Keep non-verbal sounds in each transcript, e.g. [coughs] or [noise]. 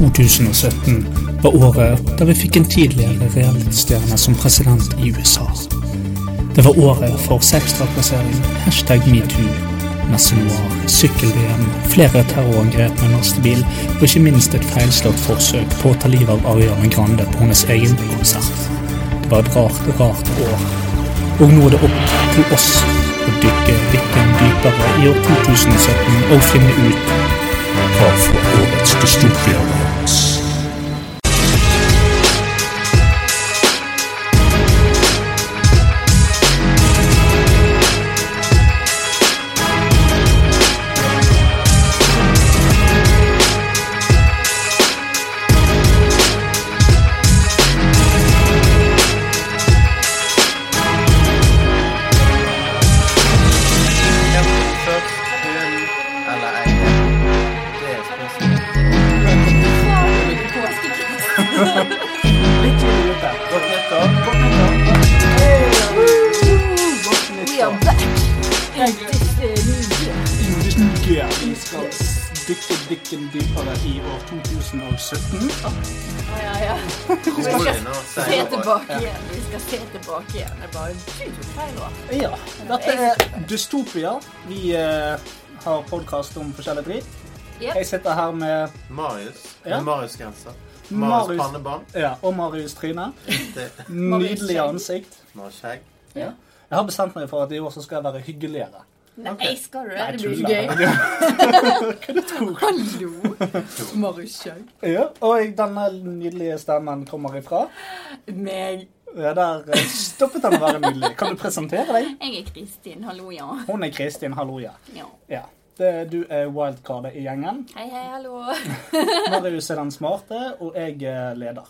2017 var året da vi fikk en tidligere realitystjerne som president i USA. Det var året for sextrakassering, hashtag metoo, masse noir, sykkel-VM, flere terrorangrep med lastebil og ikke minst et feilslått forsøk på å ta livet av Ariana Grande på hennes egen konsert. Det var et rart, rart år. Og nå er det opp til oss å dykke blikken dypere i år 2017 og finne ut hva for årets dystopier var. Hvem først, hun eller ei? Det er spørsmålet. Godt nyttår. Godt nyttår. Godt We are nyttår. back in this uh, new year. English New Year. Vi skal dykke blikken dypere i år 2017. Ja, ja, ja. Rolig nå, Se senere år. tilbake igjen. Vi skal se tilbake igjen. Det er bare gud, så feil år. Ja, dette er Dystopia. Vi eh, har podkast om forskjellig dritt. Yep. Jeg sitter her med Marius. Ja. Marius-genser. Marius. Marius pannebånd. ja, og Marius Tryne. Det Nydelig Skjegg. ansikt. Marius skjegg. Jeg har bestemt meg for at i år så skal jeg være hyggeligere. Nei, skal du det? Det blir tuller. gøy. Hallo! Marius Kjøg. Ja, og denne nydelige stemmen kommer ifra. Meg. Ja, der eh, stoppet den å være nydelig. Kan du presentere deg? Jeg er Kristin. Hallo, ja. Hun er Kristin Halloja. ja. Ja. Det, du er wildcardet i gjengen. Hei, hei, hallo. Marius er den smarte, og jeg er leder.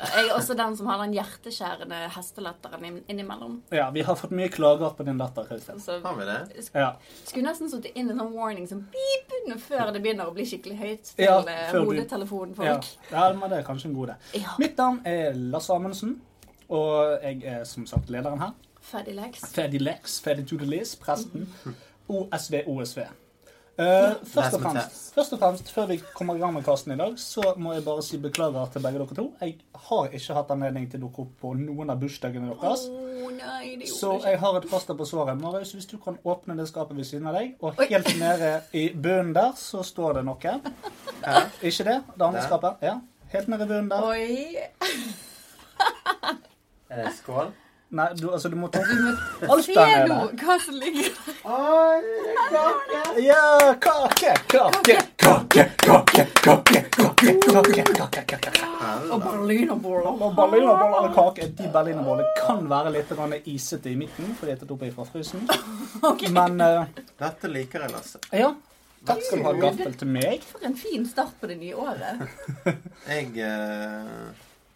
Jeg er også den som har den hjerteskjærende hesteletteren inn- innimellom. Ja, vi har fått mye klager på din latter, Kristin. Så Har vi det? Ja. skulle nesten satt inn en sånn warning som beep nå før det begynner å bli skikkelig høyt til Ja, eh, før du- hodetelefonen Ja. folk. ja, men det er kanskje en god idé. Ja. Mitt navn er Lasse Amundsen, og jeg er som sagt lederen her. Ferdig leks. Ferdig Lex, Ferdig Tudelis, presten. OSV, OSV. Eh, først, og Last fremst, test. først og fremst, før vi kommer i gang med kasten i dag, så må jeg bare si beklager til begge dere to. Jeg har ikke hatt anledning til å dukke opp på noen av bursdagene Å deres. nei, det Så gjorde jeg jeg har et plaster på såret. Marius, hvis du kan åpne det skapet ved siden av deg, og Oi. helt nede i bunnen der, så står det noe. Her. Ikke det? Det andre Der. skapet? Ja. Helt nede i bunnen der. Oi. Er det skål? Nei, du, altså, du må ta Alt Se der nå nede. hva som ligger Oi, det er kake! Ja, kake, kake, kake, kake, kake, kake, kake, kake, kake. Og berlinerboller. Og berlinerboller eller kake De berlinerbollene kan være litt grann isete i midten, fordi de er tatt opp fra frysen. [laughs] Men eh, Dette liker jeg, Lasse. ja. Takk skal du ha, gaffel til meg. For en fin start på det nye året. Jeg eh,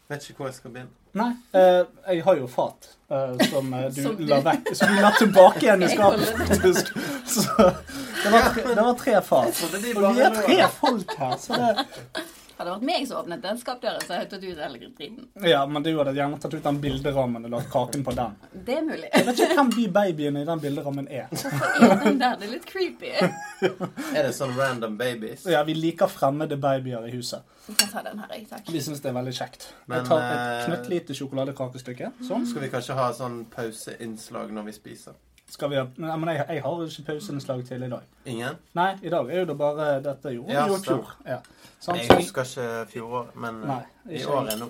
vet ikke hvor jeg skal begynne. Nei, eh, jeg har jo fat eh, som eh, du [laughs] Som du- la vekk. Som du la tilbake igjen i Jeg skapet, holder faktisk. Så det var, tre, det var tre fat. Så det blir Og vi bare er tre noe. folk her, så det Hadde det vært meg som åpnet den skapdøren, så hadde jeg tatt ut hele driten. Ja, men du hadde gjerne tatt ut den bilderammen og lagt kaken på den. Det er [laughs] mulig. Jeg vet ikke hvem de babyene i den bilderammen er. Er den der? Det er litt creepy. Er det sånn random babies? Så ja, vi liker fremmede babyer i huset. Vi kan ta den her, jeg. Takk. Vi syns det er veldig kjekt. Men, Jeg tar et eh, knøttlite sjokoladekakestykke. Sånn. Skal vi kanskje ha sånn pauseinnslag når vi spiser? Skal vi ha Nei, men jeg, jeg har jo ikke pauseinnslag til i dag. Ingen? Nei, i dag er jo det bare dette gjorde Ja, vi jo i stemmer. fjor. Ja. Sånn, Jeg så jeg- husker ikke fjoråret, men eh, Nei, i ikke år jeg. er nå.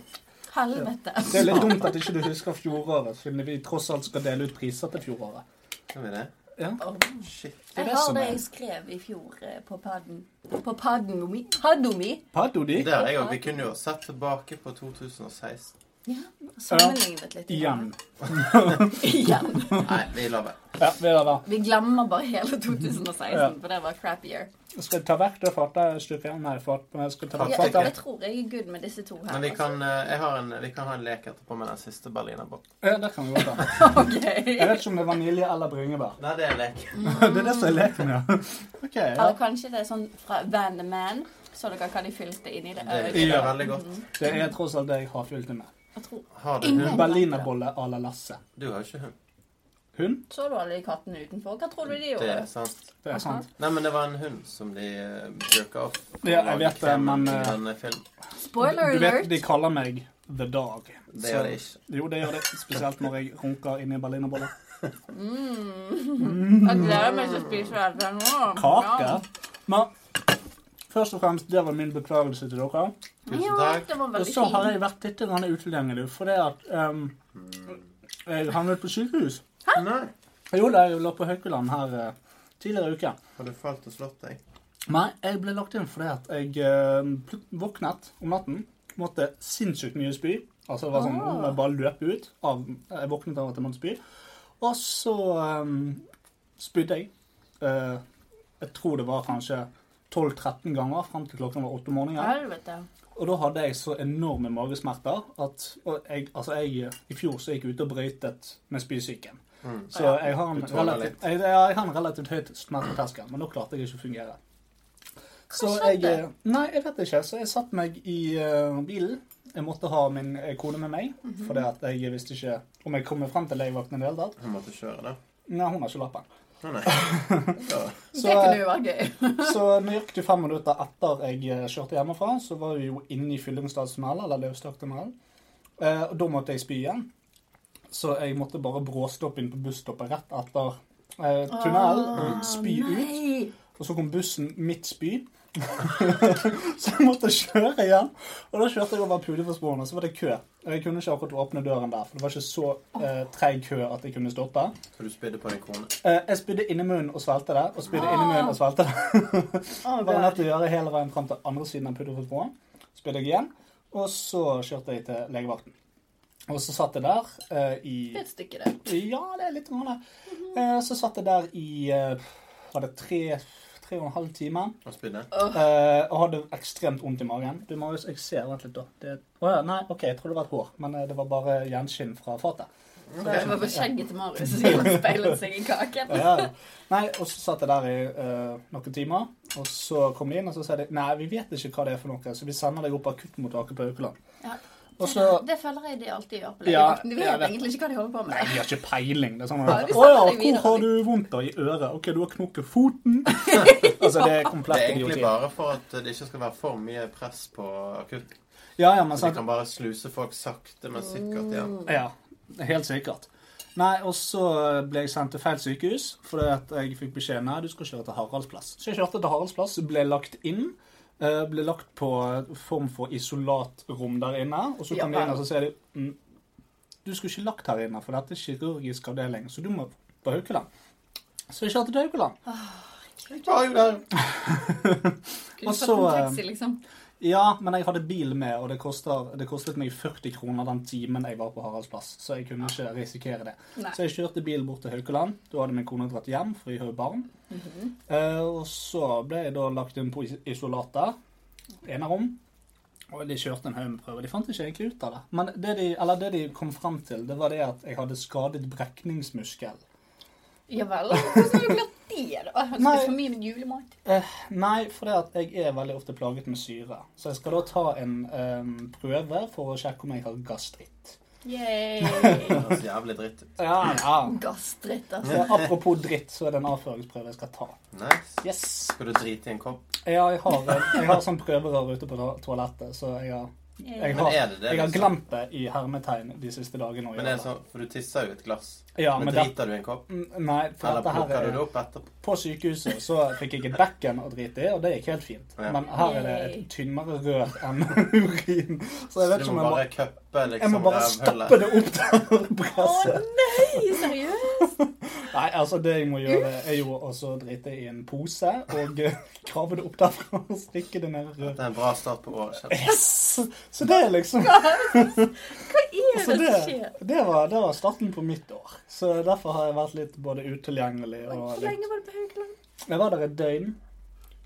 Helvete. Det er litt dumt at ikke du husker fjoråret, siden vi tross alt skal dele ut priser til fjoråret. Skal vi det? Åh. Det Shit. er Jeg det har som det er- jeg skrev i fjor eh, på padden. På padden mi. Paddo mi. Padodi. Det har jeg òg. Vi kunne jo sett tilbake på 2016. Ja, sammenlignet litt. Igjen. [laughs] Igjen. Nei, vi lar være. Ja, det er det. Vi glemmer bare hele 2016, Ja. for det var crap year. Skal jeg ta vekk det fatstykket? Nei, fat, men jeg skal ta vekk Jeg, Fuck fatet. it. jeg tror jeg er good med disse to her. Men vi altså. kan, eh, jeg har en, vi kan ha en lek etterpå med den siste berlinerbollen. Ja, det kan vi godt ta. Jeg Ok. vet ikke om det er vanilje eller bringebær. Nei, det er en lek. [laughs] Det er det som er leken, ja. Ok, ja. Eller kanskje det er sånn fra Van the Man, så dere hva de fylte inni det. Det øyet. liker jeg Ja. veldig godt. Det er tross alt det jeg har fylt det med. Jeg tror Har du Ingen. hund? Berlinerbolle à la Lasse. Du har jo ikke hund. Hund? Så du alle de kattene utenfor? Hva tror du de Det gjorde? er sant. Det er sant. Nei, men det var en hund som de eh, jerka off. Ja, jeg vet det, men, eh, Den er film. Spoiler Du vet, alert! de kaller meg The Dog. Det gjør det ikke. Jo, det gjør det. Spesielt når jeg runker inni berlinerboller. Jeg gleder meg til å spise dette nå. Kake? Men først og fremst, det var min beklagelse til dere. Ja, Tusen takk. det var Og veldig så har fint. jeg vært litt grann utilgjengelig, fordi at ehm, jeg havnet på sykehus. Nei. Jo da, jeg lå på Haukeland her eh, tidligere i uke. Har du falt og slått deg? Nei, jeg ble lagt inn fordi at jeg eh, plut- våknet om natten. Måtte sinnssykt mye spy. Altså det var sånn, Ah. Jeg bare løp ut. Av, jeg våknet av at jeg måtte spy. Og så eh, spydde jeg. Eh, jeg tror det var kanskje 12-13 ganger fram til klokken var åtte om morgenen. Helvete. Og da hadde jeg så enorme magesmerter at og jeg, altså jeg, I fjor så gikk jeg ut og brøytet med spysyken. Mm. Så jeg har, en Du tåler relativt, jeg, ja, jeg har en relativt høyt smerteterskel, men da klarte jeg ikke å fungere. Så jeg, eh, skjedde? nei, jeg vet ikke. Så jeg satte meg i eh, bilen. Jeg måtte ha min eh, kone med meg, Mhm. for jeg visste ikke om jeg kommer frem til legevakten i det hele tatt. Hun måtte kjøre, da. Nei, hun har ikke lappen. [laughs] Å, nei. Ja. Så, Det kunne jo vært gøy. så nøyaktig fem minutter etter jeg eh, kjørte hjemmefra, så var vi jo inne i Fyllingstadstunnelen, eller Løvstadtunnelen. Eh, og da måtte jeg spy igjen. Så jeg måtte bare bråstoppe inn på busstoppet rett etter eh, tunnelen og [laughs] spy ut. Nei. Og så kom bussen mitt spy. [laughs] så jeg måtte kjøre igjen. Og da kjørte jeg over Pulefossbroen, og så var det kø. Og jeg kunne ikke akkurat åpne døren der, for det var ikke så eh, treig kø at jeg kunne stoppe. For du spydde på din kone. Eh, jeg spydde inni munnen og svelgte det, og spydde inni munnen og svelgte det. [laughs] Å, Det var nødt gud. til å gjøre hele veien fram til andre siden av Pudderfossbroen. Spydde jeg igjen, og så kjørte jeg til legevakten. Og så satt jeg der eh, Det er i Et stykke, det. Ja, det er litt grann det. Eh, så satt jeg der i eh, Var det tre, tre og en halv time? Og spydde. Eh, og hadde ekstremt vondt i magen. Du, Marius, jeg ser Vent litt, da. Det, Å ja, nei, OK, jeg trodde det var et hår, men eh, det var bare gjenskinn fra fatet. Det var på skjegget til Marius som speilet seg i kaken. Ja, ja. Nei, og så satt jeg der i eh, noen timer, og så kom de inn og så sa de, nei, vi vet ikke hva det er for noe, så vi sender deg opp på akuttmottaket på Haukeland. Ja. Og så, Det føler jeg de alltid gjør på Ja, legevakten. De jeg vet vet. egentlig ikke hva de holder på nei, med. de har ikke peiling. Det er sånn, Ja, at, vi Å ja, sender deg hvor videre. har du vondt da? I øret? Ok, du har knokket foten. [laughs] altså, det er Det komplett er egentlig idioti. bare for at det ikke skal være for mye press på akutt. Ja, ja, men Så de sant. kan bare sluse folk sakte, men sikkert igjen. Ja, helt sikkert. Nei, og så ble jeg sendt til feil sykehus, fordi at jeg fikk beskjed nei, du skal kjøre til Haraldsplass. Så jeg kjørte til Haraldsplass, ble lagt inn, eh, ble lagt på form for isolatrom der inne, og så Ja, kom de inn vel. og så sier de, mm, du skulle ikke lagt her inne, for dette er kirurgisk avdeling, så du må på Haukeland. Så jeg kjørte til Haukeland. Var jo der. Kunne Og fått så, en eh, taxi, liksom. Ja, men jeg hadde bil med, og det kostet, det kostet meg 40 kroner den timen jeg var på Haraldsplass, så jeg kunne ikke risikere det. Nei. Så jeg kjørte bilen bort til Haukeland. Da hadde min kone dratt hjem, for vi har jo barn. Eh, og så ble jeg da lagt inn på is- isolatet. Enerom. Og de kjørte en haug med prøver. De fant ikke egentlig ut av det. Men det de, eller det de kom frem til, det var det at jeg hadde skadet brekningsmuskel. Ja vel. Hvordan har du klart det, da? Har du Nei. spist for mye med julemat? Eh, nei, for det at jeg er veldig ofte plaget med syre. Så jeg skal da ta en eh, prøve for å sjekke om jeg har gastritt. Yay. Det er så jævlig dritt ut. Ja, ja. Gastritt, altså. Så apropos dritt, så er det en avføringsprøve jeg skal ta. Nice. Yes! Skal du drite i en kopp? Ja, jeg har, jeg har sånn prøverør ute på to- toalettet, så jeg har, jeg Men har, er det det? jeg har liksom? glemt det i hermetegn de siste dagene. å Men det er gjøre sånn, for du tisser jo i et glass. Ja, Men men det, driter du i en kopp? nei, for Eller dette her plukker du er, det opp etterpå? På sykehuset så fikk jeg et bekken å drite i, og det gikk helt fint. Ja. Men her er det et tynnere rør enn [laughs] urin, så jeg Så vet du ikke om jeg må må bare cuppe jeg liksom må bare stappe det opp der Å presset. nei, seriøst? Nei, altså det jeg må gjøre, er jo også å drite i en pose og eh, grave det opp derfra og stikke det ned i røret. Det er en bra start på året. kjenner jeg. Yes! Så det er liksom Hva er Så det som Altså, det, skjer? det, var, det var starten på mitt år. Så derfor har jeg vært litt både utilgjengelig og Hvor litt lenge var du på Haukeland? Jeg var der et døgn.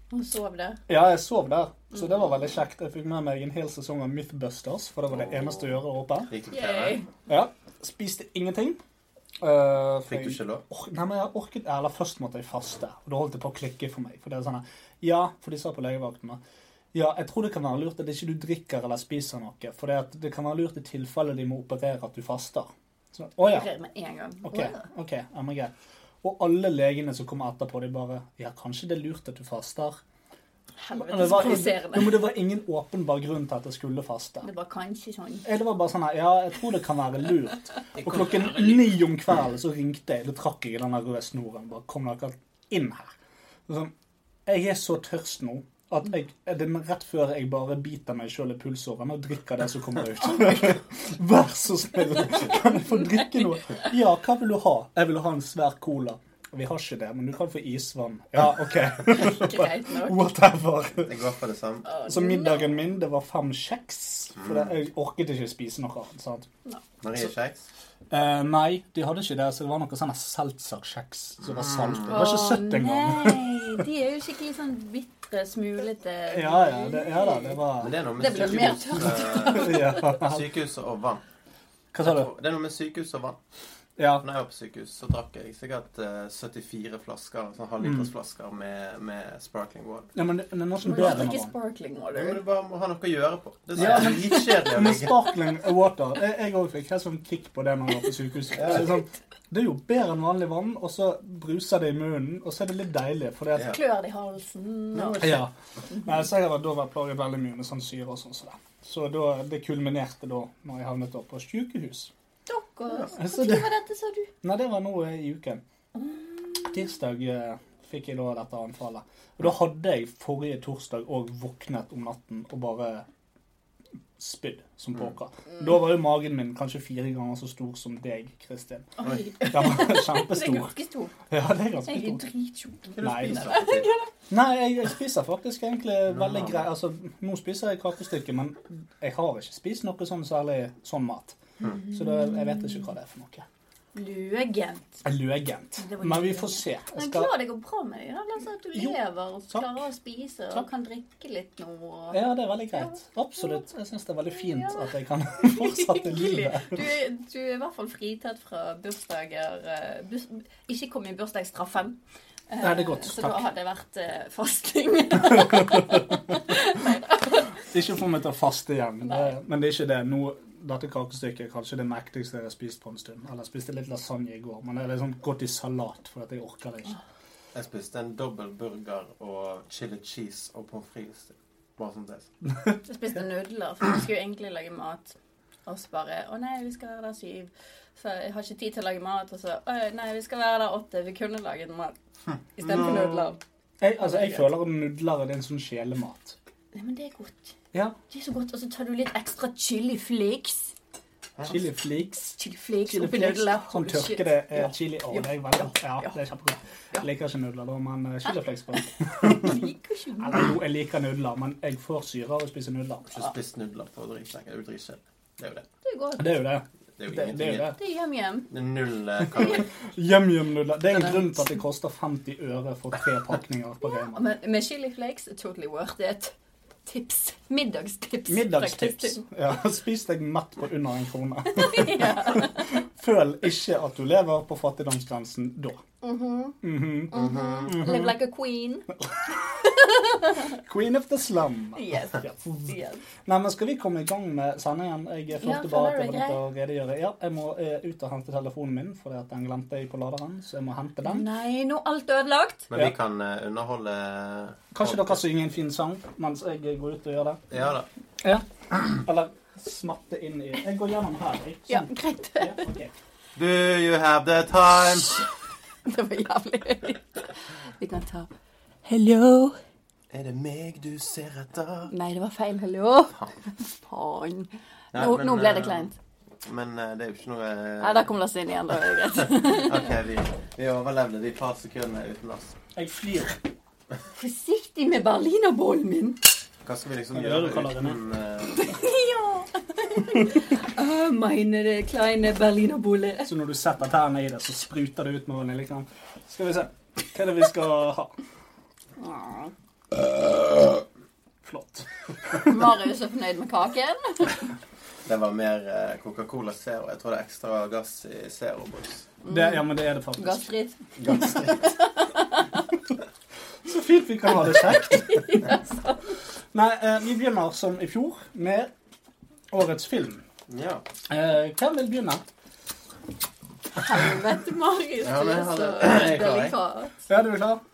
Hun sov der. Ja, jeg sov der, så det Mm. var veldig kjekt. Jeg fikk med meg en hel sesong av Mythbusters, for det var det eneste å gjøre der oppe. Gikk du til Yay. det? Ja, Spiste ingenting. Eh, for Fikk du jeg- ikke lov? Or, nei, men jeg orket Eller først måtte jeg faste, og da holdt det på å klikke for meg. For det er sånn Ja, for de sa på legevakten da, Ja, jeg tror det kan være lurt at ikke du drikker eller spiser noe, for det, at det kan være lurt i tilfelle de må operere at du faster. Så, å ja. Rød med en gang. OK. ok, I'm grei. Og alle legene som kommer etterpå, de bare Ja, kanskje det er lurt at du faster. Helvete, Det så var, provoserende. jo, men det var ingen åpenbar grunn til at jeg skulle faste. Det var kanskje sånn. Jeg- Det var bare sånn her, ja, jeg tror det kan være lurt. Og klokken ni om kvelden så ringte jeg, da trakk jeg i den der røde snoren. Bare kom dere inn her. Det er Sånn, jeg er så tørst nå at jeg, eh, det er rett før jeg bare biter meg sjøl i pulsåren og drikker det som kommer ut. [laughs] Vær så snill, kan jeg få drikke noe? Ja, hva vil du ha? Jeg vil ha en svær cola. Vi har ikke det, men du kan få isvann. Ja, OK. [laughs] Greit nok. Whatever. Jeg går for det samme. Å, Så no. middagen min, det var fem kjeks. For det, jeg orket ikke spise noe annet. sant? Mariekjeks. Eh, nei, de hadde ikke det, så det var noe sånn seltzer-kjeks som var salt. Det var ikke Å, søtt engang. Ah, Nei, de er jo skikkelig sånn bitre, smulete Ja, ja, det, ja da, det var Men det er noe Det med ble mer sykehus, eh, ja. sykehus og vann. Hva sa du? Det er noe med sykehus og vann. Ja. Når jeg var på sykehus, så drakk jeg sikkert eh, 74 flasker, sånn Mm. halvlitersflasker med, med sparkling water. ja, men det, det er noe Du som må bedre drikke med vann. sparkling Men water. det bare må ha noe å gjøre på. Det Ja, er så dritkjedelig å [laughs] Men ligge sparkling water Jeg, jeg også fikk helt sånn kick på det når jeg var på sykehuset. Så det er sånn, det er jo bedre enn vanlig vann, og så bruser det i munnen, og så er det litt deilig. Fordi at Ja. Klør det i halsen. og- Ja. Nei, så jeg har da vært plaget veldig mye med sånn syre og sånn. Så, så da, det kulminerte da når jeg havnet opp på sykehus. Dere, Ja, så Når det- var dette, sa du? Nei, det var nå eh, i uken. Tirsdag eh, fikk jeg da dette anfallet. Og da hadde jeg forrige torsdag òg våknet om natten og bare spydd som Mm. pokker. Da var jo magen min kanskje fire ganger så stor som deg, Kristin. Oi, Den [laughs] var det er kjempestor. ganske stor. Ja, det er ganske Jeg er stor. drittjukk. Hva Nei. du spiser du? Nei, jeg, jeg spiser faktisk egentlig veldig grei Altså, nå spiser jeg kakestykke, men jeg har ikke spist noe sånn særlig sånn mat. Mm. Så det, jeg vet ikke hva det er for noe. Løgent. Løgent. Det var Men vi løgent. får se. Jeg Men skal klar det går bra med deg. da, Altså, at du Jo, lever og takk. klarer å spise og Takk. kan drikke litt nå. Og... Ja, det er veldig greit. Absolutt. Jeg syns det er veldig fint Ja. at jeg kan [laughs] fortsette livet. Du, er- du er i hvert fall fritatt fra bursdager eh, burs, Ikke kom i bursdagsstraffen. Eh, Nei, det er godt. Så Takk. da har det vært [laughs] eh, fasting. Ikke få meg til å faste igjen. Det, Nei. men det er ikke det. Nå, dette kakestykket er kanskje det mektigste jeg har spist på en stund. Eller jeg spiste litt lasagne i går, men det er liksom godt i salat, for at jeg orker det ikke. Jeg spiste en dobbel burger og chili cheese og pommes frites. Bare sånn det. Jeg spiste nudler, for vi skulle jo egentlig lage mat. Og så bare Å nei, vi skal være der syv. Så jeg har ikke tid til å lage mat. Og så Å nei, vi skal være der åtte. Vi kunne laget mat Mm. istedenfor Nå. nudler. Jeg, altså, jeg føler at nudler er en sånn sjelemat. Nei, men det er godt. Ja. Det er så godt. Og så tar du litt ekstra chili flakes. Chili flakes. Chili flakes Chili oppi flakes, nudler. Sånn Holy shit. tørkede eh, Ja. chili. Å, Ja. det er veldig Ja, Ja. det er kjempegodt. Ja. Jeg liker ikke nudler, da, men eh, chili flakes på. Jeg liker ikke nudler. Eller jo, jeg liker nudler, men jeg får syre av å spise nudler. Ikke spist nudler for å drikke seg. Det er jo dritkjedelig. Det er jo det. Det er godt. Det er jo det. Det er jo Det, det er ingenting. jo det. i- Det er hjem-hjem. Det er null eh, kalori. Yum-yum-nudler. Det er en grunn til at det koster 50 øre for tre pakninger på Rema. Men med chili flakes, totally worth it. Tips. Middagstips. Middagstips. Faktisk. [laughs] Ja, [laughs] Spis deg mett på under en krone. ja. Føl ikke at du lever på fattigdomsgrensen da. Mm-hmm. Mhm, Mhm. [laughs] mhm. Live like a queen. Queen of the slum. Yes. Ja. yes. Nei, men Skal vi komme i gang med sendingen? Jeg Ja, følte bare at føler jeg var du nødt til å redegjøre. Ja, jeg må eh, ut og hente telefonen min, for den glemte jeg på laderen. Så jeg må hente den. Nei, nå er alt ødelagt. Men vi Ja. kan eh, underholde Kanskje dere synger en fin sang mens jeg går ut og gjør det? Ja da. Eller smatte inn i Jeg går gjennom her. Ikke? Ja, Sånn. greit. [laughs] Ja, ok. Do you have the time? Det var jævlig høyt. Vi kan ta Hello. Er det meg du ser etter? Nei, det var feil. Hello. Faen. Nei, Nå, men, nå ble det eh, kleint. Men eh, det er jo ikke noe eh, Nei, der kom Lasse inn [laughs] igjen. Da er det greit. OK, vi, vi overlevde de par sekundene uten oss. Jeg flyr. Forsiktig med berlinerbollen min. Hva skal vi liksom Ja, det er gjøre det du kaller det nå. uten eh, [laughs] Ja. Å, Ah, meine kleine berlinerbolle. Så når du setter tærne i det, så spruter det ut med vann. Liksom. Skal vi se. Hva er det vi skal ha? Flott. Marius er fornøyd med kaken. Det var mer eh, Coca-Cola Zero. Jeg tror det er ekstra gass i Zero-boks. Det, ja, men det er det Mm. faktisk. Gassfritt. Gass i Så fint vi kan ha det kjekt. Nei, eh, vi begynner som i fjor med årets film. [laughs] Ja. Eh, hvem vil begynne? Helvete, Marius. Ja, Du men er jeg så hadde- jeg klarer det. delikat. Ja, du er klar? [clears throat]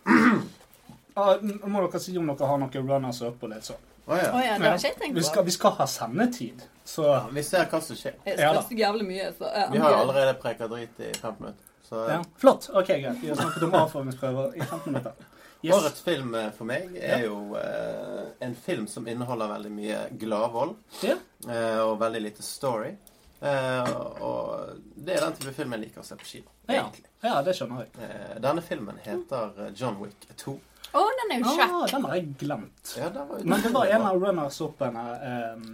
Ja, nå må dere si om dere har noen runners up og litt sånn. Å Å ja. ja, det har ikke jeg tenkt Vi på. skal, vi skal ha sendetid, så Vi ser hva som skjer. Jeg Ja da. spiste jævlig mye, så ja. Vi har jo allerede preka drit i fem minutter. Så eh, ja. Flott. OK, greit. Vi har snakket om avføringsprøver i 15 minutter. Yes. årets film eh, for meg er jo eh, en film som inneholder veldig mye gladvold Ja. eh, og veldig lite story. Eh, og det er den type film jeg liker å se på kino. Ja. egentlig. ja, det skjønner jeg. Eh, denne filmen heter eh, John Wick 2. Å, den er jo kjekk. Ah, den har jeg glemt. Ja, den var jo- Men det var en av runners up-ene eh,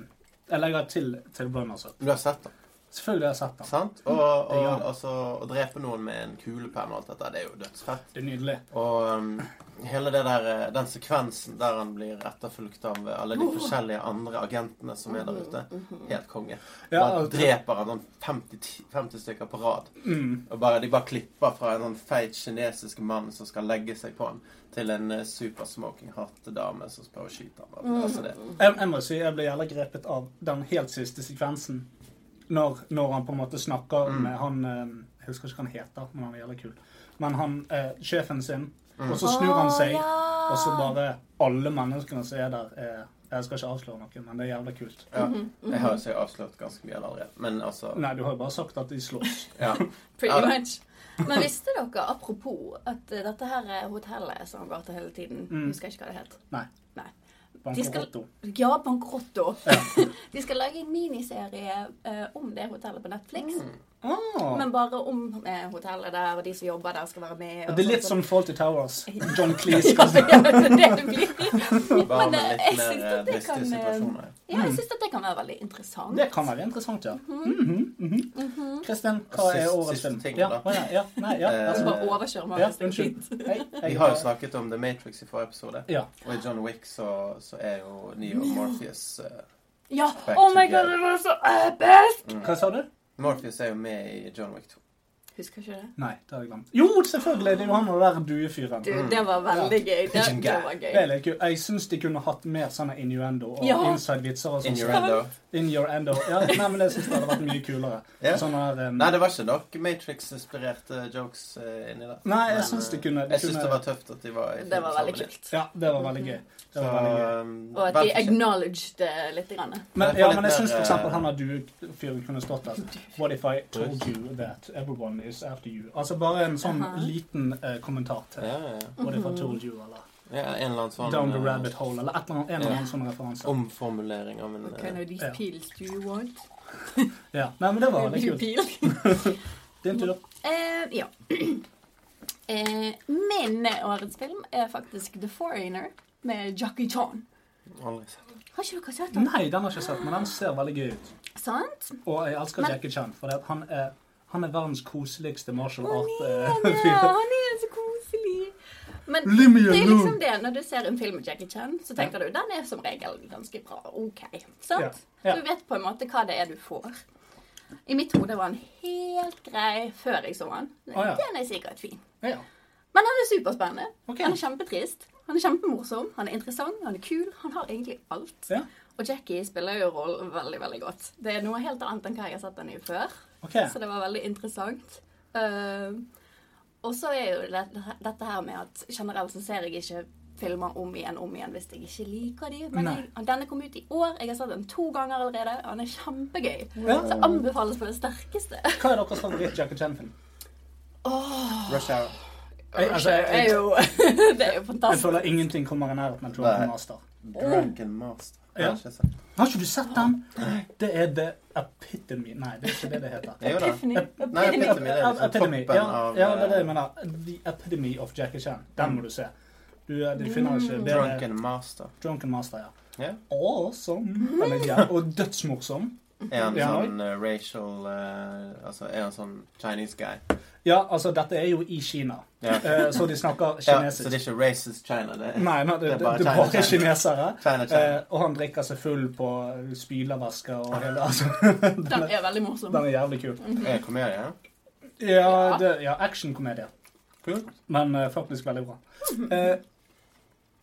Jeg legger til, til runners up. Du har sett den, Selvfølgelig har jeg sett den. sant? Og, og Ja. altså, å drepe noen med en kulepenn og alt dette, det er jo dødsfett. Det er nydelig. Og um, hele det der, eh, den sekvensen der han blir etterfulgt av eh, alle de forskjellige andre agentene som er der ute, helt konge. Ja, Da altså- dreper han sånn 50, ti- 50 stykker på rad. Mm. Og bare, de bare klipper fra en sånn feit kinesisk mann som skal legge seg på han, til en eh, supersmoking hot dame som prøver å skyte ham. Altså det. Jeg, jeg må si jeg ble jævla grepet av den helt siste sekvensen. Når, når han på en måte snakker med han eh, Jeg husker ikke hva han heter, men han er jævla kul. Men han eh, sjefen sin. Og så snur han seg, Å, ja. og så bare Alle menneskene som er der, er Jeg skal ikke avsløre noe, men det er jævla kult. Ja. Jeg har jo så avslørt ganske mye av det allerede. Men altså Nei, du har jo bare sagt at de slåss. ja. Pretty Ja. much. Men visste dere, apropos, at eh, dette her eh, hotellet som han går til hele tiden Mm. Husker jeg ikke hva det het. Nei. Nei. De skal- Bankerotto. Ja, Bankrotto. [laughs] De skal lage en miniserie eh, om det hotellet på Netflix. Ah, Men bare om eh, hotellet der, og de som jobber der, skal være med. Og det er litt som sånn. Faulty [laughs] Towers. John [laughs] Cleese. skal Ja, det er det det [laughs] blir. Mm. Bare [laughs] Men med eh, litt mer jeg syns eh, at det dristige kan eh, situasjoner. Ja, jeg syns at det kan være veldig interessant. Det kan være interessant, ja. Mhm, mhm. Kristin, hva er Siste- årets siste film? ting, ja, da. å, ja, ja, nei, ja, Eh, vær så Så god. bare overkjører man ja, hvis det er unnskyld. [laughs] fint. Hei, jeg- Vi har jo snakket om The Matrix i forrige episode. Ja. Og i John Wick så, så er jo Neo Morpheus eh, Ja! Back Oh my together. god, det var så episk! Hva sa du? Morpheus er jo med i John Wick 2. Husker ikke det. Nei, det har jeg glemt. Jo, selvfølgelig! Det er jo han og den der duefyren. Du, det var veldig gøy. Det, Pigeon det guy. var Det er gøy. litt kult. Jeg syns de kunne hatt mer sånne innuendo og Ja. inside-vitser og In your sånn. end, though. In your endo. Ja, nei, men jeg syns det hadde vært mye kulere. Ja. Sånne der, um, Nei, det var ikke nok Matrix-inspirerte jokes eh, inni der. Nei, jeg Men, syns det eh, kunne- det Jeg syns kunne- det var tøft at de var i Det var veldig filmsammenheng. kult. ja, det var veldig gøy. Det var veldig gøy. Så, um, Og at de vel fortjent. acknowledged det litt. Grann. Men, Men jeg ja, får men litt jeg syns mer, for eksempel eh, han har du-fyren kunne stått der. What if I told you that everyone is after you? Altså bare en sånn Aha. Mhm. liten eh, kommentar til ja, ja, ja. What if I told you, eller ja, en eller annen sånn Down the eh, rabbit hole, eller et eller annet, en eller annen sånn referanse. omformulering av en What kind eh, of these Ja. pills do you want? Ja. Nei, men det var veldig You kult. peel? [laughs] Din tur. Eh, ja. [clears throat] Eh, min årets film er faktisk The Foreigner med Jackie Chan. Aldri sett. Har ikke dere sett den? Nei, den har jeg ikke sett, men den ser veldig gøy ut. Sant? Og jeg elsker Men- Jackie Chan, for det at han er, han er verdens koseligste martial eh, Han [laughs] er det! art-fyr. Han er så koselig. Men Leave me det er alone. liksom det, når du ser en film med Jackie Chan, så tenker du den er som regel ganske bra. OK. Sant? Ja, ja. Du vet på en måte hva det er du får. I mitt hode var han helt grei før jeg så han. Å, ja. Den er sikkert fin. Ja. Men han er superspennende. Ok. Han er kjempetrist. Han er kjempemorsom. Han er interessant. Han er kul. Han har egentlig alt. ja. Og Jackie spiller jo rollen veldig, veldig godt. Det er noe helt annet enn hva jeg har sett han i før. OK. Så det var veldig interessant. Eh, og så er jo det, dette her med at generelt så ser jeg ikke filmer om igjen om igjen hvis jeg ikke liker de. Men Nei. jeg, denne kom ut i år. Jeg har sett den to ganger allerede. og Den er kjempegøy. Ja. Så anbefales på det sterkeste. Hva er deres favoritt-Jackie Chan-film? Rush Hour. Jeg- altså, jeg- det, er jo, [laughs] det er jo Jeg fantastisk. føler ingenting kommer i nærheten av Nei. Drunken Master. Drunken Master. Ja. Har ikke sett. Har ikke du sett den? Det er The Epitome Nei, det er ikke det det heter. Jo da. Tiffany. Nei, [laughs] Epitome det er liksom Epitome, toppen ja, av eh, ja, det er det jeg mener. The Epitome of Jackie Chan. Den må du se. Du, eh, du finner ikke det er Mm. Drunken Master. Drunken Master, ja. Ja. Awesome! Den er gøy, og dødsmorsom. Er han Ja. sånn eh, racial eh, Altså, er han sånn Chinese guy? Ja, altså, dette er jo i Kina, Ja. eh, så de snakker Ja, så det er kinesisk. ikke racist China? Det er, Nei, nei, det, det det, er bare det er bare China, China. kinesere. China, China. Eh, og han drikker seg full på spylervæsker og [laughs] hele altså, Den er veldig morsom. Den er jævlig kul. Er det komedie? Ja, det- ja actionkomedie. Kult. Men eh, faktisk veldig [laughs] bra. Eh,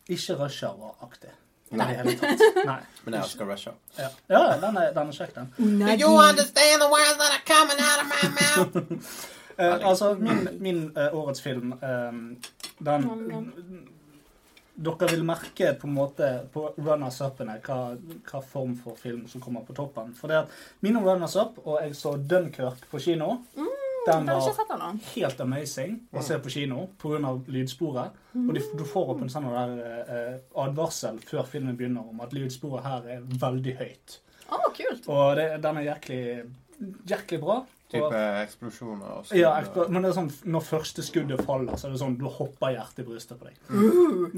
ikke rush hour-aktig. Nei. I det hele tatt. [laughs] Nei. Men jeg elsker Rush Hour. Ja, ja den, er, den er kjekk, den. Unagi. [laughs] understand the words that are coming out of my mouth? Eh, altså, min, min eh, årets film, eh, den Dere vil merke på en måte på runners-upene hva, hva form for film som kommer på toppen. For det at mine runners-up, og jeg så Dunkerque på kino, Mm, Den har jeg ikke sett ennå. helt amazing å se på kino pga. lydsporet. Og de, du får opp en sånn der, eh, advarsel før filmen begynner om at lydsporet her er veldig høyt. Å, kult. Og det, den er jæklig, jæklig bra. Og, Type eksplosjoner og sånn. ja, eksplo- men det er sånn, Når første skuddet faller, så er det sånn du hopper hjertet i brystet på deg.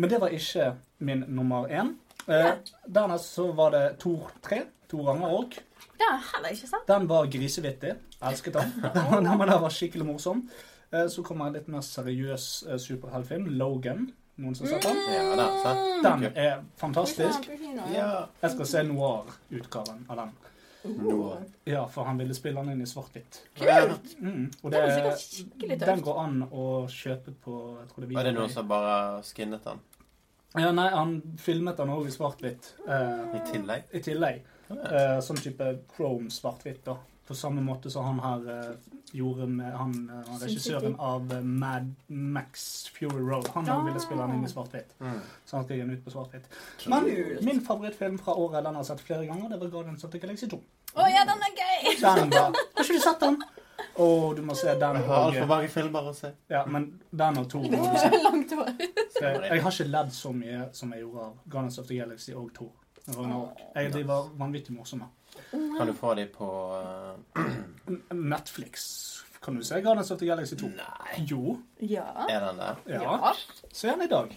Men det var ikke min nummer én. Eh, dernest så var det Tor 3. Tor Ragnarok. Det har jeg heller ikke sett. Den var grisevittig. Elsket [laughs] den. Den, den, den var skikkelig morsom. Eh, Så kommer en litt mer seriøs eh, superheltfilm, Logan. Noen som har sett den? Ja, der, se. Den er Den er fantastisk. på kino, Mm. ja. Ja. Jeg skal se noir-utgaven av den. Noir. Ja, for han ville spille den inn i svart-hvitt. Kult! Mm, og Det det, er sikkert skikkelig tøft. den går an å kjøpe på jeg tror det er Var det Viaplay. noen som bare skinnet den Ja, nei, han filmet den også i svart-hvitt. eh, i tillegg? I tillegg. Ja. Eh, sånn type chrome svart-hvitt, da. På samme måte som han her eh, gjorde med han, eh, han Sin regissøren City. av eh, Mad Max Fury Road. Han Ah. ville spille den inn i svart-hvitt. Mm. Så han skal gi den ut på svart-hvitt. Men min favorittfilm fra året den har jeg sett flere ganger, det var Guardians of the Galaxy 2. Å ja, den er [laughs] gøy! Den var Har ikke du sett den? Å, du må se den. Jeg har og- altfor mange filmer å se. Ja, men den og to må du se. Langt hår. Jeg, jeg har ikke ledd så mye som jeg gjorde av Guardians of the Galaxy og Thor. Ragnarok. Jeg, de var vanvittig morsomme. Kan du få de på eh, N- Netflix. Kan du se Guardians of the Galaxy 2? Nei. Jo. Ja. Er den der? Ja. Se den i dag.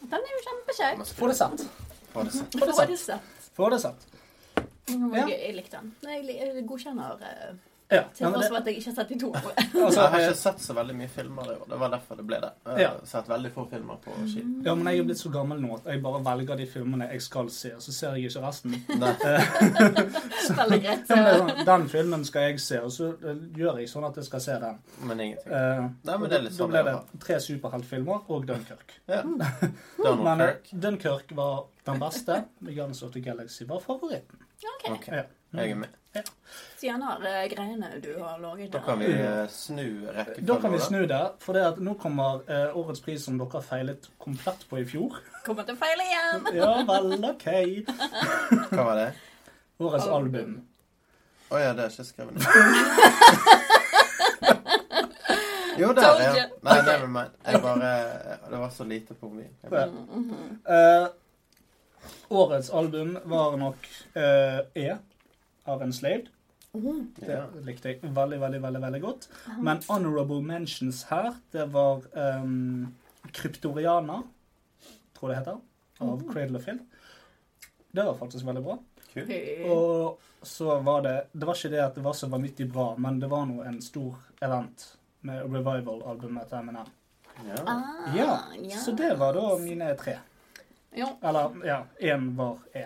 Den er jo kjempekjekk. Få det sett. Få det sett. Få det Få sett. det sett. Få det sett. Å, Ja. gøy, Jeg likte den. Nei, Jeg li- jeg godkjenner eh, Ja. til Nei, men tross for det, at jeg ikke har [laughs] sett de to. altså, jeg har eh, ikke sett så veldig mye filmer i år. Det var derfor det ble det. Jeg har Ja. sett veldig få filmer på ski. ja, men jeg er blitt så gammel nå at jeg bare velger de filmene jeg skal se, og så ser jeg ikke resten. Nei. Veldig greit. Ja, men det er sånn, den filmen skal jeg se, og så eh, gjør jeg sånn at jeg skal se den. Men ingenting. Eh, Nei, men og det er litt da sånn ble jeg det tre superheltfilmer og Dunkerque. Ja. Men Donald eh, Kirk. Dunkerque var den beste. Guardians of the Galaxy var favoritten. Ok, Ok, Ja. jeg er med. Så gjerne har eh, greiene du har laget Da kan vi eh, snu Da kan vi rekkefølgen. snu det, for det at nå kommer eh, årets pris som dere feilet komplett på i fjor. kommer eh, til å feile igjen. Ja vel, OK. Hva var det? Årets Album. album. Å ja, det er ikke [laughs] skrevet ned. Jo, der Told ja. you. Nei, never mind. Jeg bare Det var så lite på min. Jeg bare- Ja. Mm-hmm. Eh, årets album var nok eh, E av Enslaved. Det Mm-hmm. Ja. likte jeg veldig, veldig, veldig veldig godt. Men honorable mentions her, det var um, Kryptoriana, tror jeg det heter, av Cradle of Hill. Det var faktisk veldig bra. Kult. Høy. Og så var det Det var ikke det at det var så vanvittig bra, men det var nå en stor event med revival-albumet til Eminem. Ja. Ah, Ja, så det var da mine tre. Jo. Eller ja, én var E.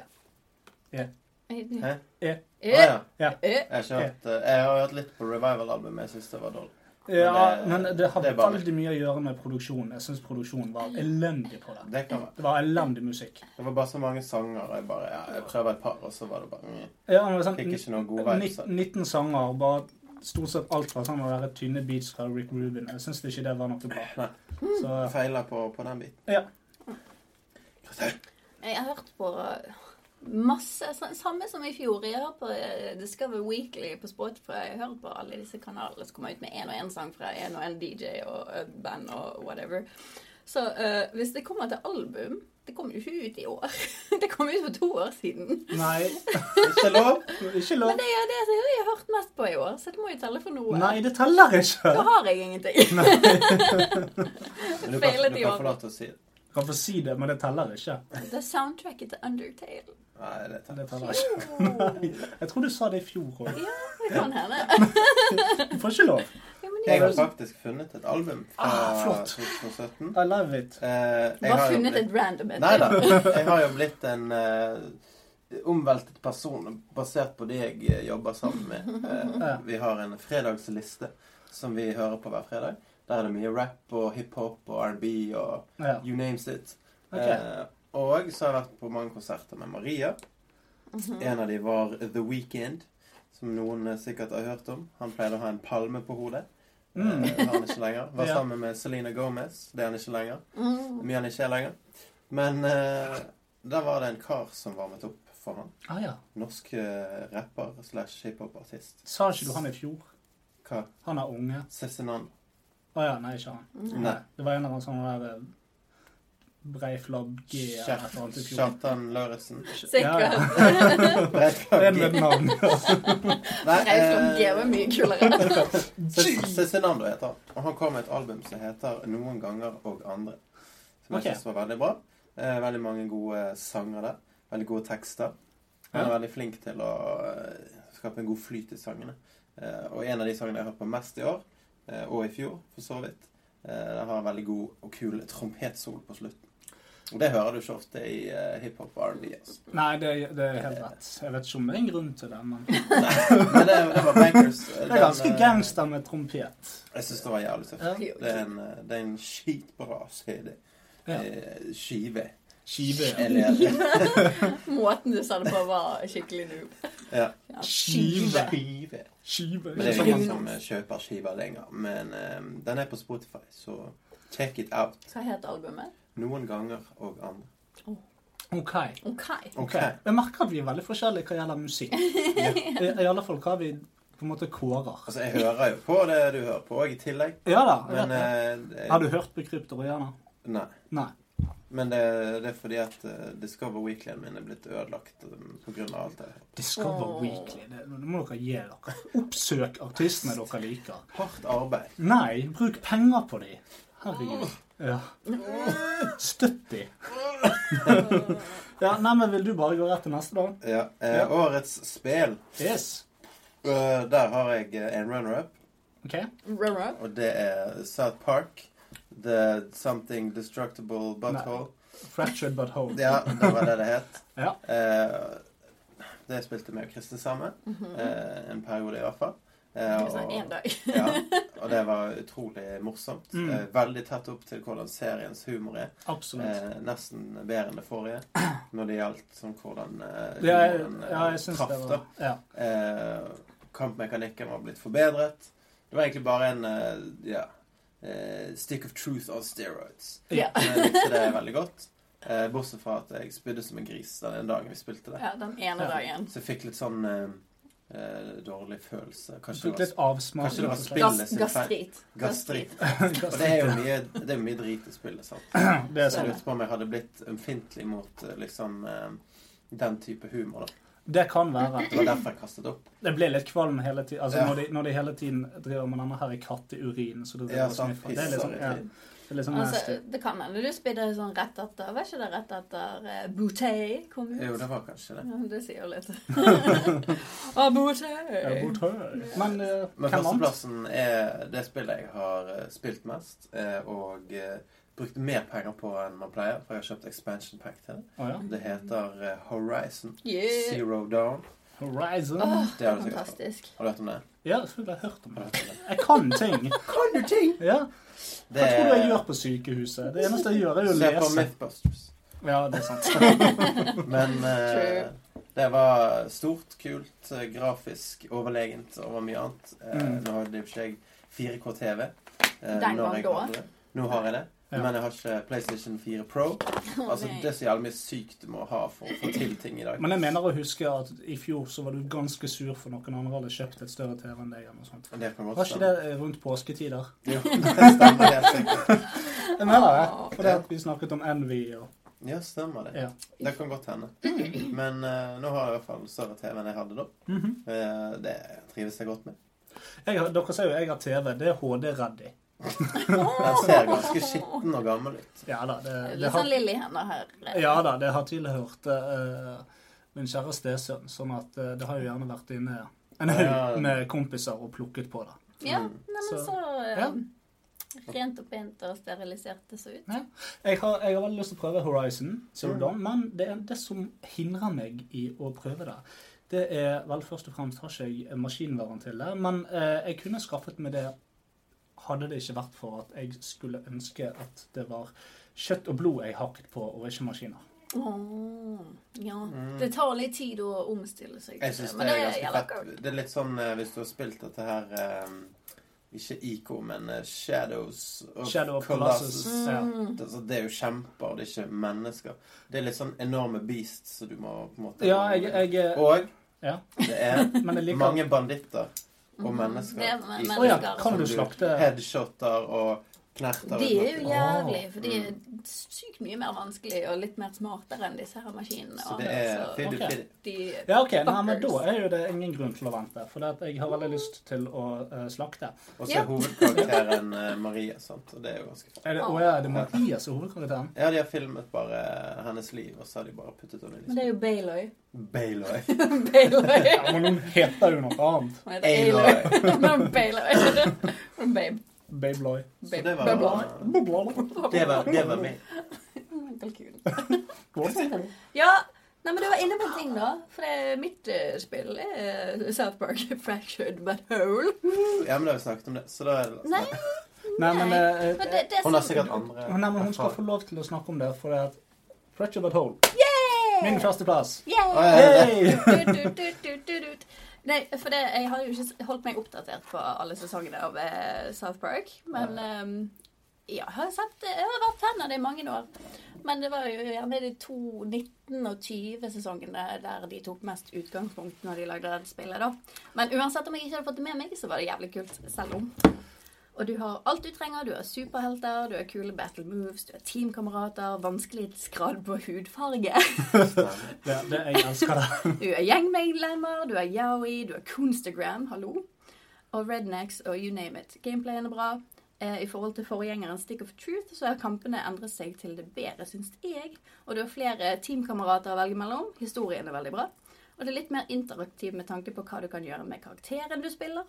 Hæ? E. Å ja. Eh, Jeg har, ikke hørt, eh, jeg har hørt litt på Revival-albumet. Jeg syns det var dårlig. Ja, Men men det- det har det er bare- veldig mye å gjøre med produksjonen. Jeg syns produksjonen var elendig på det. Det kan være. Det var elendig musikk. Det var bare så mange sanger. og Jeg bare, ja, jeg prøver et par, og så var det bare mm. Ja, men det var sånn, Fikk ikke noen gode nitt- vibes. altså. da. 19 sanger, bare stort sett alt var sånn å være tynne beats fra Rick Rubin. Jeg syns ikke det var noe bra. Så Jeg feiler på, på den [laughs] biten. ja. Jeg har hørt på masse sa- Samme som i fjor. Jeg har hørt på eh, Discover Weekly på Spotify. Jeg hører på alle disse kanalene som kommer ut med én og én sang fra én og én DJ og eh, band og whatever. Så eh, hvis det kommer til album Det kom jo ikke ut i år. [laughs] det kom ut for to år siden. Nei, Ikke lov! ikke Men lov. det er det som jeg har hørt mest på i år, så det må jo telle for noe. Nei, det teller ikke. Da har jeg [laughs] ingenting. Men du kan, Feilet du i kan år. få lov til å si det. Du kan få si det, men det teller ikke. Det er soundtracket til Undertale. Nei, det tar Det jeg. teller ikke. [laughs] Nei. Jeg tror du sa det i fjor òg. Ja, det kan hende. Du får ikke lov. Ja, men det Jeg er har jo faktisk funnet et album Ah, fra flott. Ah. 2017. I love it. Eh, jeg bare har jo funnet blitt- et random et. Nei da. Jeg har jo blitt en eh, omveltet person basert på det jeg eh, jobber sammen med. Eh, vi har en fredagsliste som vi hører på hver fredag. Der er det mye rap og hiphop og R&B og Ja. you names it. Ok. Eh, og så har jeg vært på mange konserter med Maria. Mhm. En av dem var The Weekend, som noen eh, sikkert har hørt om. Han pleide å ha en palme på hodet. Mm. Eh, var han ikke lenger. Var [laughs] Ja. sammen med Selena Gomez. Det er han ikke lenger. Mm. Mye han ikke er lenger. Men eh, der var det en kar som varmet opp for han. Ah, ja. Norsk eh, rapper slash hiphop-artist. Sa ikke du han i fjor? Hva? Han er unge. Cezinan. Å ja, nei, ikke han. Nei. Det var en eller annen sånn der eh, Breiflabb G eller noe sånt i fjor. Kjartan Lauritzen. Sikkert. [laughs] Det er Breiflabb med G. navn. [laughs] Nei, Reifland G var eh, mye kulere. Cezinando heter han. Og han kom med et album som heter 'Noen ganger og andre'. Som jeg Ok. synes var veldig bra. Eh, veldig mange gode sanger der. Veldig gode tekster. Han er Ja. veldig flink til å eh, skape en god flyt i sangene. Eh, og en av de sangene jeg har hørt på mest i år, eh, og i fjor for så vidt, eh, den har en veldig god og kul trompetsol på slutten. Og det hører du ikke ofte i eh, hiphop og R&B. [laughs] Altså. Nei, det, det er helt rett. Jeg vet ikke om det er en grunn til det, men det Men det, det var Bankers. eh, er ganske den, eh, gangster med trompet. Jeg syns det var jævlig tøft. Ja. Det er en, eh, det er en skitbra CD. Ja. Eh, Skive. Skive. ja. Eller eh, Måten du sa det på, var skikkelig noob. ja. Ja. Skive. Skive. Skive. Sånn Men det er jo Som ingen man- som eh, kjøper skiver lenger. Men eh, den er på Spotify, så check it out. Hva het albumet? Noen ganger og andre. OK. OK. OK. Jeg merker at vi er veldig forskjellige hva gjelder musikk. I, I alle fall hva vi på en måte kårer. Altså, jeg hører jo på det du hører på òg, i tillegg. Ja da. jeg Men vet det. eh, Har du hørt på Kryptoriana? Nei. Nei. Men det, det er fordi at eh, Discover Weeklyen min er blitt ødelagt um, på grunn av alt det her. Discover Åh. Weekly. Det, det må dere gi dere. Oppsøk artistene dere liker. Hardt arbeid. Nei, bruk penger på dem. Herregud. Ja. Mm. Støtt dem. Ja, nei, men vil du bare gå rett til neste, da? Ja. eh, Ja. Årets spel. Yes. Eh, der har jeg eh, en runner-up. OK. Runner-up. Og det er South Park. The Something Destructible Butthole. Fractured but whole. Ja, det var det det het. [laughs] Ja. Eh, det spilte vi og Kristin sammen. eh, en periode, i hvert fall. Eh, Mm-hmm. Mhm. Sånn og- én dag. [laughs] ja, og det var utrolig morsomt. Mm. Eh, veldig tett opp til hvordan seriens humor er. Absolutt. Eh, nesten bedre enn det [clears throat] forrige når det gjaldt sånn hvordan eh, Ja, jeg, humoren eh, ja, jeg syns det traff. da. var ja. Eh, kampmekanikken var blitt forbedret. Det var egentlig bare en eh, ja, eh, stick of truth on steroids. [laughs] Ja. Men jeg likte det veldig godt. Eh, bortsett fra at jeg spydde som en gris den dagen vi spilte det. Ja, den ene dagen. Så jeg fikk litt sånn eh, eh, dårlig følelse. Du Kanskje fikk det litt avsmak. kanskje det var rett og slett. Spillet Gas- [clears throat] sin feil. Gastrit. var [laughs] gastritt. Og det Det er jo mye, det er mye drit i spillet, sant. er Så jeg sånn. lurte på om jeg hadde blitt ømfintlig mot eh, liksom eh, den type humor, da. Det kan være. Det var derfor jeg kastet opp. Det blir litt kvalm hele tiden. Altså, Ja. når, de, når de hele tiden driver med denne her katteurin så de driver Ja, og sant. sniffer. Det er litt sånn, ja, Pisser. det er litt sånn Altså, nasty. det kan hende du spydde sånn rett etter Var ikke det rett etter uh, Boutey kom ut? Jo, det var kanskje det. Ja, det sier jo litt. [laughs] [laughs] Ah, Å, Boutey! Ja, god tøy. Men eh, hvem annet? Men førsteplassen er det spillet jeg har eh, spilt mest, eh, og eh, brukt mer penger på enn man pleier, for jeg har kjøpt expansion pack til det. Å ja. Det heter eh, Horizon Yeah. Zero Down. Horizon. Åh, Det har du sikkert hørt. fantastisk. Har du hørt om det? Ja, jeg tror jeg har hørt om Har du det. hørt om det? Jeg kan ting. Kan du ting? Ja. Det Hva tror du jeg gjør på sykehuset? Det eneste jeg gjør, er jo å Se på lese. Mythbusters. Ja, det er sant. [laughs] Men eh, det var stort, kult, eh, grafisk, overlegent over mye annet. Eh, Mm. Nå hadde i og for seg 4K TV. eh, Den når gang jeg da. hadde det. Nå har jeg det. Ja. Men jeg har ikke PlayStation 4 Pro. Å, Altså, nei. det er så jævlig mye sykt du må ha for å få til ting i dag. Men jeg mener å huske at i fjor så var du ganske sur for noen andre hadde kjøpt et større TV enn deg. eller noe sånt. Det kan godt Var ikke det eh, rundt påsketider? [laughs] Jo, [laughs] det stemmer helt sikkert. Jeg mener det. Fordi at vi snakket om Envy og Ja, stemmer det. Ja. Det kan godt hende. Men eh, nå har jeg i hvert fall større TV enn jeg hadde da. Mhm. Eh, det trives jeg godt med. Jeg har, dere ser jo jeg har TV. Det er HD-ready. Den ser ganske skitten og gammel ut. Ja da, det, Eh, det Litt sånn har, lille hender her. ja, da, det har tilhørt eh, min kjære stesønn. Sånn at eh, det har jo gjerne vært inne en Ja. haug med kompiser og plukket på det. Ja, Mm. nei, men Så- så eh, Ja. Rent og pent og sterilisert det så ut. Jeg har, jeg har veldig lyst til å prøve Horizon, Zero Mm. Dawn, men det, er det som hindrer meg i å prøve det, det er vel først og fremst har ikke jeg maskinvaren til det. Men eh, jeg kunne skaffet meg det hadde det ikke vært for at jeg skulle ønske at det var kjøtt og blod jeg hakket på, og ikke maskiner. Åh, ja. Mm. Det tar litt tid å omstille seg. Jeg synes Men det er ganske gjelder fett. Det er litt sånn eh, hvis du har spilt dette her eh, Ikke IK, men eh, Shadows of Shadow of Colossus. Colossus. Ja. Mm. Det- Altså, det er jo kjemper, det er ikke mennesker. Det er litt sånn enorme beasts så du må på en måte Ja, Eh, jeg, jeg Og Ja. det er Men [laughs] jeg liker mange banditter og Det mennesker er men- i- Å ja, mennesker. altså. kan du slakte Headshotter og knerter. De er jo Ja. jævlig, for de er mm. sykt mye mer vanskelig og litt mer smartere enn disse her maskinene. Så det er fiddy Ok. fiddy. de, Ja, ok, Nei, men Da Fuckers. er jo det ingen grunn til å vente, for det at jeg har veldig lyst til å eh, slakte. Og så Ja. er hovedkarakteren eh, Maria, sant? og det er jo ganske fett. Er det, å, ja, er det Maria som er [laughs] hovedkarakteren? Ja, de har filmet bare hennes liv, og så har de bare puttet henne Men det inn i er jo [laughs] [laughs] Bailoy. Bailoy. Bailoy. Ja, men hun heter jo noe annet. Hun heter Aloy. Aloy. Men [laughs] [laughs] Bailoy. Men Babe. Babloy. Så det Babe. var, Babe. det var, det var meg. Kalkun. Ja, nei, men du var inne på en ting, da. For det er mitt eh, spill er eh, South Park [laughs] Fractured But Whole. Ja, men da har vi snakket om det. Så da er det Nei, Nei, men eh, Men det, det er Hun har sånn- sikkert andre Nei, men hun skal få lov til å snakke om det, for det er Fletcher But Hole. Yeah! Min førsteplass. Å, Yeah! ja, ja, ja. Hey! Tut-tut-tut-tut-tut. Nei, for det, jeg har jo ikke s- holdt meg oppdatert på alle sesongene av eh, South Park. Men ehm, ja, jeg har, sett, jeg har vært fan av det i mange år. Men det var jo gjerne de to 19- og 20-sesongene der de tok mest utgangspunkt når de lagde det spillet, da. Men uansett om jeg ikke hadde fått det med meg, så var det jævlig kult selv om. Og du har alt du trenger. Du har superhelter, du har kule battle moves, du har teamkamerater, vanskelighetsgrad på hudfarge. [laughs] Det, det, jeg elsker det. Du er gjengmedlemmer, du er yaoi, du er Kunstagram, hallo. Og rednecks og you name it. Gameplayen er bra. Eh, I forhold til forgjengeren Stick of Truth så har kampene endret seg til det bedre, syns jeg. Og du har flere teamkamerater å velge mellom. Historien er veldig bra. Og det er litt mer interaktiv med tanke på hva du kan gjøre med karakteren du spiller.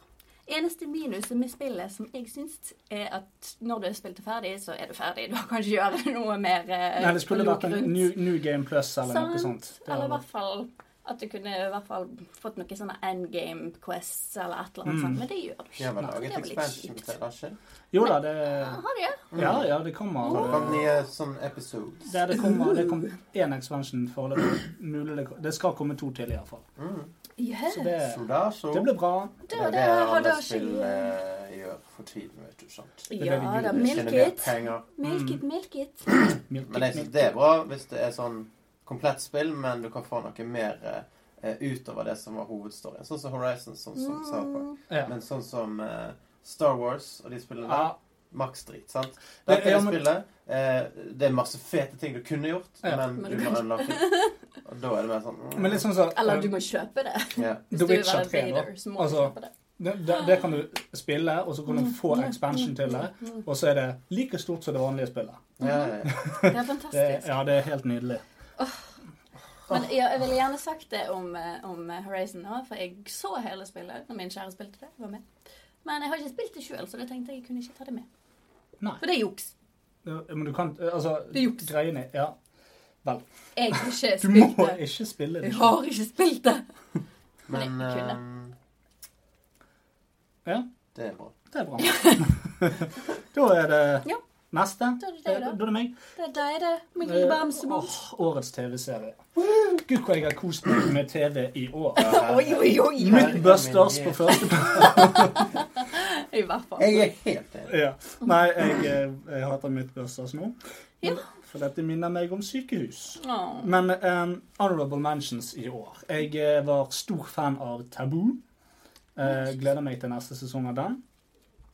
Eneste minuset med spillet som jeg syns, er at når du er spilt ferdig, så er du ferdig. Du kan ikke gjøre [laughs] noe mer eh, Nei, det skulle lok vært en rundt. New, new Game Plus eller noe sånt. Det Eller i hadde hvert fall at du kunne i hvert fall fått noen sånne endgame quests eller et eller annet Mm. sånt. Men det gjør du De har ikke. vel laget Det er vel litt expansion kjipt. til det, har ikke? Jo da, det Har de det? Ja, ja, det kommer Det kom nye sånn episodes. det, det kommer det kom én expansion foreløpig. Mulig det, det skal komme to til, iallfall. Mm. Yes. Så det, Så da så det blir bra. Det det er det har alle da ikke- spill eh, gjør for tiden, vet du. sant? det er Ja veldig da, gul. milk Generer it. penger. Milk Mm. it, milk it. Milk, Men jeg synes det er bra hvis det er sånn komplett spill, men du kan få noe mer eh, utover det som var hovedstoryen. Sånn som Horizon, sånn som South Park. Mm. Ja. Men sånn som eh, Star Wars og de spillene Ja, der. Maks drit, sant? Dette Ja, er men- spillet. Eh, det er masse fete ting du kunne gjort, Ja. men Men du du må kan- [laughs] unlocke. Og da er det mer sånn mm, men litt sånn så, Eller du må kjøpe det. [laughs] ja. Hvis The du vil Witcher være 3 da. Vader, så må du Altså, kjøpe det. det, det, det kan du spille, og så kan Mm. du få expansion til det. Og så er det like stort som det vanlige spillet. Ja, ja, ja. [laughs] Det er Det, fantastisk. ja, det er helt nydelig. Men ja, jeg ville gjerne sagt det om, eh, om Horizon nå, for jeg så hele spillet når min kjære spilte det. Jeg var med. Men jeg har ikke spilt det sjøl, så det tenkte jeg jeg kunne ikke ta det med. Nei. For det er juks. Ja, Men du kan Altså, Det er juks. greiene Ja. Jeg har ikke Du må spilt det. ikke spille det. Jeg har ikke spilt det. Men Nei, kunne. ehm, Ja. det er bra. Det er bra. [laughs] da er det Ja. neste. Da er det Da deg, da. er det meg. Det er deg, det. Min Eh, lille bamsemor. Åh, årets TV-serie. Gud, hvor jeg har kost meg med TV i år. [laughs] Oi, oi, oi. Mythbusters på første I hvert fall. Jeg er helt enig. [laughs] Ja. Nei, jeg, eh, jeg hater Mythbusters nå. Ja. For dette minner meg om sykehus. Åh. Men eh, honorable mentions i år. Jeg eh, var stor fan av Taboo. Eh, gleder meg til neste sesong av den.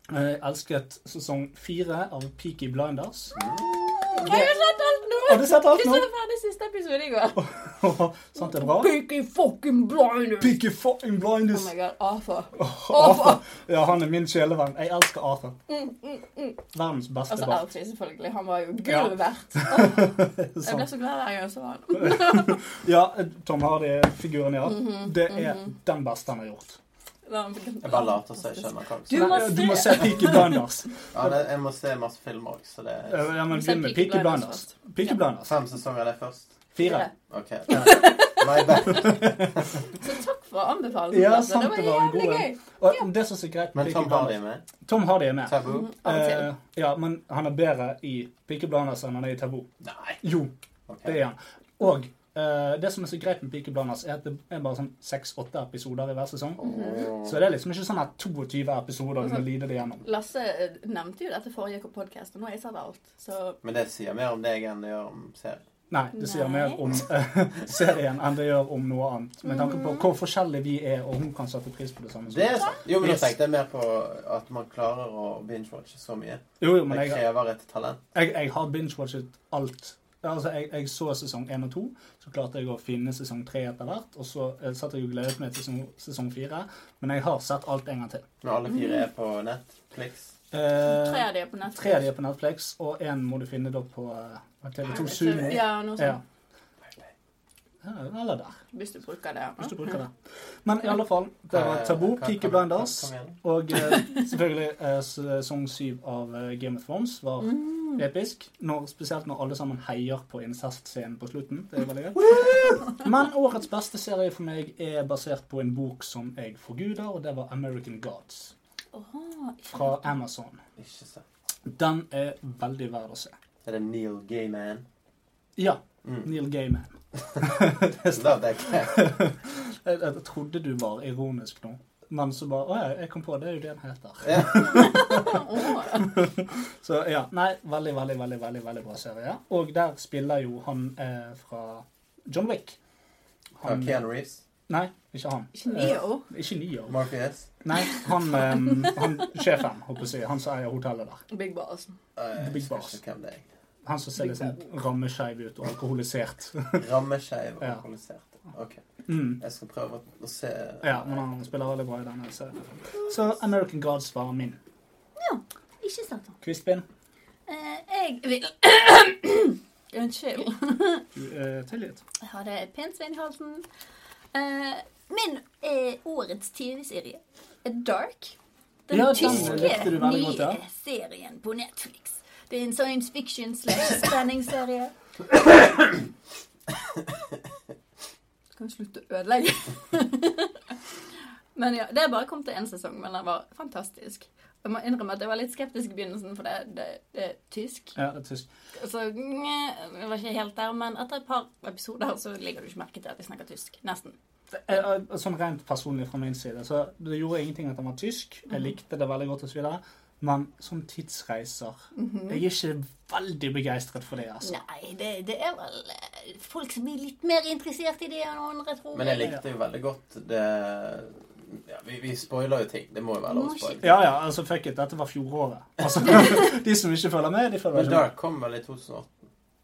Eh, elsket sesong fire av Peaky Blinders. [laughs] Jeg har sett alt nå! Har du sett alt Jeg nå? så ferdig siste episode i går. Sant det er bra? Pinky fucking blinders! Peaky fucking Oh blinders! my god, Arthur. [laughs] Arthur. Ja, han er min kjælevenn. Jeg elsker Arthur. Verdens beste Mm, Altså barn. Archie, selvfølgelig. Han var jo [laughs] gullet verdt. Jeg ble Sant. så glad hver gang jeg så han. Ja, eh, Tom Hardy-figuren, ja. Mhm, Det er den beste han har gjort. Jeg bare later som jeg skjønner hva du Du sier. må Nei, se. du må se Peaky [laughs] Blinders. Ja, det, jeg må se masse filmer også, så det Eh, er Ja, men Se begynn med Peaky Peaky Blinders Blinders. først. Peaky Blinders. Fem sesonger er det først? Fire. OK. [laughs] My bad. Så takk for anbefalingen. Ja, altså. sant, det var det var en jævlig god gøy. en. Og det som er så greit med Men Tom Peaky Hardy Blinders er med. Tom Hardy er med. Tabu? [laughs] Av og til. Eh, ja, men han er bedre i Peaky Blinders enn han er i Taboo. Nei. Jo, ok. det er han. Og eh, det som er så greit med Peaky Blinders, er at det er bare sånn seks-åtte episoder i hver sesong. Mhm. Så det er liksom ikke sånn at 22 episoder du må lide det gjennom. Lasse eh, nevnte jo dette forrige podkast, og nå har jeg sagt alt. Så Men det sier mer om deg enn det gjør om serien. Nei, det sier Nei. mer om eh, [laughs] serien enn det gjør om noe annet. Med tanke på hvor forskjellige vi er, og hun kan sette pris på det samme. som Det er oss. sant. Jo, men jeg Yes. tenkte jeg mer på at man klarer å binge-watche så mye. Jo, jo, men Det jeg, krever et talent. jeg, jeg har binge-watchet alt. Altså, jeg, jeg så sesong 1 og 2, så klarte jeg å finne sesong 3 etter hvert. Og så eh, satt jeg og gledet meg til sesong, sesong 4, men jeg har sett alt en gang til. Når alle fire er på Netflix. tre Eh, av de er på nett. tre av de er på Netflix, og én må du finne da på eh, TV2 Sumo. Ja, sånn. noe Ja. sånt. Ja, Eller der, Hvis du bruker det. hvis du bruker det. Men i alle fall, det Eh, var Tabu, Hva- Peaky hva- Blinders. kom igjen. Og eh, selvfølgelig eh, sesong syv av eh, Game of Thrones var Mm. Mm. episk. Når, spesielt når alle sammen heier på incest-scenen på slutten. Det er veldig gøy. Men årets beste serie for meg er basert på en bok som jeg forguder, og det var American Gods Åh, fra Amazon. Ikke sant. Den er veldig verd å se. Er det Neil Gaiman? Ja, Mm. Neil [laughs] Gaiman. Da tenker jeg. [laughs] Jeg, jeg trodde du var ironisk nå, men så bare Å ja, jeg kom på det. Det er jo det den heter. Ja. Åh. Så ja, nei, veldig, veldig, veldig, veldig, veldig bra serie. Og der spiller jo han eh, fra John Wick. Mm. Og Keanu Reeves. Nei, ikke han. Ikke Neo. Eh, ikke Neo. Morpheus. Nei, han, eh, han sjefen, håper jeg å si. Han som eier hotellet der. Big Boss. Eh, Big Jeg husker Boss. ikke hvem det er. Han som ser litt sånn rammeskeiv ut og alkoholisert. Rammeskeiv og Ja. alkoholisert. Ok. [laughs] Mm. Jeg skal prøve å- å se Ja, men han spiller veldig bra i denne serien. Så American Gods var min. Ikke Satan. Kvistbind. Eh, jeg vil Unnskyld. Eh, tilgitt. Jeg har det pinnsvin i halsen. Eh, min eh, årets TV-serie er Dark. Den Ja, den likte tyske du veldig nye godt, ja. serien på Netflix. Det er en science fiction slash spenningsserie. Skal vi slutte å ødelegge? men ja, Det er bare kommet til én sesong, men den var fantastisk. Jeg må innrømme at jeg var litt skeptisk i begynnelsen, for det, det, det er tysk. Ja, det er tysk. Så nje, Altså, jeg var ikke helt der, men etter et par episoder så legger du ikke merke til at jeg snakker tysk. Nesten. Eh, eh, Sånn rent personlig fra min side, så det gjorde ingenting at han var tysk. Jeg likte det veldig godt og så videre. Men som tidsreiser Jeg er ikke veldig begeistret for det, altså. Mm. Nei, det, det er vel eh, folk som blir litt mer interessert i det enn andre, tror Men jeg likte jo veldig godt det ja, Vi, vi spoiler jo ting. Det må jo være lov å spoile. Ja ja, altså fuck it. Dette var [laughs] fjoråret. Altså, [laughs] de som ikke følger med, de følger Men ikke med. Dark kom vel i 2008?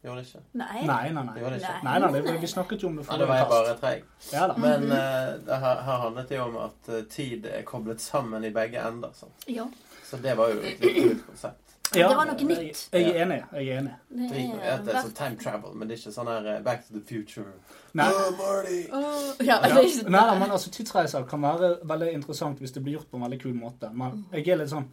Gjorde det ikke? Nei. Nei, nei, nei. Det gjorde det ikke. Nei. Nei, nei, det- Vi snakket jo om det Ja, da var jeg bare [laughs] treig. Ja da. Men eh, det her, her handlet det jo om at eh, tid er koblet sammen i begge ender. Sant? Ja. Så det var jo et litt kult konsept. Ja, Det var noe nytt. Jeg, jeg er enig. jeg er enig. Det Det gikk at det er sånn time travel, men det er ikke sånn her eh, Back to the future. Nei. Oh, Marty! Åh, ja, Ja. det er ikke Nei, nei, men altså, tidsreiser kan være veldig interessant hvis det blir gjort på en veldig kul måte. Men Mm. jeg er litt sånn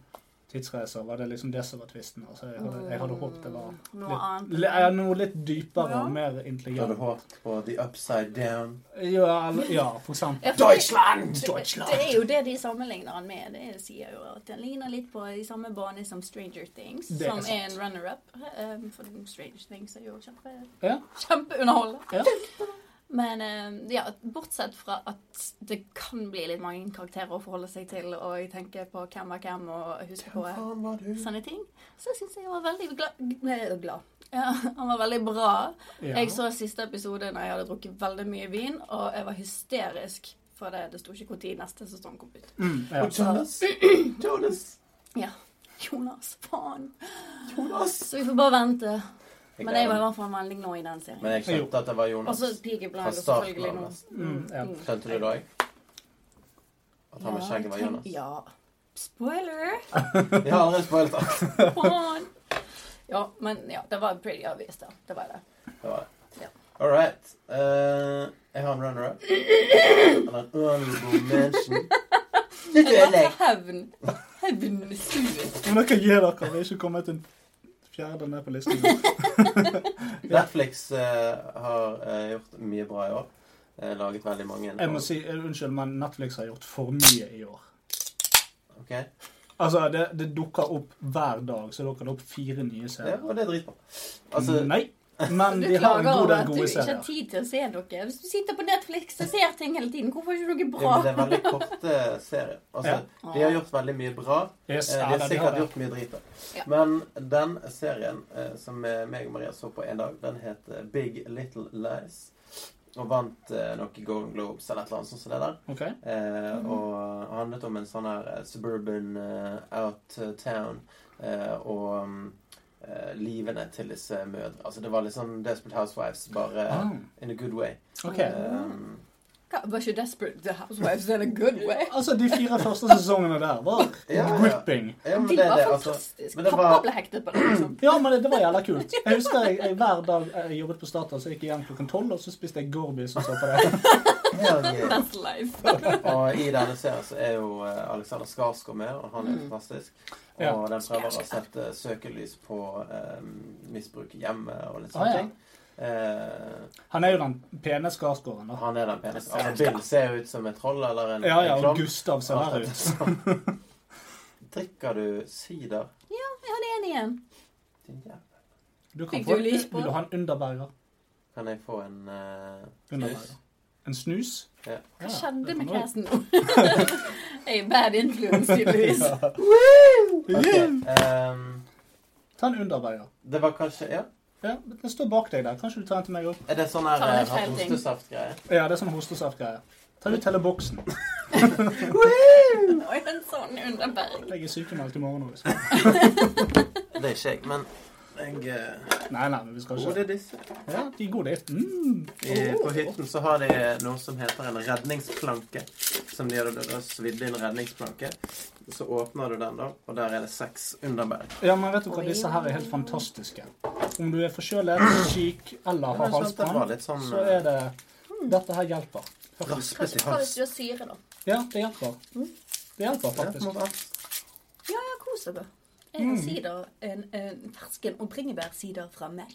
Tidsreiser, var det liksom det som var tvisten? Altså, jeg, hadde, jeg hadde håpet det var Noe annet. litt, ja, noe litt dypere Ja. og mer Da hadde intelligent. håpet på The Upside Down. Ja, eller, ja, for eksempel. Ja, for det- Deutschland! Det, det er jo det de sammenligner han med. Det sier jo at Han ligner litt på i samme bane som Stranger Things, Det er som er sant. en runner-up. Um, for Stranger Things er jo kjempe, Ja. kjempeunderholdende. Ja. Men eh, ja, bortsett fra at det kan bli litt mange karakterer å forholde seg til, og tenke på hvem er hvem, og huske på Faen, var du? sånne ting, så syns jeg han var veldig glad. eh, glad. Ja, han var veldig bra. Ja. Jeg så siste episode når jeg hadde drukket veldig mye vin, og jeg var hysterisk. For det, det sto ikke når neste sesong kom ut. [laughs] Mm, ja. Og Jonas. [clears throat] Jonas. Jonas, faen! Jonas. Så vi får bare vente. Men jeg Altså, var i hvert fall veldig nå i den serien. Men jeg skjønte at det var Og Jonas. så Peaky Fra Blinders, starten selvfølgelig. av nå. nesten. Mm, ja. Skjønte du det òg? At han med Ja, jeg skjegget var tenk- Jonas? [laughs] Ja. Spoiler! Vi har allerede spoilt alt. [laughs] Faen! Ja, men ja, det var pretty obvious, da. Det var det. Det var det. Ja. All right. Eh, jeg har en [coughs] runner-up. Eller en honorable mention. Litt Det var ødelegg. hevn. Hevnsuget. Men dere gir dere. Vi er ikke kommet en fjerde ned på listen. Netflix eh, har eh, gjort mye bra i år. Eh, laget veldig mange. Jeg må si eh, unnskyld, men Netflix har gjort for mye i år. Ok? Altså, det, det dukker opp hver dag, så dukker det opp fire nye Ja, serier. og det er dritbra. Altså, [laughs] Nei. Men Du de har en klager god over del at du gode ikke har serier. tid til å se dere. Hvis du sitter på Netflix og ser ting hele tiden, hvorfor har ikke noe Det, det bra? er veldig korte serier. Altså, De har gjort veldig mye bra. Yes, Eh, ja, da, De har de har sikkert det. gjort mye drit. da. Ja. Men den serien eh, som eh, meg og Maria så på en dag, den het eh, Big Little Lies. Og vant eh, noe Golden Globes eller et eller annet sånt som det der. Ok. Eh, Mhm. og handlet om en sånn her eh, suburban eh, out eh, town eh, og mm, eh, livene til disse mødre. Altså det var litt sånn Desperate Housewives, bare eh, Ah, in a good way. ok. Um, Hva, Var ikke Desperate the Housewives in a good way? Altså, de fire første sesongene der var ja, ja. gripping. ja, men De det, det, var altså, fantastiske. men det Pappa var- ble hektet på det. Liksom. Ja, men det, det var jævla kult. Jeg husker jeg, jeg hver dag jeg jobbet på Statoil, så jeg gikk igjen klokken tolv, og så spiste jeg Gorbis og så på det. hell yeah. That's life. Og i denne serien så er jo eh, Alexander Skarsgård med, og han er Mm. fantastisk. Og Ja. den prøver å sette søkelys på eh, misbruk i hjemmet og litt Ah, sånne ja. ting. Eh, Han er jo den pene Skarsgården, da. han er den peneste. Altså, Bill ser ut som et troll eller en, Ja, ja, og en klovn. Gustav ser Alt verre dette ut. [laughs] sånn. Drikker du sider? Han er enig igjen. Din jævel. Du kan Fikk få, du lys på? vil du ha en underberger? Kan jeg få en eh, underberger. snus? En snus? Ja. Ja, Jeg skjedde det med kan du. casen nå. [laughs] Jeg er bad [laughs] influence, tydeligvis. [laughs] Ok, Ja. ehm, Ta en underberger. det var kanskje Ja. Ja, Den står bak deg der. Kanskje du tar en til meg òg? Er det sånn Ta her en feil ting. hostesaftgreie? Ja, det er sånn hostesaftgreier. Ta ut hele boksen. Oi, en sånn underberg. Jeg er sykemeldt i morgen òg. Det er ikke jeg, men jeg eh, Nei, nei, men vi skal Hvor ikke er disse? Ja, de er gode, de. Mm. I, på hytten så har de eh, noe som heter en redningsplanke. Som de hadde da svidd inn redningsplanke. Så åpner du den, da, og der er det seks underbær. Ja, men vet du hva? Disse her er helt fantastiske. Om du er forkjølet, syk eller har Det var halsbrann, litt sånn eh, så er det Dette her hjelper. raspet i Kanskje ta hvis du halsen. har syre, da. Ja, det hjelper. Det hjelper Mm. Ja, på en faktisk. måte. Ja, ja, kos dere. Jeg Mm. har sider, en, en fersken og bringebærsider fra meg.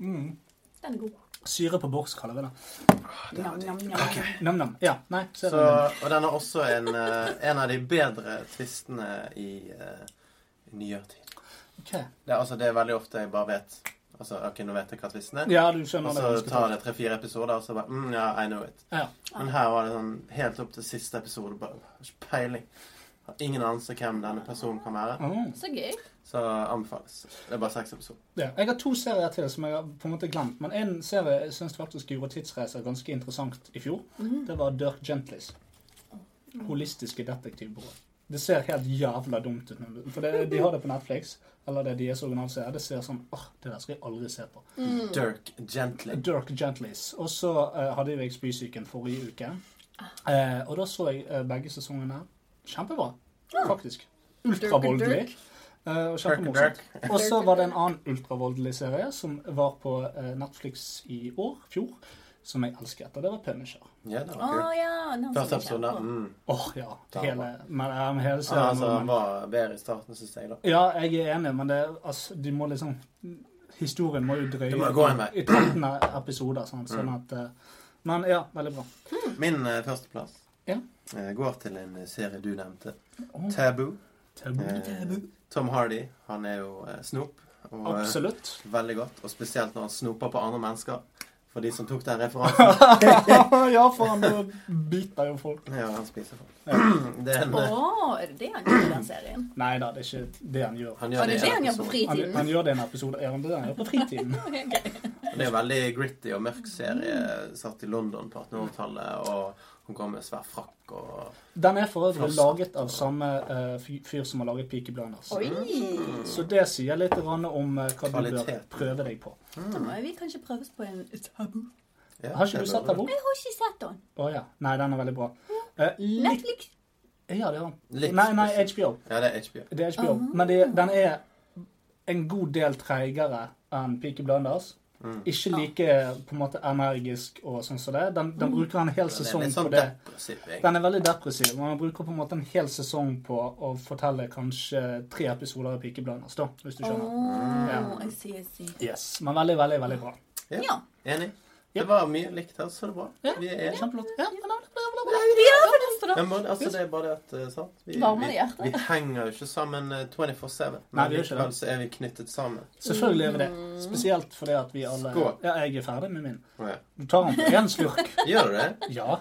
Mm. Den er god. Syre på boks, kaller vi det. Nam, nam, nam. Nam-nam. Ja, nei, ser Så, du den? og den er også en, eh, en av de bedre tvistene i, eh, i nyere tid. Ok. Det er, altså, det er veldig ofte jeg bare vet Altså, ok, nå vet jeg hva tvisten er. Ja, du skjønner Og det. så ganske tar godt. det tre-fire episoder, og så bare mm, Ja, I know it. Ja. Men her var det sånn helt opp til siste episode. Bare har ikke peiling. Har ingen anelse hvem denne personen kan være. Mm. Så gøy. Så anbefales. Det er bare seks episoder. Ja. Jeg har to serier til som jeg har på en måte glemt. Men en serie jeg syns faktisk gjorde tidsreiser ganske interessant i fjor. Mm. Det var Dirk Gentlis. Holistiske detektivbyrå. Det ser helt jævla dumt ut. nå, For det, de har det på Netflix. Eller det deres originalserie. Det ser sånn åh, det der skal jeg aldri se på. Dirk Gently. Dirk Gentlis. Og så eh, hadde jo jeg spysyken forrige uke. Eh, og da så jeg eh, begge sesongene. Kjempebra, faktisk. Ultravoldelig. Eh, og kjempemorsomt. Og så var det en annen ultravoldelig serie som var på eh, Netflix i år, fjor, som jeg elsket. Og det var Punisher. Ja, det Å var kult. ja. Den Første som episode. kjemper. Mm. Åh, ja. Ja, Hele, men, ja, men hele Ja, serien. altså, han men, var bedre i starten, syns jeg, da. ja, jeg er enig, men det, altså, de må liksom Historien må jo drøye Det må gå en vei. Mm. i 13 episoder, sånn, sånn at eh, Men ja, veldig bra. Min eh, førsteplass Ja. eh, går til en serie du nevnte. Åh. Mm, Tabu. Tabu. Eh, Tom Hardy. Han er jo eh, snop. Og, eh, Absolutt. Veldig godt. Og spesielt når han snoper på andre mennesker. For de som tok den referansen. [laughs] [laughs] ja, faen, da biter jo folk. Ja, han spiser folk. [clears throat] Det er en, Å, eh, er det det han gjør i den serien? Nei da, det er ikke det han gjør. eh, han Å, gjør det det er det han gjør på Han, fritiden? han gjør det i en episode ja, men det er det han gjør på fritiden. Det er en veldig gritty og mørk serie eh, satt i London på 1800-tallet. Og hun går med svær frakk og Den er for øvrig Frost. laget av samme eh, fy- fyr som har laget Peaky Blinders. Oi! Så det sier litt grann om eh, hva du bør Kvalitet. prøve deg på. Da må vi kanskje prøves på en tabu. ja, Har ikke du sett den bort? Jeg har ikke sett den. Å ja. Nei, den er veldig bra. Eh, litt Netflix. Ja, det er han. Litt Nei, nei, spesiell. HBO. Ja, det er HBO. Det er Ah. HBO. Men det, den er en god del treigere enn Peaky Blinders. Mm. Ikke like på en måte energisk og sånn som det. Den, den bruker en hel Den er sesong litt sånn på det. depressiv, egentlig. Den er veldig depressiv. men Man bruker på en måte en hel sesong på å fortelle kanskje tre episoder av Peaky Blinders, da, hvis du Å, skjønner. jeg ser, jeg ser. Yes, Men veldig, veldig, veldig bra. Ja. Ja. Enig. Ja. Det var mye likt her, så det er bra. Vi er enige. Kjempeflott. Ja, men da- Ja, for det står Hvorfor da? Men bare, altså, det er bare det at eh, sant? Vi, Varmer det vi, hjertet? vi henger jo ikke sammen eh, 24-7, Nei, men vi gjør ikke likevel det. så er vi knyttet sammen. Selvfølgelig er vi det. Spesielt fordi at vi alle Skål. Ja, jeg er ferdig med min. Å, ja. Du tar den på én slurk. Gjør du [laughs] det? Ja.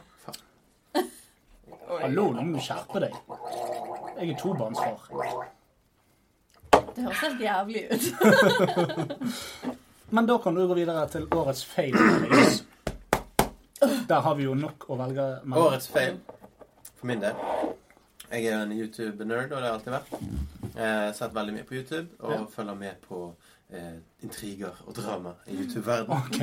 Hallo, nå må du skjerpe deg. Jeg er tobarnsfar. Det høres helt jævlig ut. [laughs] Men da kan du gå videre til årets fail. [clears throat] Marius. Der har vi jo nok å velge mellom. Årets feil for min del. Jeg er jo en YouTube-nerd, og det har jeg alltid vært. Eh, sett veldig mye på YouTube, og Ja. følger med på eh, intriger og drama i [laughs] YouTube-verdenen. [laughs] Ok.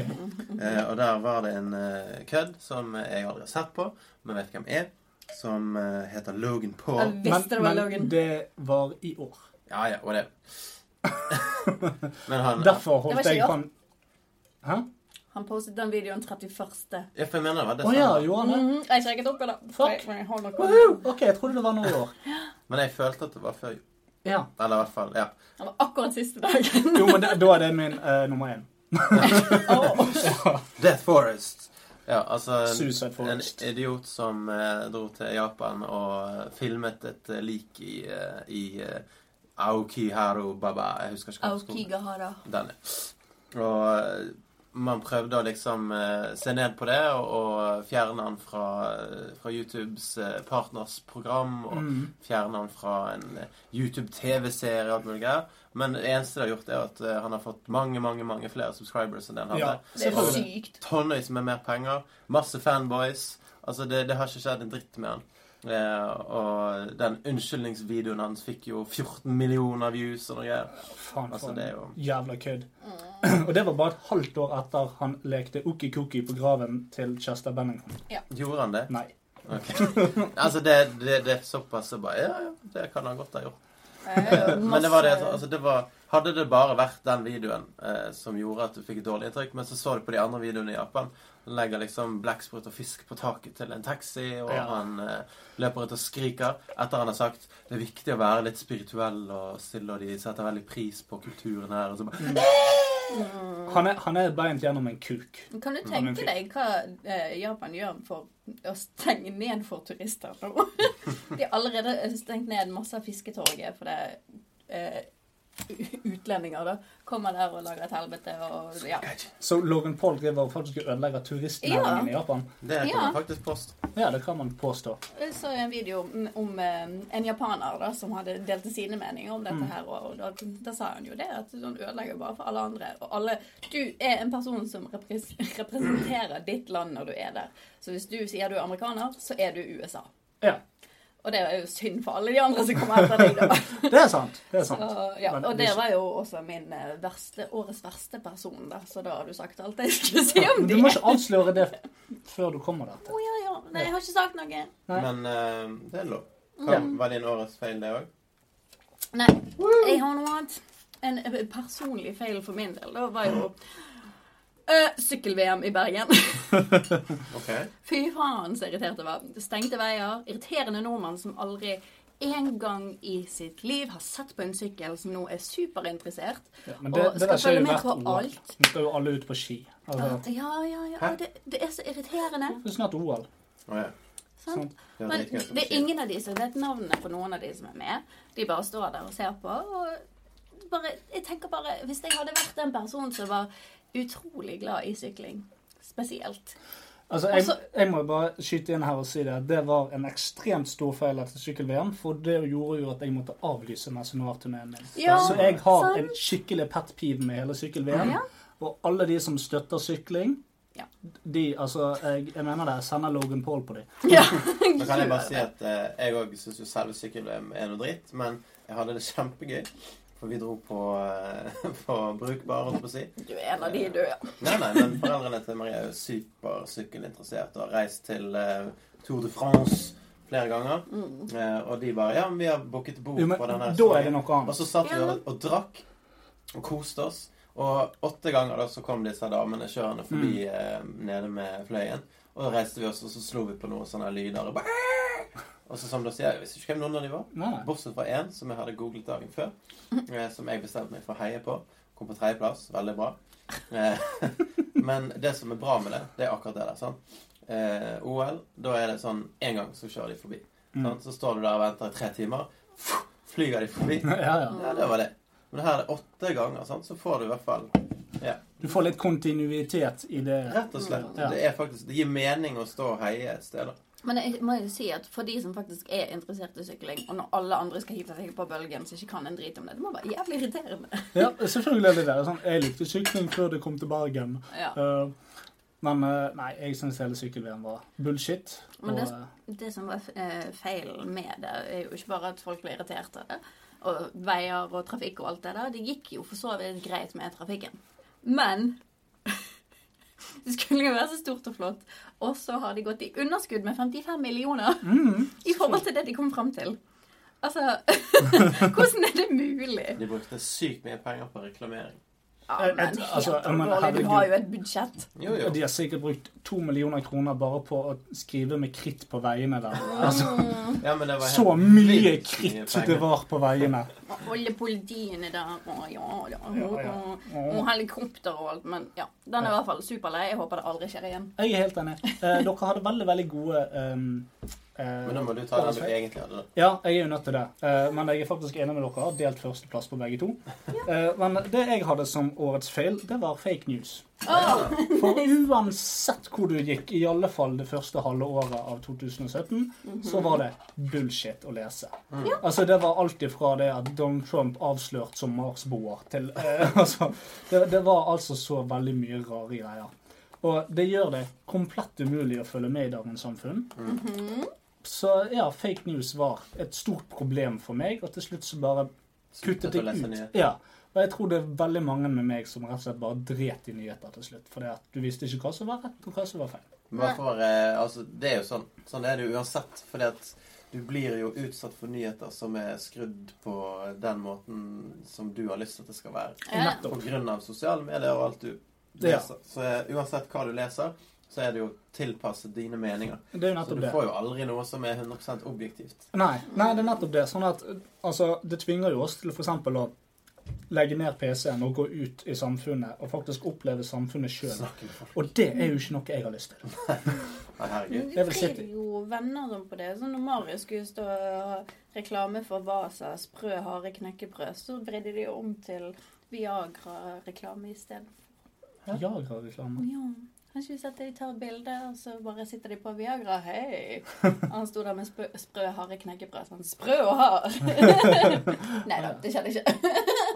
Eh, og der var det en eh, kødd som jeg aldri har sett på, men vet hvem er, som eh, heter Logan Jeg Paul. visste det var men Logan. Det det var i år. Ja, ja, [laughs] og det. men han ja, Derfor Det var holdt ikke i jeg år. på en Hæ? Han postet den videoen 31. for Jeg mener det var Å ja, desember, gjorde han det? Mhm, Jeg sjekket opp i det. Fuck. Jeg- jeg holder på. Woohoo! OK, jeg trodde det var nå i [laughs] år. men jeg følte at det var før jul. Ja. Eller i hvert fall Ja. Han var akkurat siste dagen. Jo, men da da er det min eh, nummer [laughs] én. Death Forest. Ja, altså en- Suicide Forest. En idiot som eh, dro til Japan og eh, filmet et eh, lik i, eh, i eh, Aokiharu Baba Jeg husker ikke hva det sto. Aokigahara. Den, ja. Og eh, man prøvde å liksom eh, se ned på det og, og fjerne han fra, eh, fra YouTubes eh, partnersprogram. Og Mm. fjerne han fra en eh, YouTube-TV-serie og alt mulig greier. Men det eneste det har gjort, er at eh, han har fått mange, mange, mange flere subscribers enn det han hadde. Ja, Det er selvfølgelig. sykt. Tonnevis med mer penger. Masse fanboys. Altså, det, det har ikke skjedd en dritt med han. Eh, og den unnskyldningsvideoen hans fikk jo 14 millioner views og noe greier. Faen, Altså, faen. det er jo- Jævla kødd. [clears throat] Mm. Og det var bare et halvt år etter han lekte okikoki på graven til Chester Bennington. Gjorde han det? Nei. Ok. altså, det, det, det er såpass så bare Ja, ja, det kan han godt ha gjort. Eh, Men det var det, at- altså, det var, hadde det bare vært den videoen eh, som gjorde at du fikk et dårlig inntrykk, men så så du på de andre videoene i Japan Han legger liksom blekksprut og fisk på taket til en taxi, og Ja. han eh, løper rundt og skriker etter han har sagt det er viktig å være litt spirituell og stille, og de setter veldig pris på kulturen her. Og så bare, Mm. "Eh!" Han er, han er beint gjennom en kuk. Men Kan du men tenke fy- deg hva eh, Japan gjør for å stenge ned for turister nå? [laughs] De har allerede stengt ned masse av fisketorget fordi eh, u- utlendinger da kommer der og lager et helvete og ja. Så Logan Paul driver faktisk og ødelegger turistnæringen Ja. i Japan. Det kan Ja. man faktisk påstå. Ja, det kan man påstå. Jeg så en video om, om eh, en japaner da, som hadde delte sine meninger om Mm. dette her. Og da, da sa han jo det, at sånn ødelegger bare for alle andre. Og alle Du er en person som repres [laughs] representerer ditt land når du er der. Så hvis du sier du er amerikaner, så er du USA. Ja, Og det er jo synd for alle de andre som kommer etter deg. [laughs] da. det er sant. Det er sant. Så, ja, Men og det hvis- var jo også min eh, verste, årets verste person, da. Så da har du sagt alt jeg skulle si om Men Du det. må ikke avsløre det før du kommer der. Å, [laughs] ja, ja. Nei, jeg har ikke sagt noe. Mm. Nei. Men eh, det er lov. Ja. Kan, var din årets feil, det òg? Nei, jeg har noe annet. En eh, personlig feil for min del, da var jo eh, sykkel-VM i Bergen. [laughs] Ok. Fy faen så irritert jeg var. Stengte veier, irriterende nordmann som aldri en gang i sitt liv har sett på en sykkel, som nå er superinteressert. Ja, men det, og det der skal skjer følge jo med hvert på OL. alt. Nå skal jo alle ut på ski. Altså, Ja, ja, ja. Hæ? Det, det er så irriterende. det er snart OL. Å, ja. Sant? Det er Men dritgøy å det er si. ingen av de som vet navnene på noen av de som er med. De bare står der og ser på. Og bare, jeg tenker bare, Hvis jeg hadde vært den personen som var utrolig glad i sykling, spesielt Altså, jeg, Altså- jeg må bare skyte inn her og si det. Det var en ekstremt stor feil etter sykkel-VM, for det gjorde jo at jeg måtte avlyse Messenor-turneen min. Ja, så jeg har sant. en skikkelig pet peeve med hele sykkel-VM. [laughs] Ja. Og alle de som støtter sykling, Ja. de Altså, jeg, jeg mener det. Jeg sender Logan Paul på de. Ja. Da kan jeg bare si at eh, jeg òg syns jo selve sykkel-VM er noe dritt, men jeg hadde det kjempegøy. For vi dro på, eh, [laughs] på brukbar, holdt jeg på å si. Du er en av de, du. ja. Nei, nei, men foreldrene til Maria er jo supersykkelinteressert og har reist til eh, Tour de France flere ganger. Mm. Eh, og de bare Ja, men vi har booket bord Jo, men på denne da er det noe Og annet. så satt vi Ja, men- og, og drakk og koste oss. Og åtte ganger da så kom disse damene kjørende forbi eh, nede med fløyen. Og da reiste vi oss, og så slo vi på noen sånne lyder. Og, bare, og så som du sier, jeg visste ikke hvem noen av de var. Nei, nei. Bortsett fra én som jeg hadde googlet dagen før. Eh, som jeg bestemte meg for å heie på. Kom på [laughs] tredjeplass. Veldig bra. Eh, men det som er bra med det, det er akkurat det der. sant? eh, OL, da er det sånn én gang så kjører de forbi. Mm. Sant? Så står du der og venter i tre timer. Flyger de forbi. [laughs] Ja, ja. Ja, det var det. Men her er det åtte ganger, sant? så får du i hvert fall Du får litt kontinuitet i det. Rett og slett. Ja. Det er faktisk, det gir mening å stå og heie et sted. da. Men jeg må jo si at for de som faktisk er interessert i sykling, og når alle andre skal hive seg på bølgen som ikke kan en drit om det, det må være jævlig irriterende. Ja, selvfølgelig er det det. Sånn, jeg likte sykling før det kom til Bergen. Ja. Eh, men eh, nei, jeg syns hele sykkel-VM var bullshit. Men det- og, eh, Det som var eh, feilen med det, er jo ikke bare at folk ble irritert av det, og veier og trafikk og alt det der. Det gikk jo for så vidt greit med trafikken. Men [laughs] det skulle jo være så stort og flott. Og så har de gått i underskudd med 55 millioner [laughs] mm, i forhold til det de kom fram til. Altså [laughs] Hvordan er det mulig? De brukte sykt mye penger på reklamering. Ja, Jeg- jeg- men helt altså, men alvorlig. Du herregud. har jo et budsjett. Jo, jo. eh, De har sikkert brukt to millioner kroner bare på å skrive med kritt på veiene der. Altså, Ja, men det var så helt mye vilt mye kritt penger. det var på veiene. Og alle politiene der og ja, ja, Ja, og, ja. og helikopter og alt. Men ja, den er i hvert fall superlei. Jeg håper det aldri skjer igjen. Jeg er helt enig. Eh, dere hadde veldig, veldig gode ehm, eh, Men da må du ta den du egentlig hadde. da. Ja, jeg er jo nødt til det. Eh, Men jeg er faktisk enig med dere. Delt førsteplass på begge to. Eh, Men det jeg hadde som årets feil, det var fake news. Åh! For uansett hvor du gikk, i alle fall det første halve året av 2017, så Mhm. var det bullshit å lese. Ja. Altså, det var alt ifra det at Donald Trump avslørt som marsboer, til eh, [laughs] altså, det, det var altså så veldig mye rare greier. Og det gjør det komplett umulig å følge med i dagens samfunn. mm. Så ja, fake news var et stort problem for meg, og til slutt så bare Sluttet kuttet å lese jeg nyheter. ut. Ja. Og jeg tror det er veldig mange med meg som rett og slett bare dret i nyheter til slutt. Fordi at du visste ikke hva som var rett, og hva som var feil. Bare for, eh, altså, det er jo sånn. Sånn er det jo uansett. Fordi at du blir jo utsatt for nyheter som er skrudd på den måten som du har lyst til at det skal være. Ja. På Nettopp. grunn av sosiale medier og alt du Ja. leser. Så eh, uansett hva du leser, så er det jo tilpasset dine meninger. Det er jo Så nettopp du det. får jo aldri noe som er 100 objektivt. Nei, nei, det er nettopp det. Sånn at eh, altså, det tvinger jo oss til f.eks. å legge ned PC-en og gå ut i samfunnet og faktisk oppleve samfunnet sjøl. Snakke med folk. Og det er jo ikke noe jeg har lyst til. Nei, herregud. Jeg Men Vi vil blir sitte- jo venner sånn på det. Så når Marius skulle stå og reklame for Vasa, sprø, harde knekkebrød, så vridde de om til Viagra-reklame isteden. Jagerreklame. Ja. Har ikke vi sett at de tar bilde, og så bare sitter de på Viagra? Hei! [laughs] Han sto der med spø, sprø, harde knekkebrød. Sånn sprø og [laughs] hard! Nei da, det skjedde ikke.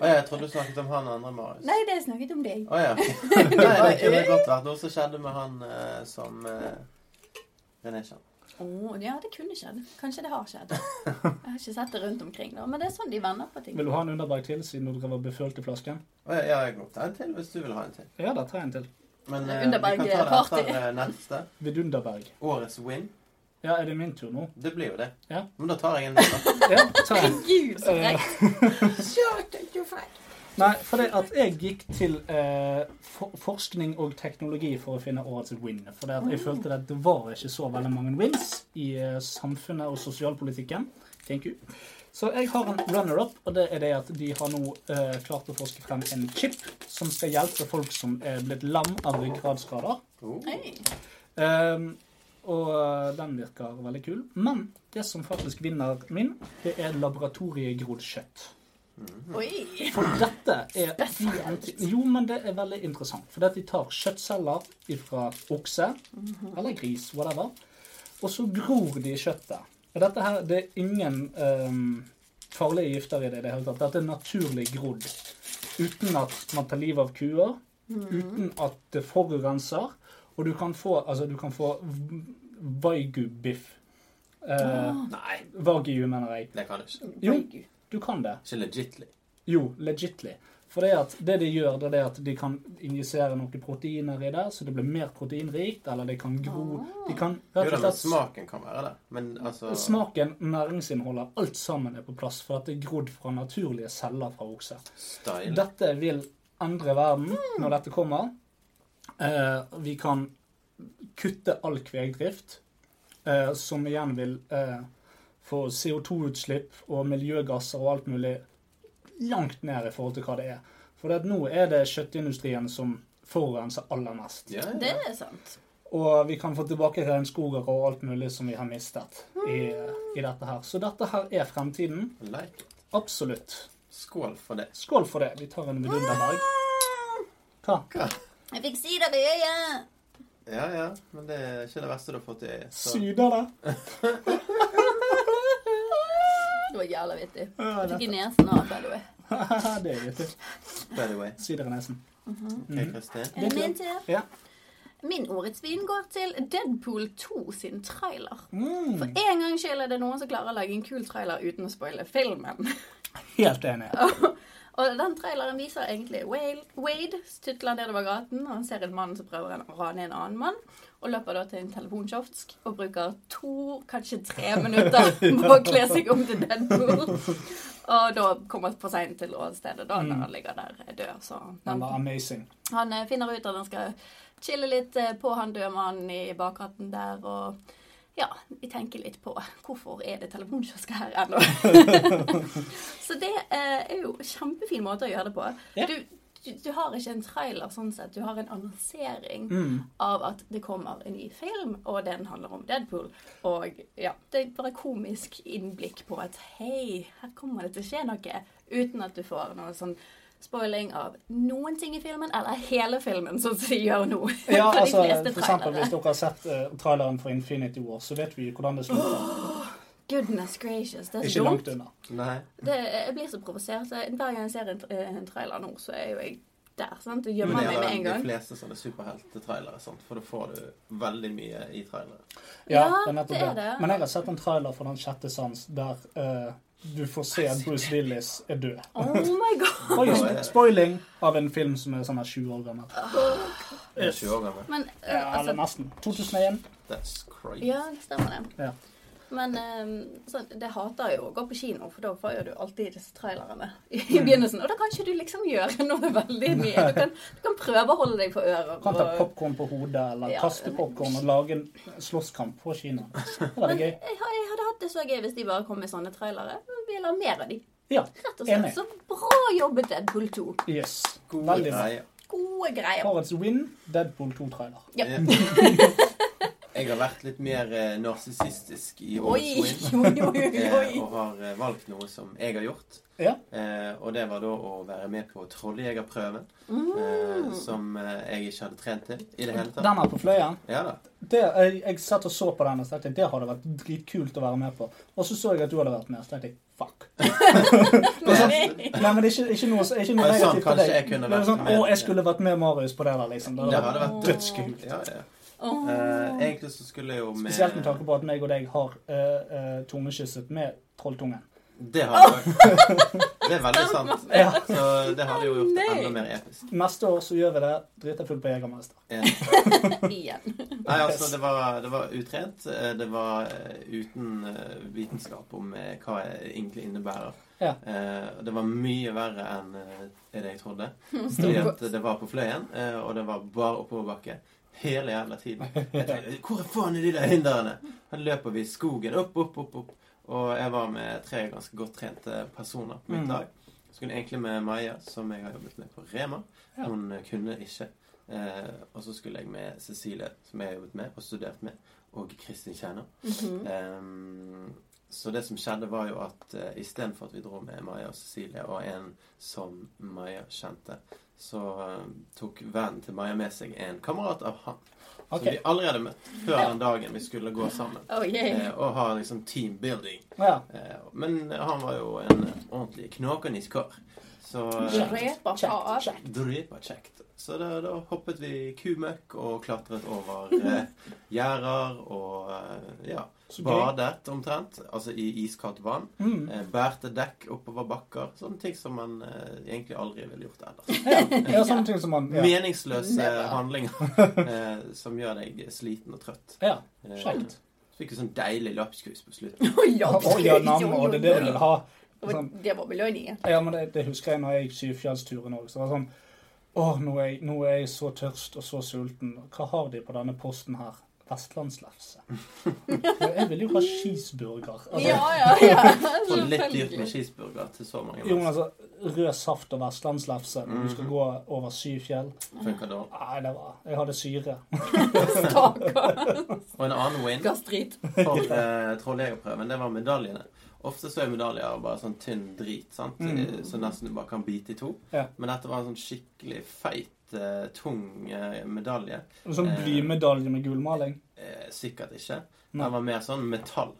Å, jeg trodde du snakket om han andre, Marius. Nei, det er snakket om deg. Å ja. [laughs] Nei, det kunne godt vært noe som skjedde med han eh, som eh, René kjenner. Å, ja, det kunne skjedd. Kanskje det har skjedd. Jeg har ikke sett det rundt omkring, da. Men det er sånn de vender på ting. Vil du ha en underberg til, siden du drev og befølte flasken? Å, ja, ja, jeg kan ta en til hvis du vil ha en til. Ja da, ta en til. Men eh, vi Underberg kan ta det party. etter eh, neste. Vidunderberg. Årets win. Ja, er det min tur nå? Det blir jo det. Ja. Men da tar jeg en til. da. Ja, ta en. Herregud, så frekt! Nei, for det at jeg gikk til eh, for forskning og teknologi for å finne årets win. For det at jeg følte at det var ikke så veldig mange wins i eh, samfunnet og sosialpolitikken. Thank you. Så jeg har en runner-up, og det er det at de har nå eh, klart å forske frem en chip som skal hjelpe folk som er blitt lam av ryggradsskader. Oh. Hei. Ehm, og eh, den virker veldig kul. Men det som faktisk vinner min, det er laboratoriegrodd kjøtt. Oh. Mhm. Oi! For dette er de anti... Jo, men det er veldig interessant. For det at de tar kjøttceller fra okse eller gris, whatever, og så gror de i kjøttet. Og dette her, det er ingen ehm, farlige gifter i det i det hele tatt. Dette er naturlig grodd. Uten at man tar livet av kuer, uten at det forurenser. Og du kan få, altså, du kan få waigu-biff. Eh, Nei, Wagyu, mener jeg. det kan jeg ikke. Jo, du kan det. Ikke liksom. legitly. Jo, legitly. For det, at det de gjør, det er det at de kan injisere noen proteiner i det, så det blir mer proteinrikt, eller det kan gro De kan Jo rett og da, men slett smaken kan være det. Men altså Smaken, næringsinnholdet, alt sammen er på plass for at det er grodd fra naturlige celler fra okse. Style. Dette vil endre verden når dette kommer. Eh, vi kan kutte all kvegdrift, eh, som igjen vil eh, få CO2-utslipp og miljøgasser og alt mulig langt ned i forhold til hva det er. For det at nå er det kjøttindustrien som forurenser aller mest. Ja, Det ja. er sant. Og vi kan få tilbake regnskoger og alt mulig som vi har mistet i, i dette her. Så dette her er fremtiden. Like it. Absolutt. Skål for det. Skål for det. Vi tar en vidunderberg. Hva? Hva? Jeg fikk sider i øyet! Ja, ja, men det er ikke det verste du har fått i øyet. så- Syder [laughs] det? Det var jævla vittig. Ja, Jeg fikk i dette- nesen av, by the way. [laughs] det er vittig. By the way. Syder i nesen. Mm. Ok, Kristin. Mhm. Er det min til? Ja. Min årets vin går til Deadpool 2 sin trailer. Mm. For en gangs skyld er det noen som klarer å lage en kul trailer uten å spoile filmen. Helt enig. Og den traileren viser egentlig Wale- Wade tutler nedover gaten, og han ser en mann som prøver å rane en annen mann. Og løper da til en telefonkiosk og bruker to, kanskje tre minutter på å kle seg om til Deadpool. Og da kommer han for seint til åstedet da, når han ligger der dør. Så Den han, var amazing. han eh, finner ut at han skal chille litt eh, på han døde mannen i bakgaten der. og ja, vi tenker litt på hvorfor er det telefonkiosker her ennå. så det eh, er jo en kjempefin måte å gjøre det på. Ja. Du, du, du har ikke en trailer sånn sett, du har en annonsering Mm. av at det kommer en ny film, og den handler om Deadpool. Og ja, det er bare komisk innblikk på at hei, her kommer det til å skje noe, uten at du får noe sånn spoiling av noen ting i filmen, eller hele filmen, sånn som [laughs] de gjør nå. [laughs] Ja, For de altså, fleste for eksempel trailere. Hvis dere har sett eh, traileren for Infinity War, så vet vi hvordan det slutter. Goodness gracious, det er Ikke så dumt. langt unna. Nei. Det, jeg blir så provosert. Jeg- Hver gang jeg ser en, eh, en trailer nå, så er jo jeg der. sant? Jeg Men gjemmer det meg med er en vel de gang. fleste sånne superheltetrailere, sant? for da får du veldig mye i trailere. Ja, Ja, det er nettopp det er det. det. Men jeg har sett en trailer for Den sjette sans der eh, du får se at Bruce Willis er død. Oh my [laughs] god! Oi, sp- Spoiling av en film som er sånn her 20 år gammel. Jeg er 20 år gammel. Men eh, Ja, eller altså nesten. 2001. That's crazy. Ja, det stemmer det. Ja. Men eh, sånn, det hater jeg jo å gå på kino, for da får jo du alltid disse trailerne i Mm. begynnelsen. Og da kan ikke du liksom gjøre [laughs] noe veldig mye. Du kan, du kan prøve å holde deg for ører. Du kan ta Og, popkorn på hodet, eller Ja. kaste popkorn og lage en slåsskamp på Kina. Det hadde vært men gøy. jeg, har- jeg hadde hatt det så gøy hvis de bare kom med sånne trailere. Vi vil ha mer av de. Ja. Rett og Enig. slett. Så bra jobbet Deadpool 2. Yes. Gode Veldig bra. greier. Gode greier. Årets win, Deadpool 2-trailer. [laughs] Ja. Jeg har vært litt mer eh, narsissistisk i Oi, årets win. oi, [laughs] oi, Eh, oi. og har eh, valgt noe som jeg har gjort. Ja. Eh, og det var da å være med på trolljegerprøven, eh, som eh, jeg ikke hadde trent til i det hele tatt. Den er på fløyen. Ja da. Det, jeg, jeg satt og så på den og så tenkte jeg, det hadde vært dritkult å være med på. Og så så jeg at du hadde vært med, og så tenkte jeg fuck. Mm. Nei. Nei, men det er ikke, ikke noe, ikke noe Det er sant, negativt for kanskje deg. jeg kunne Det er vært sånn, med. Å, jeg skulle vært med Marius på det der, liksom. Det hadde vært dødskult. Ja, ja. Åh. Eh, egentlig så skulle jeg jo med Spesielt med tanke på at meg og deg har eh, eh, tungekysset med trolltungen. Det hadde vært [laughs] Det er veldig sant. Ja. Så det hadde jo gjort det Nei. enda mer episk. Neste år så gjør vi det. Drita full på Jegermeister. Eh, [laughs] Igjen. Nei, altså, det var, det var utrent. eh, Det var eh, uten eh, vitenskap om eh, hva det egentlig innebærer. Ja. Eh, Det var mye verre enn eh, det jeg trodde. [laughs] Fordi at det var på fløyen, eh, og det var bare oppoverbakke. Hele jævla tiden. Jeg tenkte, Hvor faen er de der hindrene? Her løper vi i skogen. Opp, opp, opp. opp. Og jeg var med tre ganske godt trente personer på mitt Mm. lag. Skulle egentlig med Maja, som jeg har jobbet med på Rema. Ja. Hun eh, kunne ikke. Eh, og så skulle jeg med Cecilie, som jeg har jobbet med og studert med, og Kristin Kjenner. Mhm. Ehm, så det som skjedde, var jo at eh, istedenfor at vi dro med Maja og Cecilie, og en som Maja kjente, så eh, tok vennen til Maja med seg en kamerat av han. Ok. Som vi allerede møtte før den dagen vi skulle gå sammen. Oh, yeah. Eh, og ha liksom teambuilding. Ja. Eh, men han var jo en eh, ordentlig knakende kar. Så eh, Dreper far. Dripa kjekt. Så da, da hoppet vi kumøkk og klatret over eh, gjerder og eh, ja, Så gøy. badet omtrent. Altså i iskaldt vann. Mm. Eh, bærte dekk oppover bakker. Sånne ting som man eh, egentlig aldri ville gjort ellers. Ja. ja, sånne ting som man Ja. Meningsløse Never. [laughs] handlinger eh, som gjør deg sliten og trøtt. ja. Eh, Kjekt. Fikk jo sånn deilig lapskaus på slutten. Å ja, Å ja, nam, og det er det du vil ha. Og Det var belønningen. Ja, men det, det husker jeg når jeg gikk Syvfjellsturen òg. Så var det sånn Å, nå, er jeg- nå er jeg så tørst og så sulten. Hva har de på denne posten her? vestlandslefse. [laughs] Jeg vil jo ha cheeseburger. Altså, Ja, ja, [laughs] ja. Og litt dyrt med [laughs] Selvfølgelig. cheeseburger til så mange. Jo, men mennesker. altså, rød saft og vestlandslefse når du skal gå over syv fjell. Funker dårlig. Nei, det var Jeg hadde syre. Stakkar. Og en annen win Gastrit. [laughs] for eh, trolljegerprøven, det var medaljene. Ofte så er medaljer bare sånn tynn drit, sant? Eh, Mm. så nesten du bare kan bite i to. Ja. Men dette var en sånn skikkelig feit, eh, tung eh, medalje. En sånn blymedalje med gulmaling. Eh, sikkert ikke. Nei. Den var mer sånn metall.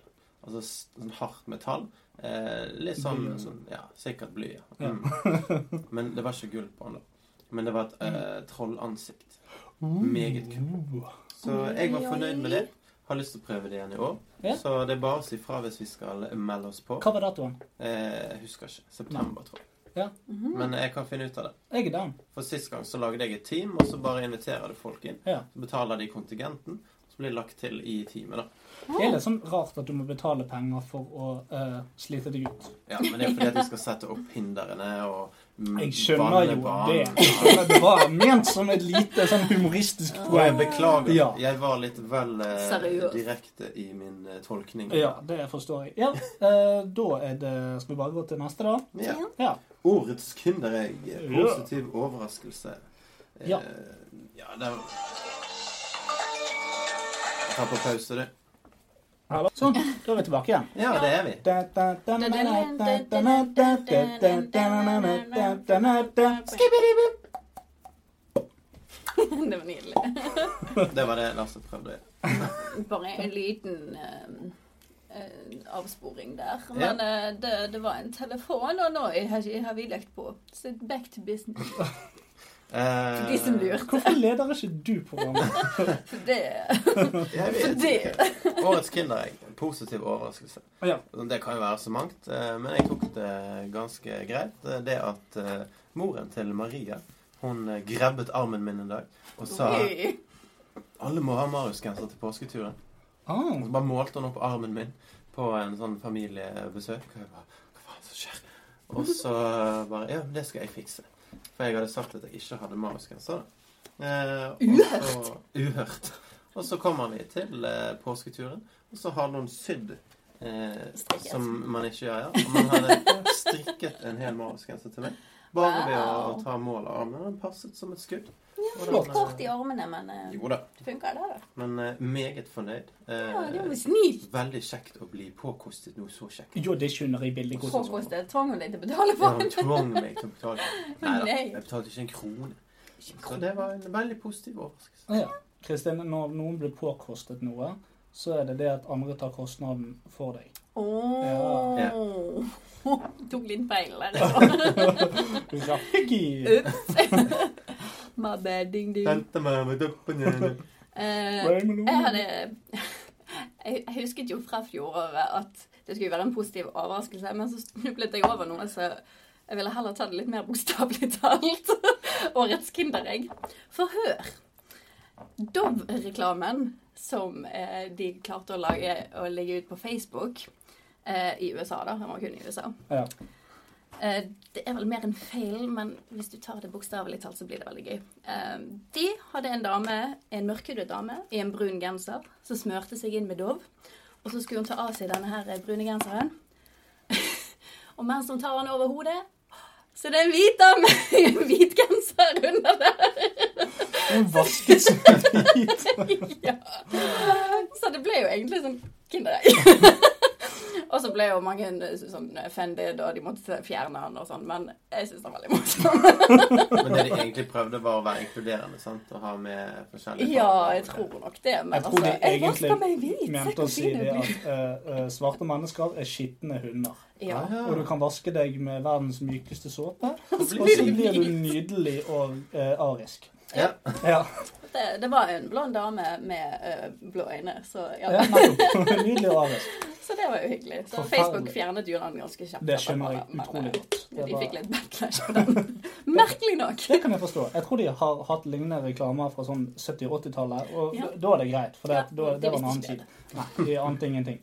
Altså s- sånn hardt metall. Eh, litt sånn Bly og sånn. Ja, sikkert bly. Ja. Ja. Mm. [laughs] Men det var ikke gull på den, da. Men det var et eh, Mm. trollansikt. Meget kult. Så jeg var Oi, oi. fornøyd med det. Har lyst til å prøve det igjen i år. Ja. Så det er bare å si fra hvis vi skal melde oss på. Hva var datoen? Eh, jeg husker ikke. September, tror jeg. Mhm. Men jeg kan finne ut av det. Jeg er down. For sist gang så lagde jeg et team, og så bare inviterer du folk inn. Ja. Så betaler de kontingenten, og så blir det lagt til i teamet, da. Det er litt sånn rart at du må betale penger for å eh, slite deg ut. Ja, men det er fordi at vi skal sette opp hindrene og mm, Jeg skjønner jo vanne det. banen. Jeg skjønner Det var ment som et lite sånn humoristisk Og jeg poeng. beklager. Ja. Jeg var litt vel eh, Seriøs. direkte i min eh, tolkning. Ja, det forstår jeg. Ja, eh, da er det Skal vi bare gå til neste, da? Ja. Ja. Årets Kinderegg. Positiv overraskelse. Eh, Ja. ja, det var Jeg tar på pause, du. Hallo. Sånn, da er vi tilbake igjen. Ja, det [laughs] er vi. Skibbidi-bop. [laughs] Det var nydelig. Det var det Lars prøvde å gjøre. Bare en liten eh, eh, avsporing der. Ja. Men eh, det, det var en telefon, og nå har, ikke- har vi lagt på. Så back to business. Eh, For de som lurte. Hvorfor leder ikke du programmet? For [laughs] det Jeg vet ikke. Årets Kinderegg. Positiv overraskelse. Altså, Ja. Det kan jo være så mangt, eh, men jeg tok det ganske greit. Eh, Det at eh, moren til Maria hun eh, grabbet armen min en dag og sa Oi. alle må ha Marius-genser til påsketuren. Og Ah, så bare målte hun opp armen min på en sånn familiebesøk. Og jeg bare Hva faen er det som skjer? Og så bare Ja, men det skal jeg fikse. For jeg hadde sagt at jeg ikke hadde Marius-genser. da. Eh, og Uhørt. så- Uhørt. Og så kommer vi til eh, påsketuren, og så har noen sydd eh, Strikket. Som man ikke gjør, ja. Og man hadde strikket en hel Marius-genser til meg. Bare ved å, Wow. å ta mål av armen. Den passet som et skudd. Og den, Litt eh, kort i armene, men eh, Jo da. det funker, det. da. Men eh, meget fornøyd. Eh, Ja, det var snilt. Veldig kjekt å bli påkostet noe så kjekt. jo, det skjønner jeg veldig godt. Påkostet tvang hun deg til å betale Ja, for han den. tvang [laughs] meg til å betale. Neida, Nei. jeg betalte ikke en krone. Så det var en veldig positiv overraskelse. Ja. Kristin, når noen blir påkostet noe, så er det det at andre tar kostnaden for deg. Åh. Ja. [laughs] Tok litt feil der. Rafiki! Ups. [laughs] My bad, ding ding. Tente meg med duppen igjen. Eh, jeg hadde [laughs] Nei, jeg, jeg husket jo fra fjoråret at det skulle være en positiv overraskelse, men så snublet jeg over noe, så jeg ville heller ta det litt mer bokstavelig [laughs] talt. Årets Kinderegg. For hør! Dove-reklamen som eh, de klarte å lage og legge ut på Facebook eh, i USA, da. Den var kun i USA. Ja. Eh, det er vel mer en feil, men hvis du tar det bokstavelig talt, så blir det veldig gøy. Eh, de hadde en dame, en mørkhudet dame i en brun genser, som smørte seg inn med Dove. Og så skulle hun ta av seg denne her eh, brune genseren. [laughs] og mens hun tar den over hodet, så det er en hvit dame i en hvit genser under der. [laughs] Hun vasket seg hvit. ja. Så det ble jo egentlig sånn kinderegg. [laughs] og så ble jo mange sånn offended, og de måtte fjerne han og sånn, men jeg syns det var veldig morsomt. Men det de egentlig prøvde, var å være inkluderende, sant? Å ha med forskjellige sånn. Ja, jeg tror nok det. Men Jeg tror de altså, jeg egentlig vasker meg hvit. se Mente hvor å si fin det jeg blir. at eh, eh, svarte mennesker er skitne hunder. Ja. Ah, ja. Og du kan vaske deg med verdens mykeste såpe, Og så og så blir du nydelig og eh, arisk. Ja. Ja. Det, det var en blond dame med eh, blå øyne, så, ja. ja nettopp. [laughs] Nydelig og arisk. [laughs] så det var jo hyggelig. Så Forferdelig. Facebook fjernet jo den ganske kjapt. Det skjønner etterpå, jeg men, utrolig eh, godt. Det, De var, fikk litt backlash på den. [laughs] Merkelig nok. det kan jeg forstå. Jeg tror de har hatt lignende reklamer fra sånn 70- og 80-tallet, og Ja. da er det greit. [laughs] For det, Ja, da, de det var visste en annen ikke tid. Nei, de ante ingenting.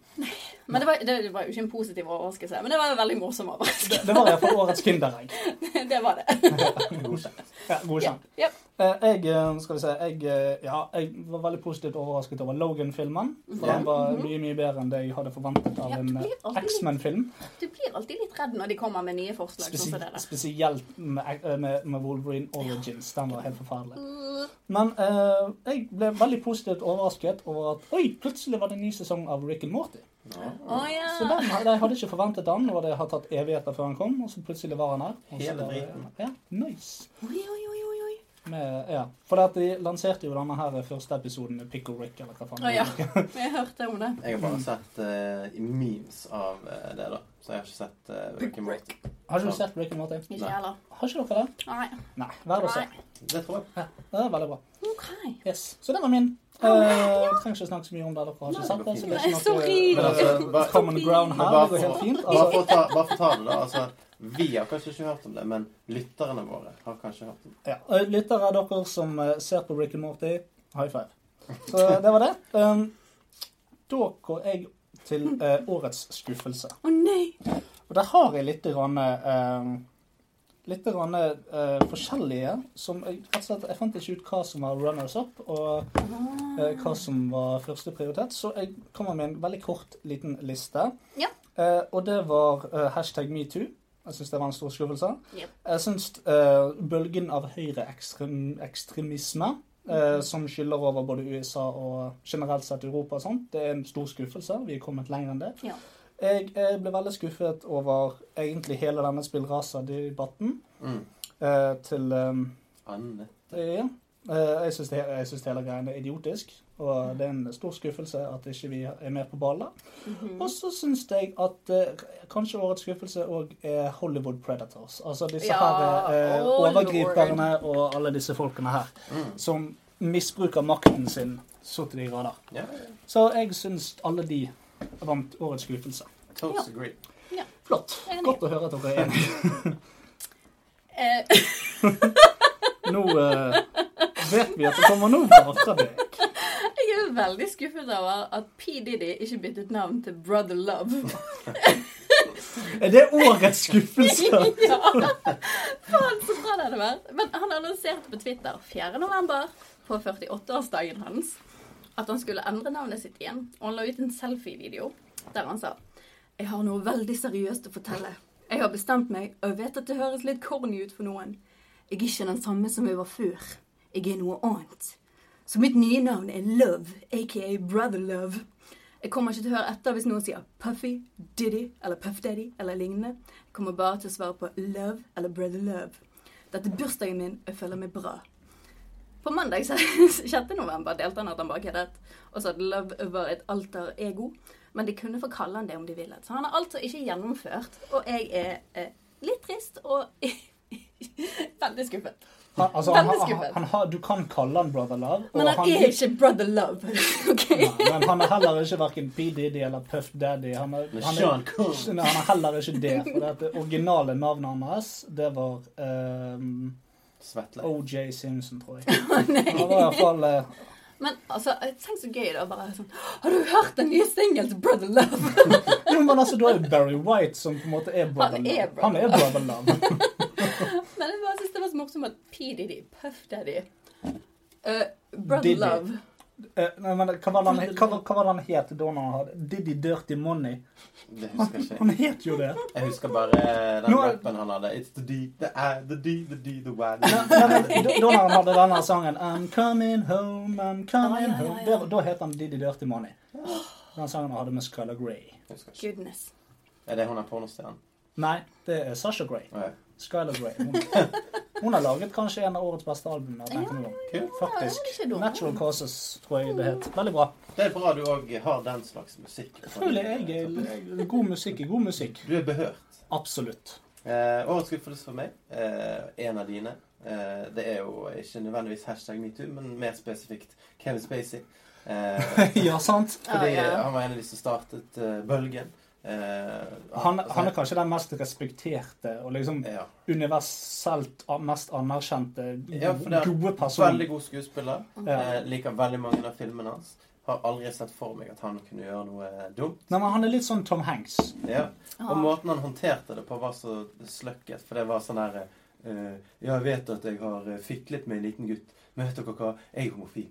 Men det var, det, det var jo ikke en positiv overraskelse, men det var en veldig morsom overraskelse. Det, det var iallfall årets Kinderegg. [laughs] det var det. Ja, Ja, godkjent. ja. Eh, Jeg eh, skal vi si, jeg, eh, ja, jeg var veldig positivt overrasket over Logan-filmen. For Ja. Den var mye mye bedre enn det jeg hadde forventet av Mhm. Ja, en det blir eh, alltid litt- X-Men-film. Du blir alltid litt redd når de kommer med nye forslag. sånn som det Spesi- der. Spesielt med, eh, med, med Wolverine Origins. Den var helt forferdelig. Uh, Men eh, jeg ble veldig positivt overrasket over at oi, plutselig var det en ny sesong av Rick and Morty. Å ja. Så den, jeg hadde ikke forventet den, og det har tatt evigheter før han kom, og så plutselig var han her. Og så Hele var det- driten. Ja, nice. Oi, oi, oi, oi, [laughs] oi. Med, ja. For at de lanserte jo denne her første episoden med Pickle Rick, eller hva faen. Å ja, jeg hørte om det. Jeg har bare sett eh, i memes av eh, det, da. Så jeg har ikke sett uh, Rick and Morty. Har ikke du sett Rick and Morty? Ikke Nei. jeg heller. Har ikke dere det? Nei. Nei. Vær det å se. Nei. Det tror jeg. Det er veldig bra. OK. Yes. Så det var min. Eh, Jeg trenger ikke snakke så mye om det. Dere har ikke Nei, sett det. Så det Nei, er [laughs] sorry. ikke Men noe altså, bare, common ground her. Bare Det går helt fint. bare, Altså, for å ta, bare for å ta det, da. Altså, vi har kanskje ikke hørt om det, men lytterne våre har kanskje hørt om det. ja. eh, Lyttere av dere som eh, ser på Rick and Morty, high five. Så det var det. Um, da går jeg til eh, årets skuffelse. Å nei. Og der har jeg litt grann, eh, litt grann eh, forskjellige som jeg, rett og slett, jeg fant ikke ut hva som var runners up, og eh, hva som var første prioritet. Så jeg kommer med en veldig kort, liten liste. Ja. Eh, og det var eh, hashtag metoo. Jeg syns det var en stor skuffelse. Yep. Jeg syns eh, bølgen av høyreekstremisme eh, som skyller over både USA og generelt sett Europa og sånt, det er en stor skuffelse. Vi er kommet lenger enn det. Ja. Jeg, eh, ble veldig skuffet over egentlig hele denne spillrasa-debatten Mm. eh, til eh, Anne. ja. Eh, Jeg syns det- jeg syns hele greien er idiotisk, og det er en stor skuffelse at ikke vi er med på ballen. Mhm. Mm. Og så syns jeg at eh, kanskje årets skuffelse òg er Hollywood Predators. Altså disse Ja, her eh, å, lord. overgriperne og alle disse folkene her Mm. som misbruker makten sin så til de grader. Ja, ja, ja. Så jeg syns alle de vant årets skuffelse. Totes agree. Flott. Enig. Godt å høre at dere er enige. [laughs] Eh, Nå eh, vet vi at det kommer noe bra fra deg. [laughs] jeg er veldig skuffet over at P. Diddy ikke byttet navn til Brother Love. [laughs] [laughs] Er det årets skuffelse? [laughs] Ja. Faen, så bra det hadde vært. Men han annonserte på Twitter 4. november på 48-årsdagen hans at han skulle endre navnet sitt igjen. Og han la ut en selfie-video der han sa Jeg har noe veldig seriøst å fortelle. Jeg har bestemt meg, og jeg vet at det høres litt corny ut for noen. Jeg er ikke den samme som jeg var før. Jeg er noe annet. Så mitt nye navn er Love, aka Brother Love. Jeg kommer ikke til å høre etter hvis noen sier Puffy, Diddy eller Puff Daddy eller lignende. Jeg kommer bare til å svare på Love eller Brother Love. Dette er bursdagen min, og jeg føler meg bra. På mandag [laughs] 6. november delte han at han bare køddet, og sa at Love var et alter ego. Men de kunne få kalle han det om de ville. Så han er altså ikke gjennomført. Og jeg er eh, litt trist og [laughs] veldig skuffet. Han, altså, han, Veldig han, skuffet. han, har- du kan kalle han Brother Love. og Men han er ikke Brother Love. [laughs] ok? Nei, men han er heller ikke hverken P. Diddy eller Puff Daddy. Han er, Men han Sean er, Combs. Nei, han er heller ikke det. For det, at det originale navnet hans, det var ehm, Svetle. OJ Simpson, tror jeg. [laughs] Han var i hvert fall eh, Men altså, tenk så gøy da, bare sånn Har du hørt den nye singelen til Brother Love? [laughs] Jo, men altså, da er det Barry White som på en måte er Brother Han er Love. Brother Han er Brother Love. Men jeg bare synes det var så morsomt at P. Diddy, Puff Daddy eh, Brother Diddy. Love Eh, nei, men hva var det han, hva, var- hva var det han het da han hadde Diddy Dirty Money? Det husker jeg ikke. Han het jo det. Jeg husker bare den Nå er- rappen han hadde. It's the D, the I, the D, the D, the Y. Nei, nei, men da- Da han hadde denne sangen I'm coming home, I'm coming Ja, ja, ja, home ja. Da, da het han Diddy Dirty Money. Den sangen han hadde med Skylar Grey. Jeg husker ikke. Goodness. Er det hun er pornostjernen? Nei, det er Sasha Grey. Å, ja. Skylar Grey. Hun, hun har laget kanskje en av årets beste album. jeg tenker meg om. Kult. Faktisk. Ja, det var ikke dumt. Natural Causes, tror jeg det het. Veldig bra. Det er bra du òg har den slags musikk. Utrolig. Jeg er god musikk er god musikk. Du er behørt. Absolutt. [laughs] Eh, årets skuffelse for meg, eh, en av dine, eh, det er jo ikke nødvendigvis hashtag metoo, men mer spesifikt Kevin Spacey. [laughs] Eh, Ja, sant? fordi Ah, eh, Ja, ja. han var en av de som startet eh, bølgen. Eh, Han, han er kanskje den mest respekterte og liksom ja. universelt a- mest anerkjente Ja, for det er gode personen. Veldig god skuespiller. Ja. Eh, liker veldig mange av filmene hans. Har aldri sett for meg at han kunne gjøre noe dumt. Nei, men Han er litt sånn Tom Hanks. Ja. Og Ah. måten han håndterte det på, var så sløkket. For det var sånn her eh, Ja, jeg vet at jeg har eh, fiklet med en liten gutt. Men vet dere hva? Jeg er homofil.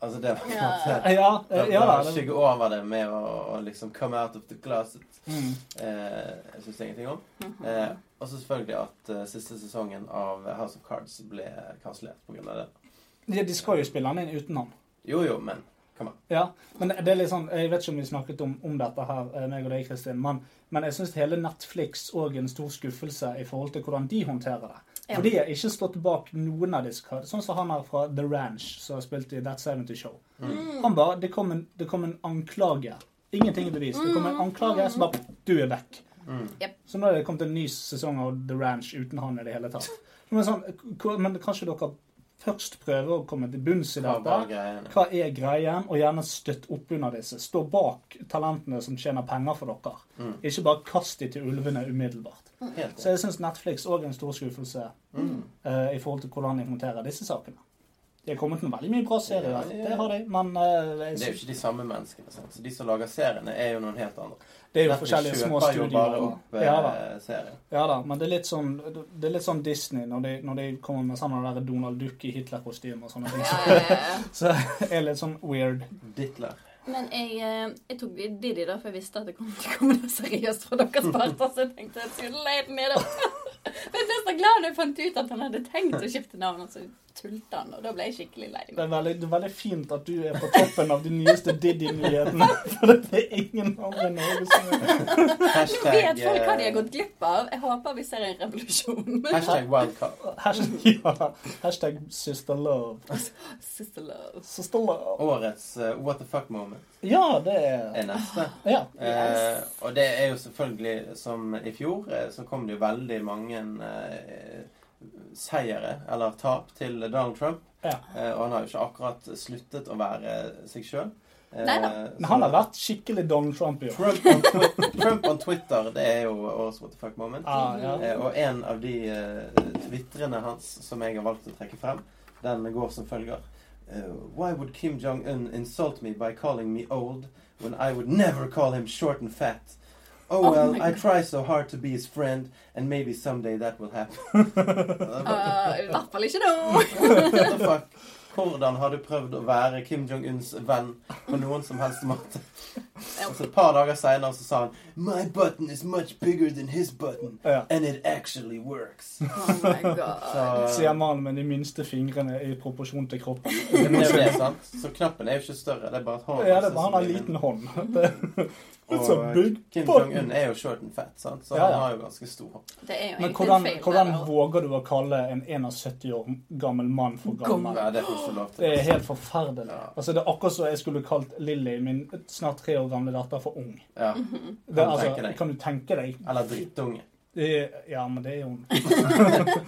Altså, det var på en Ja. måte Eh, Ja, eh, ja da. Bare det- skygge over det med å, å liksom come out of the closet. Mm. Eh, jeg syns ingenting om. Mhm. Mm. Eh, og så selvfølgelig at eh, siste sesongen av House of Cards ble kansellert pga. det. Ja, de skal jo spille han inn uten han. Jo, jo, men come on. Ja, men det er litt sånn, Jeg vet ikke om vi snakket om, om dette her, eh, meg og deg, Kristin, men, men jeg syns hele Netflix òg er en stor skuffelse i forhold til hvordan de håndterer det. Ja. For de har ikke stått bak noen av disse kar- Sånn som han her fra The Ranch, som har spilt i That 70 Show. mm, Mm. Mm. Han bare, det kom, en, det kom en anklage. Ingenting er bevist. Det kom en anklage, så bare Du er vekk. Mm. Jep. Så nå er det kommet en ny sesong av The Ranch uten han i det hele tatt. Men, sånn, hvor- men kanskje dere først prøver å komme til bunns i Det var dette? bare greiene. Hva er greien? Og gjerne støtt opp under disse. Stå bak talentene som tjener penger for dere. Mm. Ikke bare kast de til ulvene umiddelbart. Helt Så jeg syns Netflix òg er en stor skuffelse Mm. eh, i forhold til hvordan de håndterer disse sakene. De har kommet med veldig mye bra serier, Ja, ja. det har de, men eh, jeg Det er jo synes, ikke de samme menneskene. Sant? Så de som lager seriene, er jo noen helt andre. det er jo Netflix forskjellige små kjøper jo studioer. bare opp eh, Ja da, serien. ja da, men det er litt sånn, det er litt sånn Disney når de, når de kommer med sånne der Donald Duck i Hitler-kostyme og sånne ting. Ja, ja, ja. Så det er litt sånn weird. [laughs] Ditler. Men jeg, eh, jeg tok Didi da, for jeg visste at det kom til å komme noe seriøst fra deres parter. Så jeg tenkte jeg skulle leie den ned. [laughs] Men jeg ble så glad da jeg fant ut at han hadde tenkt å skifte navn, og så tullte han. Og da ble jeg skikkelig lei Det meg. er veldig, det er veldig fint at du er på toppen av de nyeste Diddy-nyhetene. [laughs] For det er ingen andre i Norge som er Nå Hashtag, vet folk hva de har eh, gått glipp av. Jeg håper vi ser en revolusjon. hashtag wildcard. Hashtag, ja, hashtag sister love. [laughs] Sister love. Sister love. Årets eh, what the fuck moment Ja, det er er [laughs] neste. Ja. Eh, og det er jo selvfølgelig som i fjor, eh, så kom det jo veldig mange eh, seire, eller tap, til Donald Trump. Ja. Eh, og han har jo ikke akkurat sluttet å være seg sjøl. Neida. Men han har vært skikkelig Donald Trump i år. Trump on, Twi- [laughs] Trump on Twitter, det er jo årets what the fuck moment. Ja, Ah, ja. Eh, og en av de eh, twitrene hans som jeg har valgt å trekke frem, den går som følger. Eh, why would Kim Jong-un insult me by calling me old when I would never call him short and fat? Oh Oh well, my I God. try so hard to be his friend, and maybe someday that will happen. Ah, I hvert fall ikke [laughs] nå. What the fuck? Hvordan har du prøvd å være Kim Jong-uns venn på noen som helst måte? Ja. Og så et par dager senere så sa han My button is much bigger than his button, Ja. and it actually works. Oh my god. Så- Sier mannen med de minste fingrene i proporsjon til kroppen. [laughs] Det er jo det, sant? Så knappen er jo ikke større. Det er bare at hånden Ja, det hans er bare han har så liten. liten hånd. [laughs] Det- sånn It's a Og big Kim button. Jong-un er jo short and fat, sant? så Ja, ja. han har jo ganske stor hånd. Det er jo Men egentlig en hvordan, feil. hvordan der, da. våger du å kalle en 71 år gammel mann for gammel? Ja, det får du ikke lov til. Det er helt forferdelig. Ja. Altså, det er akkurat som jeg skulle kalt Lilly, min snart tre år gamle datter, for ung. Ja. Det, er Kan Mm-hmm. du altså, tenke deg? kan du tenke deg? Eller drittunge. Det, er- ja, men det er jo hun.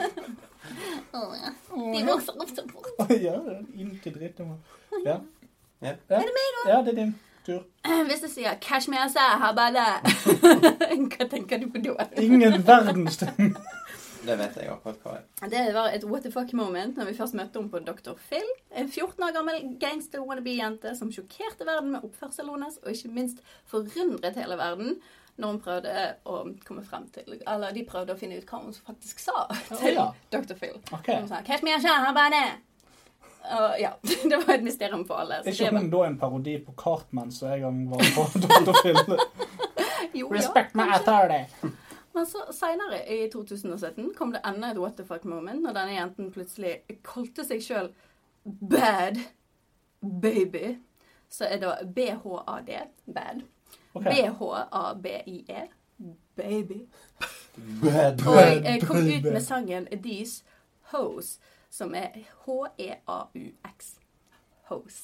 Å, ja. De vokser opp så fort. [laughs] ja, inn til dritt. hun. Ja. Ja. Er det meg, da? Ja, det er din tur. Eh, Hvis jeg sier 'Cash me asa, habala', [laughs] hva tenker du på da? Ingen verdens ting. Det vet jeg akkurat hva er. Det var et what the fuck moment når vi først møtte henne på Dr. Phil. En 14 år gammel gangster-wannabe-jente som sjokkerte verden med oppførselen hennes, og ikke minst forundret hele verden når hun prøvde å komme frem til Eller de prøvde å finne ut hva hun faktisk sa til [laughs] ja. Dr. Phil. Ok. Hun sa 'Cash me asa, habala'. Og ja, [laughs] det var et mysterium for alle. så Er ikke det var- hun da en parodi på Cartman som jeg gang var på [laughs] Dr. Phil? Jo, ja, Respect my kanskje. authority. Men så senere, i 2017, kom det enda et what the fuck moment når denne jenten plutselig kalte seg sjøl Bad Baby. Så er det BHAD. Bad. Ok. B-H-A-B-I-E. E, Baby. Bad Og jeg kom ut med sangen These Hoes, som er E H-E-A-U-X. Hoes.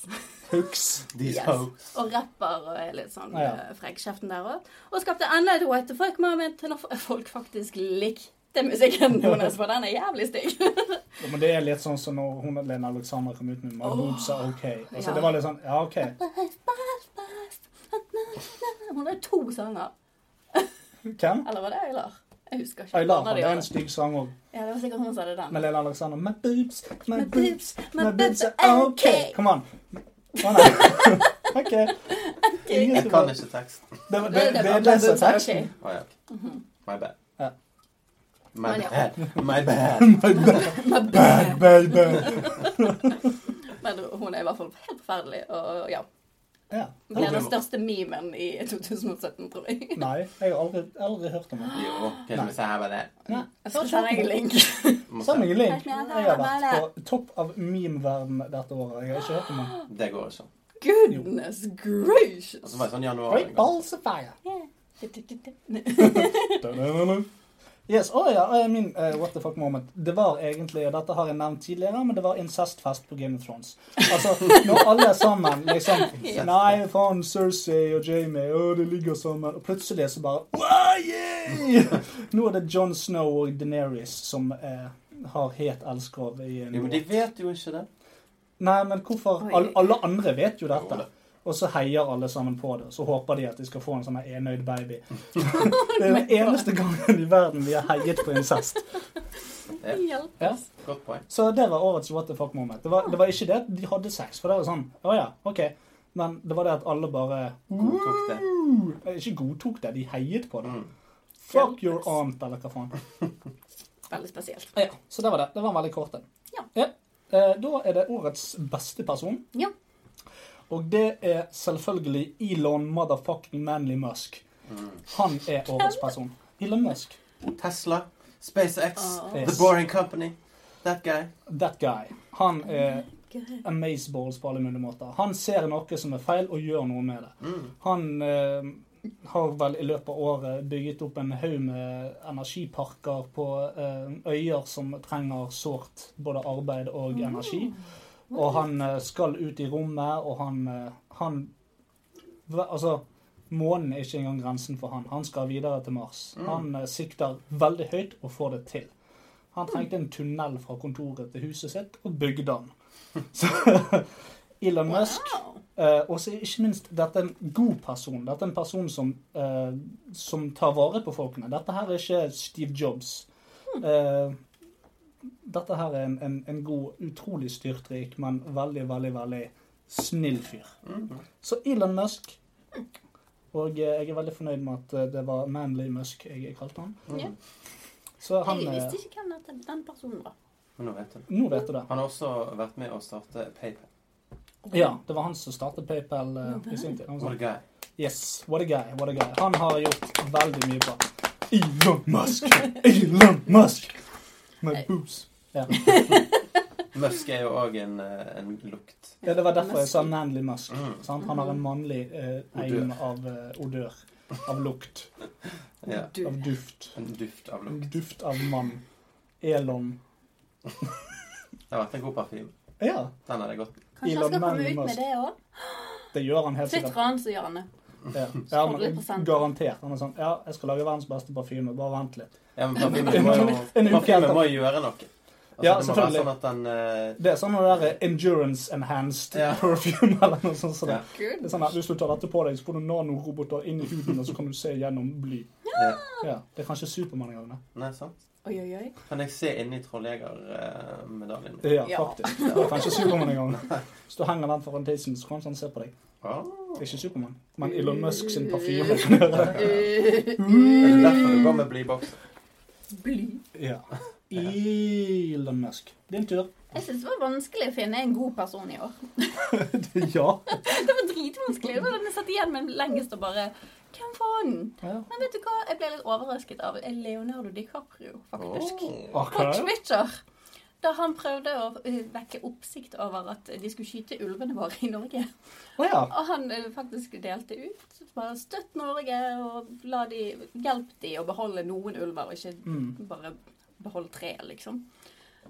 Hooks. These Yes. hoes. Og rapper og er litt sånn Ja. eh, frekk i kjeften der òg. Og skapte enda et what the fuck moment når f- folk faktisk likte [laughs] musikken hennes, for den er jævlig stygg. Ja, men det er litt sånn som når hun og Lena Alexandra kom ut med My Åh. boobs are ok. Altså, Ja. Det var litt sånn Ja, OK. Hun har to sanger. Hvem? Eller var det Øylar? Jeg husker ikke. Øylar, Hvordan det de er gjør en stygg sang òg. Ja, det var sikkert hun som hadde den. Med Lena Alexander. My boobs, my, My boobs, boobs, [laughs] my boobs are okay. Come on. Å, nei. Ok. Ingen Jeg som- kan ikke teksten. Det, det, Det, det, var er den som er Blackboard teksten. [laughs] Å, Touchy. ja. ok. My bad. Ja. My Men Mhm. ja. bad. My [laughs] bad. Men- Bad, bad, bad. Men hun er i hvert fall helt forferdelig. Og ja. Ja. Ble den største memen i [laughs] 2017, tror jeg. Nei, jeg har aldri, aldri hørt om det. Jo, kan Nei. Sånn vi se her var det? Nei. Jeg skal sende deg en link. Må se. Samme link. Jeg har vært på topp av meme-verden dette året. Jeg har ikke hørt om det. Det går ikke. Goodness Og gracious! så var det sånn januar en Great gang. balls of fire. [laughs] Ja, Yes, oh ja, eh, min eh, what the fuck moment. Det var egentlig, og dette har jeg nevnt tidligere, men det var incestfest på Game of Thrones. Altså, når alle er sammen, liksom Nei, faen, Cersei og Jamie, å, de ligger sammen. Og plutselig så bare wow, [laughs] yeah! Nå er det Jon Snow og Deneris som eh, har het elskerov i en Jo, men de vet jo ikke det. Nei, men hvorfor Oi. All, Alle andre vet jo Jo dette. da. Og så heier alle sammen på det, og så håper de at de skal få en sånn her enøyd baby. Det [laughs] Oh er den eneste gangen i verden vi har heiet på incest. Hjelp Ja. oss. Godt poeng. Så det var årets what the fuck moment. Det var, det var ikke det at de hadde sex, for det var sånn Å ja, OK. Men det var det at alle bare Godtok det. eh, Ikke godtok det, de heiet på det. Mm. Fuck your aunt, eller hva faen. Veldig spesielt. Ja, så det var det. Det var en veldig kort en. Ja. Eh, Da er det årets beste person. Ja. Og det er selvfølgelig Elon motherfucking Manly Musk. Mm. Han er årets person. Elon Musk. Tesla, SpaceX, Åh. The Boring Company. That guy. That guy. Han er amazeballs på alle mulige måter. Han ser noe som er feil, og gjør noe med det. Mm. Han eh, har vel i løpet av året bygget opp en haug med energiparker på eh, øyer som trenger sårt både arbeid Mm. og energi. Og han eh, skal ut i rommet, og han, eh, han hva- Altså, månen er ikke engang grensen for han. Han skal videre til Mars. Mm. Han eh, sikter veldig høyt og får det til. Han trengte en tunnel fra kontoret til huset sitt, og bygde den. [laughs] Så Elon Musk Wow. Eh, og så ikke minst, dette er en god person. Dette er en person som, eh, som tar vare på folkene. Dette her er ikke Steve Jobs. Eh, dette her er en, en, en god, utrolig styrtrik, men veldig, veldig, veldig snill fyr. Mm. Så Elon Musk. Og eh, jeg er veldig fornøyd med at eh, det var Manly Musk jeg kalte han. Ja. Mm. Så han Jeg eh, visste ikke hvem dette, den personen var. Men nå vet du det. Nå vet du det. Han har også vært med å starte PayPal. Ja, det var han som startet PayPal eh, i sin tid. Han var What a guy. Yes, what a guy, what a guy. Han har gjort veldig mye bra. Elon Musk, Elon Musk. My boobs. Ja. Musk er jo òg en, eh, en lukt. ja, det var derfor jeg sa Manly Musk. Mm. Sant? Han har en mannlig eh, eim av eh, odør. Av lukt. Ja. Du. Av duft. En duft av lukt. Duft av mann. Elon. Det har vært en god parfyme. Ja, Den er det godt. Kanskje Elon han skal komme Musk. ut med det òg? det gjør han helt sikkert. Twitter han, så gjør han det. Ja. Ja, men, 100%. garantert. Han er sånn Ja, jeg skal lage verdens beste parfyme. Bare vent litt. [laughs] Ja, men parfymen må jo En uke parfymen etter. må jo gjøre noe. Altså, Ja, det må være selvfølgelig. sånn at den eh, Det er sånn det der endurance enhanced [laughs] Ja. perfume eller noe sånt. som det. Ja. Det er Good. sånn at Hvis du tar dette på deg, så får du nanoroboter inn i huden, og så kan du se gjennom bly. Ja. Ja, Det er kanskje Supermann i gang, det. Nei, sant? Oi, oi, oi. Kan jeg se inni eh, trolljegermedaljen? Ja, Ja. faktisk. Det er Eh, kanskje Supermann i gang. Hvis du henger den foran tissen, så kan han se på deg. Ah. Det er ikke Supermann, men Elon Musk sin [laughs] parfyme. kan gjøre det. Er det derfor du går med blybokser? Bly. [laughs] Ja. Elon Musk. Din tur. Jeg syns det var vanskelig å finne en god person i år. [laughs] Ja. Det var dritvanskelig. Det var den jeg satt igjen med lengst og bare Hvem faen? ja. Men vet du hva? Jeg ble litt overrasket av Leonardo DiCaprio, faktisk. Åh. Ok. På Twitter. Da han prøvde å eh, vekke oppsikt over at de skulle skyte ulvene våre i Norge. Å ja. Og han eh, faktisk delte ut. Bare støtt Norge, og la de, hjelp de å beholde noen ulver, og ikke Mm. bare behold tre, liksom.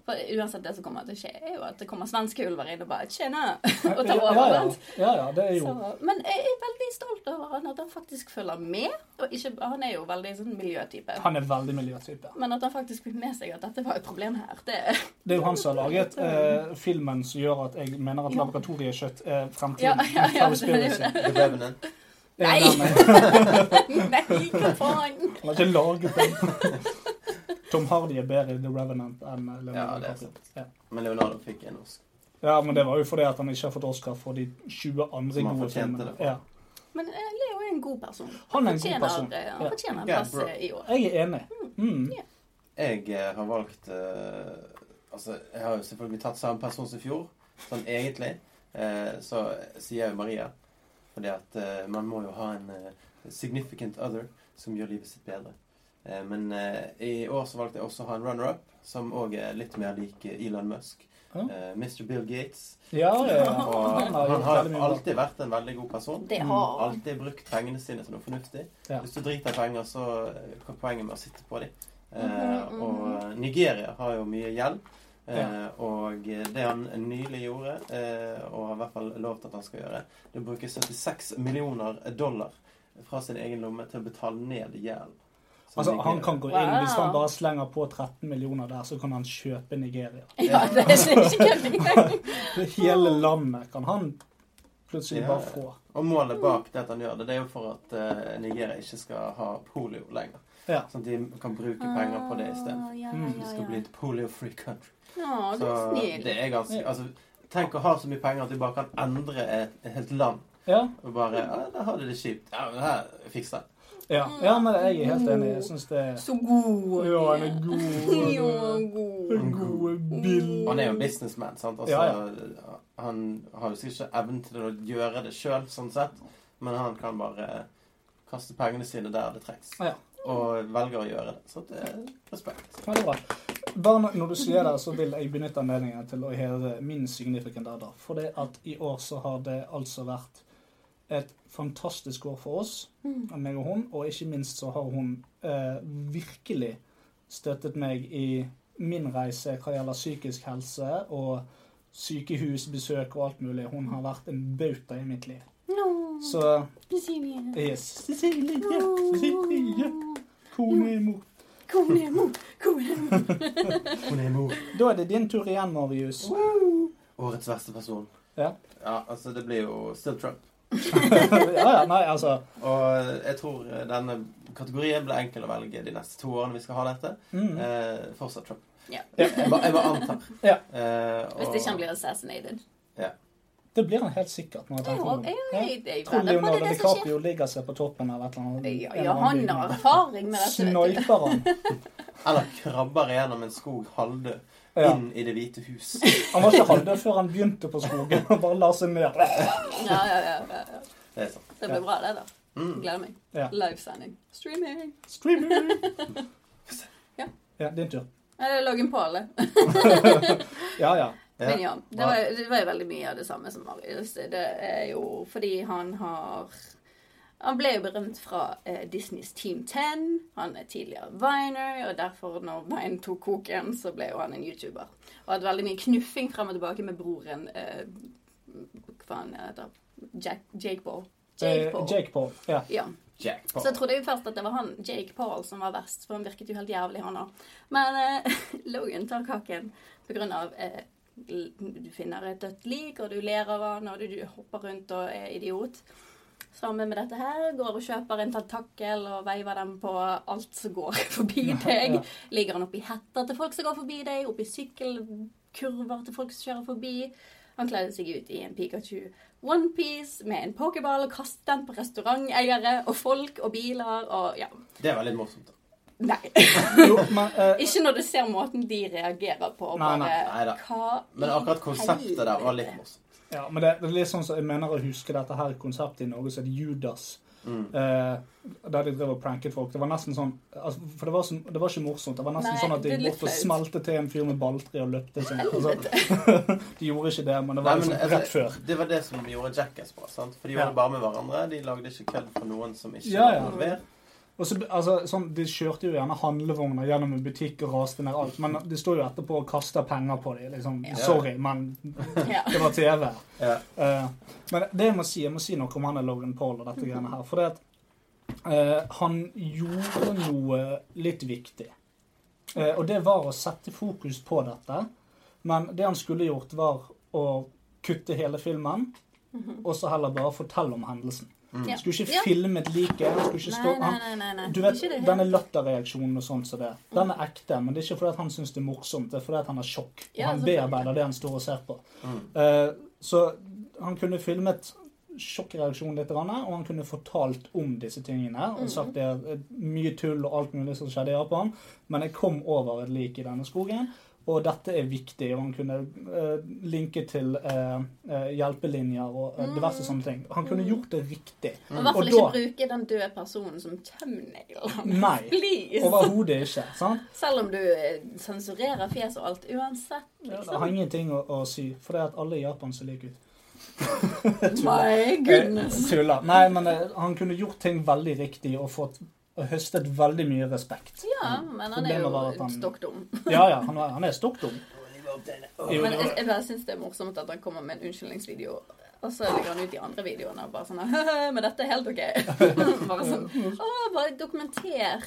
For uansett det som kommer til å skje, er jo at det kommer svenske ulver inn og bare tjena, og tar over. Ja, ja. sant? ja, ja. Det er Så, jo men jeg er veldig stolt over han, at han faktisk følger med. Og ikke, han er jo veldig sånn miljøtype. Han er veldig miljøtype. Men at han faktisk fikk med seg at dette var et problem her, det [laughs] Det er jo han som har laget eh, filmen som gjør at jeg mener at Ja. laboratoriekjøtt er Ja, [laughs] fremtiden. ja, ja, det er jo Conspiracy. det. The Revenant. Det er Nei. nærmest- [laughs] Nei, hva faen? Han har ikke laget den. [laughs] Tom Hardy er bedre i The Revenant enn eh, Leonardo Ja, det er DiCaprio. Men Leonardo fikk en Oscar. Ja. Ja, men det var jo fordi at han ikke har fått Oscar for de 20 andre Som han gode filmene. fortjente det for. Ja. Men eh, Leo er en god person. Han er en god Fortjener, person. eh, Han Ja. fortjener en Ja, plass bra. eh, i år. Jeg er enig. Mm. Jeg eh, har valgt eh, Altså, jeg har jo selvfølgelig tatt samme person som i fjor, sånn egentlig. Eh, så sier jeg jo Maria. Fordi at eh, man må jo ha en eh, significant other som gjør livet sitt bedre. Eh, men eh, i år så valgte jeg også å ha en runner-up, som òg er litt mer lik eh, Elon Musk. Ja. Eh, Mr. Bill Gates. Ja, ja, ja. [laughs] Og Han har han gjort har veldig mye bra. alltid vært en veldig god person. Det har han. Alltid brukt pengene sine til noe fornuftig. Ja. Hvis du driter i penger, så hva er poenget med å sitte på dem? Mhm, Eh, mhm. og Nigeria har jo mye gjeld. Eh, og det han nylig gjorde, eh, og har i hvert fall lovt at han skal gjøre, det er å bruke 76 millioner dollar fra sin egen lomme til å betale ned gjeld. Så Altså, han Nigeria- kan gå inn. Hvis han Wow. bare slenger på 13 millioner der, så kan han kjøpe Nigeria. Ja, det er ikke kødd [laughs] engang. Det hele landet kan han plutselig Ja. bare få. Og målet bak det at han gjør det, det er jo for at eh, Nigeria ikke skal ha polio lenger. Ja. Sånn at de kan bruke penger på det isteden. Ah, Ja, Mm, ja, Det skal ja. bli et polio-free country. Å, du Så er snill. det er ganske altså, Tenk å ha så mye penger at du bare kan endre et, et helt land. Ja, Og bare ja, 'Der har de det kjipt. Ja, men her fikser jeg ja. ja men jeg er helt enig. Jeg syns det er Så god. Ja, han er god. [laughs] Jo, Mm. god. En god bill. Han er jo en businessman, sant. Altså, Ja, Han har jo sikkert ikke evnen til å gjøre det sjøl, sånn sett, men han kan bare kaste pengene sine der det trengs. Ja. Og velger å gjøre det. Så det er respekt. Ja, det er bra. Bare når- når du sier det, så vil jeg benytte anledningen til å hedre min significant other. For det at i år så har det altså vært et fantastisk år for oss, meg og hun. Og ikke minst så har hun eh, virkelig støttet meg i min reise hva gjelder psykisk helse og sykehusbesøk og alt mulig. Hun har vært en bauta i mitt liv. Nå, Så eh, Cecilie. yes. Cecilie, Cecilie, kone i mor. Kone, mor, kone. Hun er mor. Da er det din tur igjen, Marius. Årets verste person. Ja. ja. Altså, det blir jo still Trump. [laughs] ja, ja, nei, altså Og jeg tror denne kategorien blir enkel å velge de neste to årene vi skal ha dette. mm. Eh, fortsatt Trump. Ja. Jeg bare, jeg bare antar. Ja. Eh, Hvis og- ikke han blir assassinated. Det blir han helt sikkert. når jeg Jeg tenker tror meg jeg- om. jeg- jeg Ja. Tror verre på det Leonardo det som skjer. DiCaprio ligger seg på toppen av et eller annet. Ja, en ja, eller annen han har bygning. erfaring med dette. vet du. Sniper han. Eller krabber gjennom en skog halvdød Ja. inn i Det hvite [laughs] hus. Han var ikke halvdød før han begynte på skogen og bare la seg ned. Ja, ja, ja, ja, ja. Det er sant. Det blir bra, det, da. Mm. Gleder meg. Ja. Livesending. Streaming. Streamer! Ja. ja, din tur. Nei, det er Logan Paul, det. Ja, ja. Men ja, det Hva- var, det var jo veldig mye av det samme som Marius. Det er jo fordi han har Han ble jo berømt fra eh, Disneys Team 10. Han er tidligere Viner, og derfor, når Vine tok koken, så ble jo han en YouTuber. Og hadde veldig mye knuffing frem og tilbake med broren eh, Hva han heter Jack, Jake Paul. Eh, Jake Paul. Jake Paul. [laughs] Ja. Ja. Jack Så jeg Paul. trodde jo først at det var han, Jake Paul, som var verst, for han virket jo helt jævlig, han òg. Men eh, [laughs] Logan tar kaken på grunn av eh, l- Du finner et dødt lik, og du ler av han, og du, du hopper rundt og er idiot. Sammen med dette her går og kjøper en tentakkel og veiver dem på alt som går [laughs] forbi deg. Ja. Ligger han oppi hetter til folk som går forbi deg, oppi sykkelkurver til folk som kjører forbi. Han kledde seg ut i en Pikachu onepiece med en pokerball og kastet den på restauranteiere og folk og biler og ja. Det er veldig morsomt. da. Nei. [laughs] Jo, men, eh, Ikke når du ser måten de reagerer på. og Nei, nei, bare, nei da. Hva Men i akkurat konseptet der var litt helvete? morsomt. ja, men det, det er litt sånn som jeg mener å huske dette her konseptet i Norge, så er det Judas. Mm. Eh, der de drev og pranket folk. Det var nesten sånn altså, For det var, så, det var ikke morsomt. Det var nesten Nei, sånn at de det er litt gikk bort og flaut. smelte til en fyr med balltre og løpte sånn. Altså, [laughs] de gjorde ikke det, men det Nei, var men, liksom rett altså, før. det var det som gjorde Jackass bra. sant? For de gjorde Ja. det bare med hverandre. De lagde ikke kødd for noen som ikke Ja, ja. var involvert. Og så, altså, sånn, De kjørte jo gjerne handlevogner gjennom en butikk og raste ned alt, men de står jo etterpå og kaster penger på dem. Liksom. Ja. Sorry, men Ja. det var TV. Ja. Eh, men det jeg må si, jeg må si noe om han er Logan Paul og dette greiene her. For det at eh, han gjorde noe litt viktig. Eh, og det var å sette fokus på dette. Men det han skulle gjort, var å kutte hele filmen, og så heller bare fortelle om hendelsen. Mm. Ja. Skulle ikke Mhm. Ja. filmet liket. Skulle [laughs] ikke stå Nei, nei, nei. nei, nei. Du vet, ikke det helt. Denne latterreaksjonen og sånt som det. Den er ekte, men det er ikke fordi at han syns det er morsomt. Det er fordi at han har sjokk. Og Ja, han selvfølgelig. bearbeider det han står og ser på. Mm. Eh, så han kunne filmet sjokkreaksjonen litt, grann, og han kunne fortalt om disse tingene. Og sagt det er eh, mye tull og alt mulig som skjedde i Japan, men jeg kom over et lik i denne skogen. Og dette er viktig, og han kunne eh, linke til eh, eh, hjelpelinjer og eh, diverse sånne ting. Han kunne gjort det riktig. Og i hvert fall Mm. Og ikke da- bruke den døde personen som thumbnail. [laughs] Nei, Please! overhodet ikke. sant? Selv om du eh, sensurerer fjes og alt uansett. liksom. Ja, det har ingenting å, å si, for det er at alle i Japan ser like ut. My goodness. Eh, Tuller. Nei, men eh, han kunne gjort ting veldig riktig og fått og høstet veldig mye respekt. Ja, men han er Problemet var at jo han- stokk dum. Ja, ja, han, er- han er stokk dum. Jo, Men det jeg, var- jeg bare syns det er morsomt at han kommer med en unnskyldningsvideo, og så legger han ut de andre videoene og bare sånn «Haha, Men dette er helt OK. [laughs] bare sånn Å, bare dokumenter.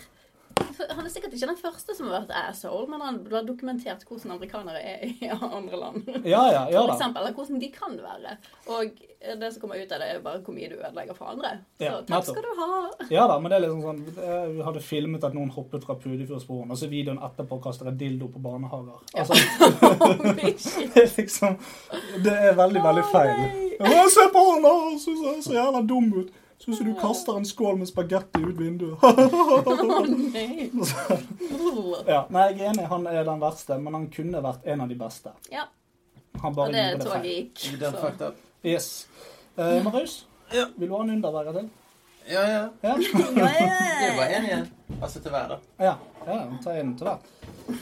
For Han er sikkert ikke den første som har vært asshole, men han har dokumentert hvordan amerikanere er i andre land. Ja, ja, ja For da. eksempel, eller hvordan de kan være. Og det som kommer ut av det, er bare hvor mye du ødelegger for andre. Så Ja, takk skal du ha. Ja da, men det er liksom sånn eh, Vi hadde filmet at noen hoppet fra Pudefjordsporen, og så videoen etterpå kaster en dildo på barnehager. Altså, [laughs] Bitch. det er liksom Det er veldig, veldig feil. Å, Å, se på han, da! Han ser så- så jævla dum ut. Sånn som du kaster en skål med spagetti ut vinduet. [laughs] nei. Å, nei. Ja, nei, jeg er enig, han er den verste, men han kunne vært en av de beste. Ja. Han Og bare det gjorde det toget feil. gikk. You done Så. fucked up. Yes. Eh, Marius, Ja. vil du ha en underverre til? Ja, ja. Ja, Ja, [laughs] Det er ja, bare én igjen. Altså til hver, da. ja, ja ta en til hver.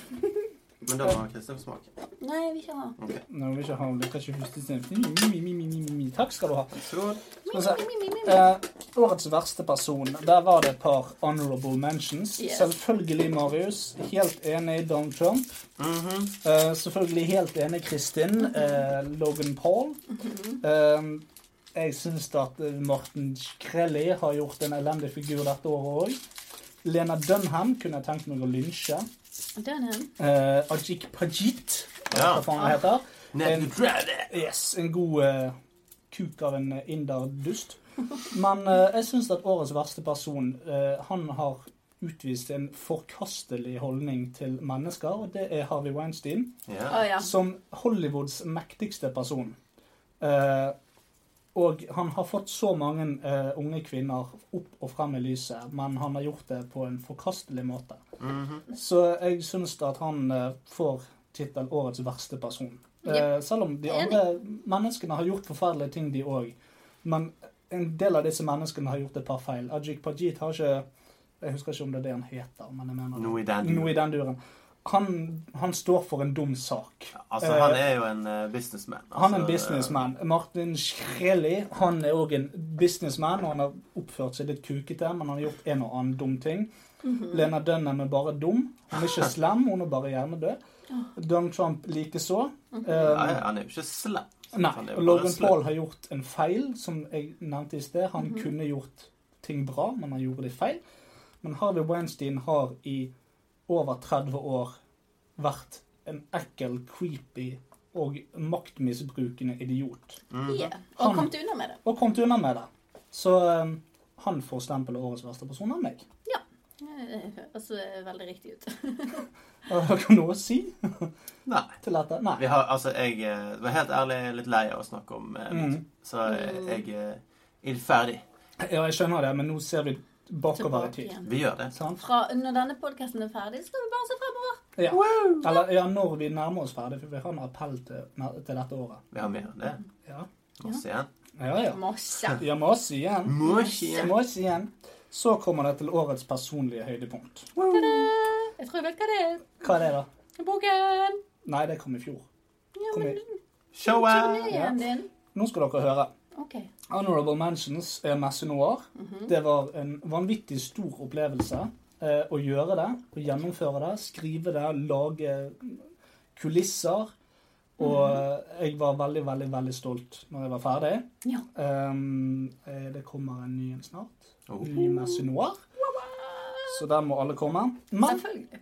Men da må Kristian få smake. ja. Nei, jeg vil ikke ha. Ok. Nå vil ikke ha om ikke huske sin. Mi, mi, mi, mi, mi, mi, mi. Takk skal du ha. Skål. Skal vi se. Mi, mi, mi, mi. Eh, årets verste person. Der var det et par honorable mentions. Yes. Selvfølgelig Marius. Helt enig Donald Trump. Mhm. Eh, selvfølgelig helt enig Kristin. eh, Logan Paul. Eh, jeg syns at eh, Morten Shkreli har gjort en elendig figur dette året òg. Lena Dunham kunne jeg tenkt meg å lynsje. Dunham. Eh, Ajik Pajit, Ja. hva faen han heter. Ned En- du drar det. Yes, en god eh, kuk av en eh, inderdust. Men eh, jeg syns at årets verste person, eh, han har utvist en forkastelig holdning til mennesker, og det er Harvey Weinstein Å ah, Ja. ja. som Hollywoods mektigste person. Eh, og han har fått så mange eh, unge kvinner opp og frem i lyset, men han har gjort det på en forkastelig måte. Mhm. Så jeg syns at han eh, får tittelen Årets verste person. Eh, Selv om de Jeg er enig. andre menneskene har gjort forferdelige ting, de òg. Men en del av disse menneskene har gjort et par feil. Ajik Pajit har ikke Jeg husker ikke om det er det han heter, men jeg mener Noe i den noe i den duren. Han, han står for en dum sak. Altså, han er jo en eh, businessman. Han er en Altså, businessman. Martin Shkreli han er òg en businessman, og han har oppført seg litt kukete, men han har gjort en og annen dum ting. Mhm. Lena Dunham er bare dum. Hun er [laughs] ikke slem, hun er bare hjernedød. Donald Trump likeså. eh, Um, Nei, han er jo ikke slem. Han Nei. er jo og bare Logan slem. Paul har gjort en feil, som jeg nevnte i sted. Han kunne gjort ting bra, men han gjorde de feil. Men Harvey Weinstein har i over 30 år vært en ekkel, creepy og maktmisbrukende idiot. Mhm. Ja. Og kom til unna med det. Og kommet unna med det. Så eh, han får stempelet årets verste person av meg. Eh, Høres eh, veldig riktig ut. Har dere noe å si Nei. til dette? Nei. Vi har, altså, jeg eh, var helt ærlig litt lei av å snakke om eh, Mm. metoo. så eh, jeg er ildferdig. Ja, jeg skjønner det, men nå ser vi bakover i Tilbake tid. igjen. Vi gjør det. Sant? Fra når denne podkasten er ferdig, skal vi bare se fremover. Ja. Eller ja, når vi nærmer oss ferdig, for vi har en appell til, til dette året. Vi har mer enn det. Ja. Masse igjen. Ja, ja. Masse. Ja, må oss igjen. Masse igjen. Må oss igjen. Så kommer det til årets personlige høydepunkt. Ta-da! Jeg tror jeg vet hva det er. Hva er det, da? Boken. Nei, det kom i fjor. Ja, Kom men i. Show out! turneen din. Nå skal dere høre. OK. Honorable Mentions er Messe Noir. Mhm. Det var en vanvittig stor opplevelse eh, å gjøre det, å gjennomføre det, skrive det, lage kulisser. Og eh, jeg var veldig, veldig veldig stolt når jeg var ferdig. Mhm. Ja. Ehm, eh, det kommer en ny en snart. Oh. Ny Messe Noir. Så der må alle komme. Men Selvfølgelig.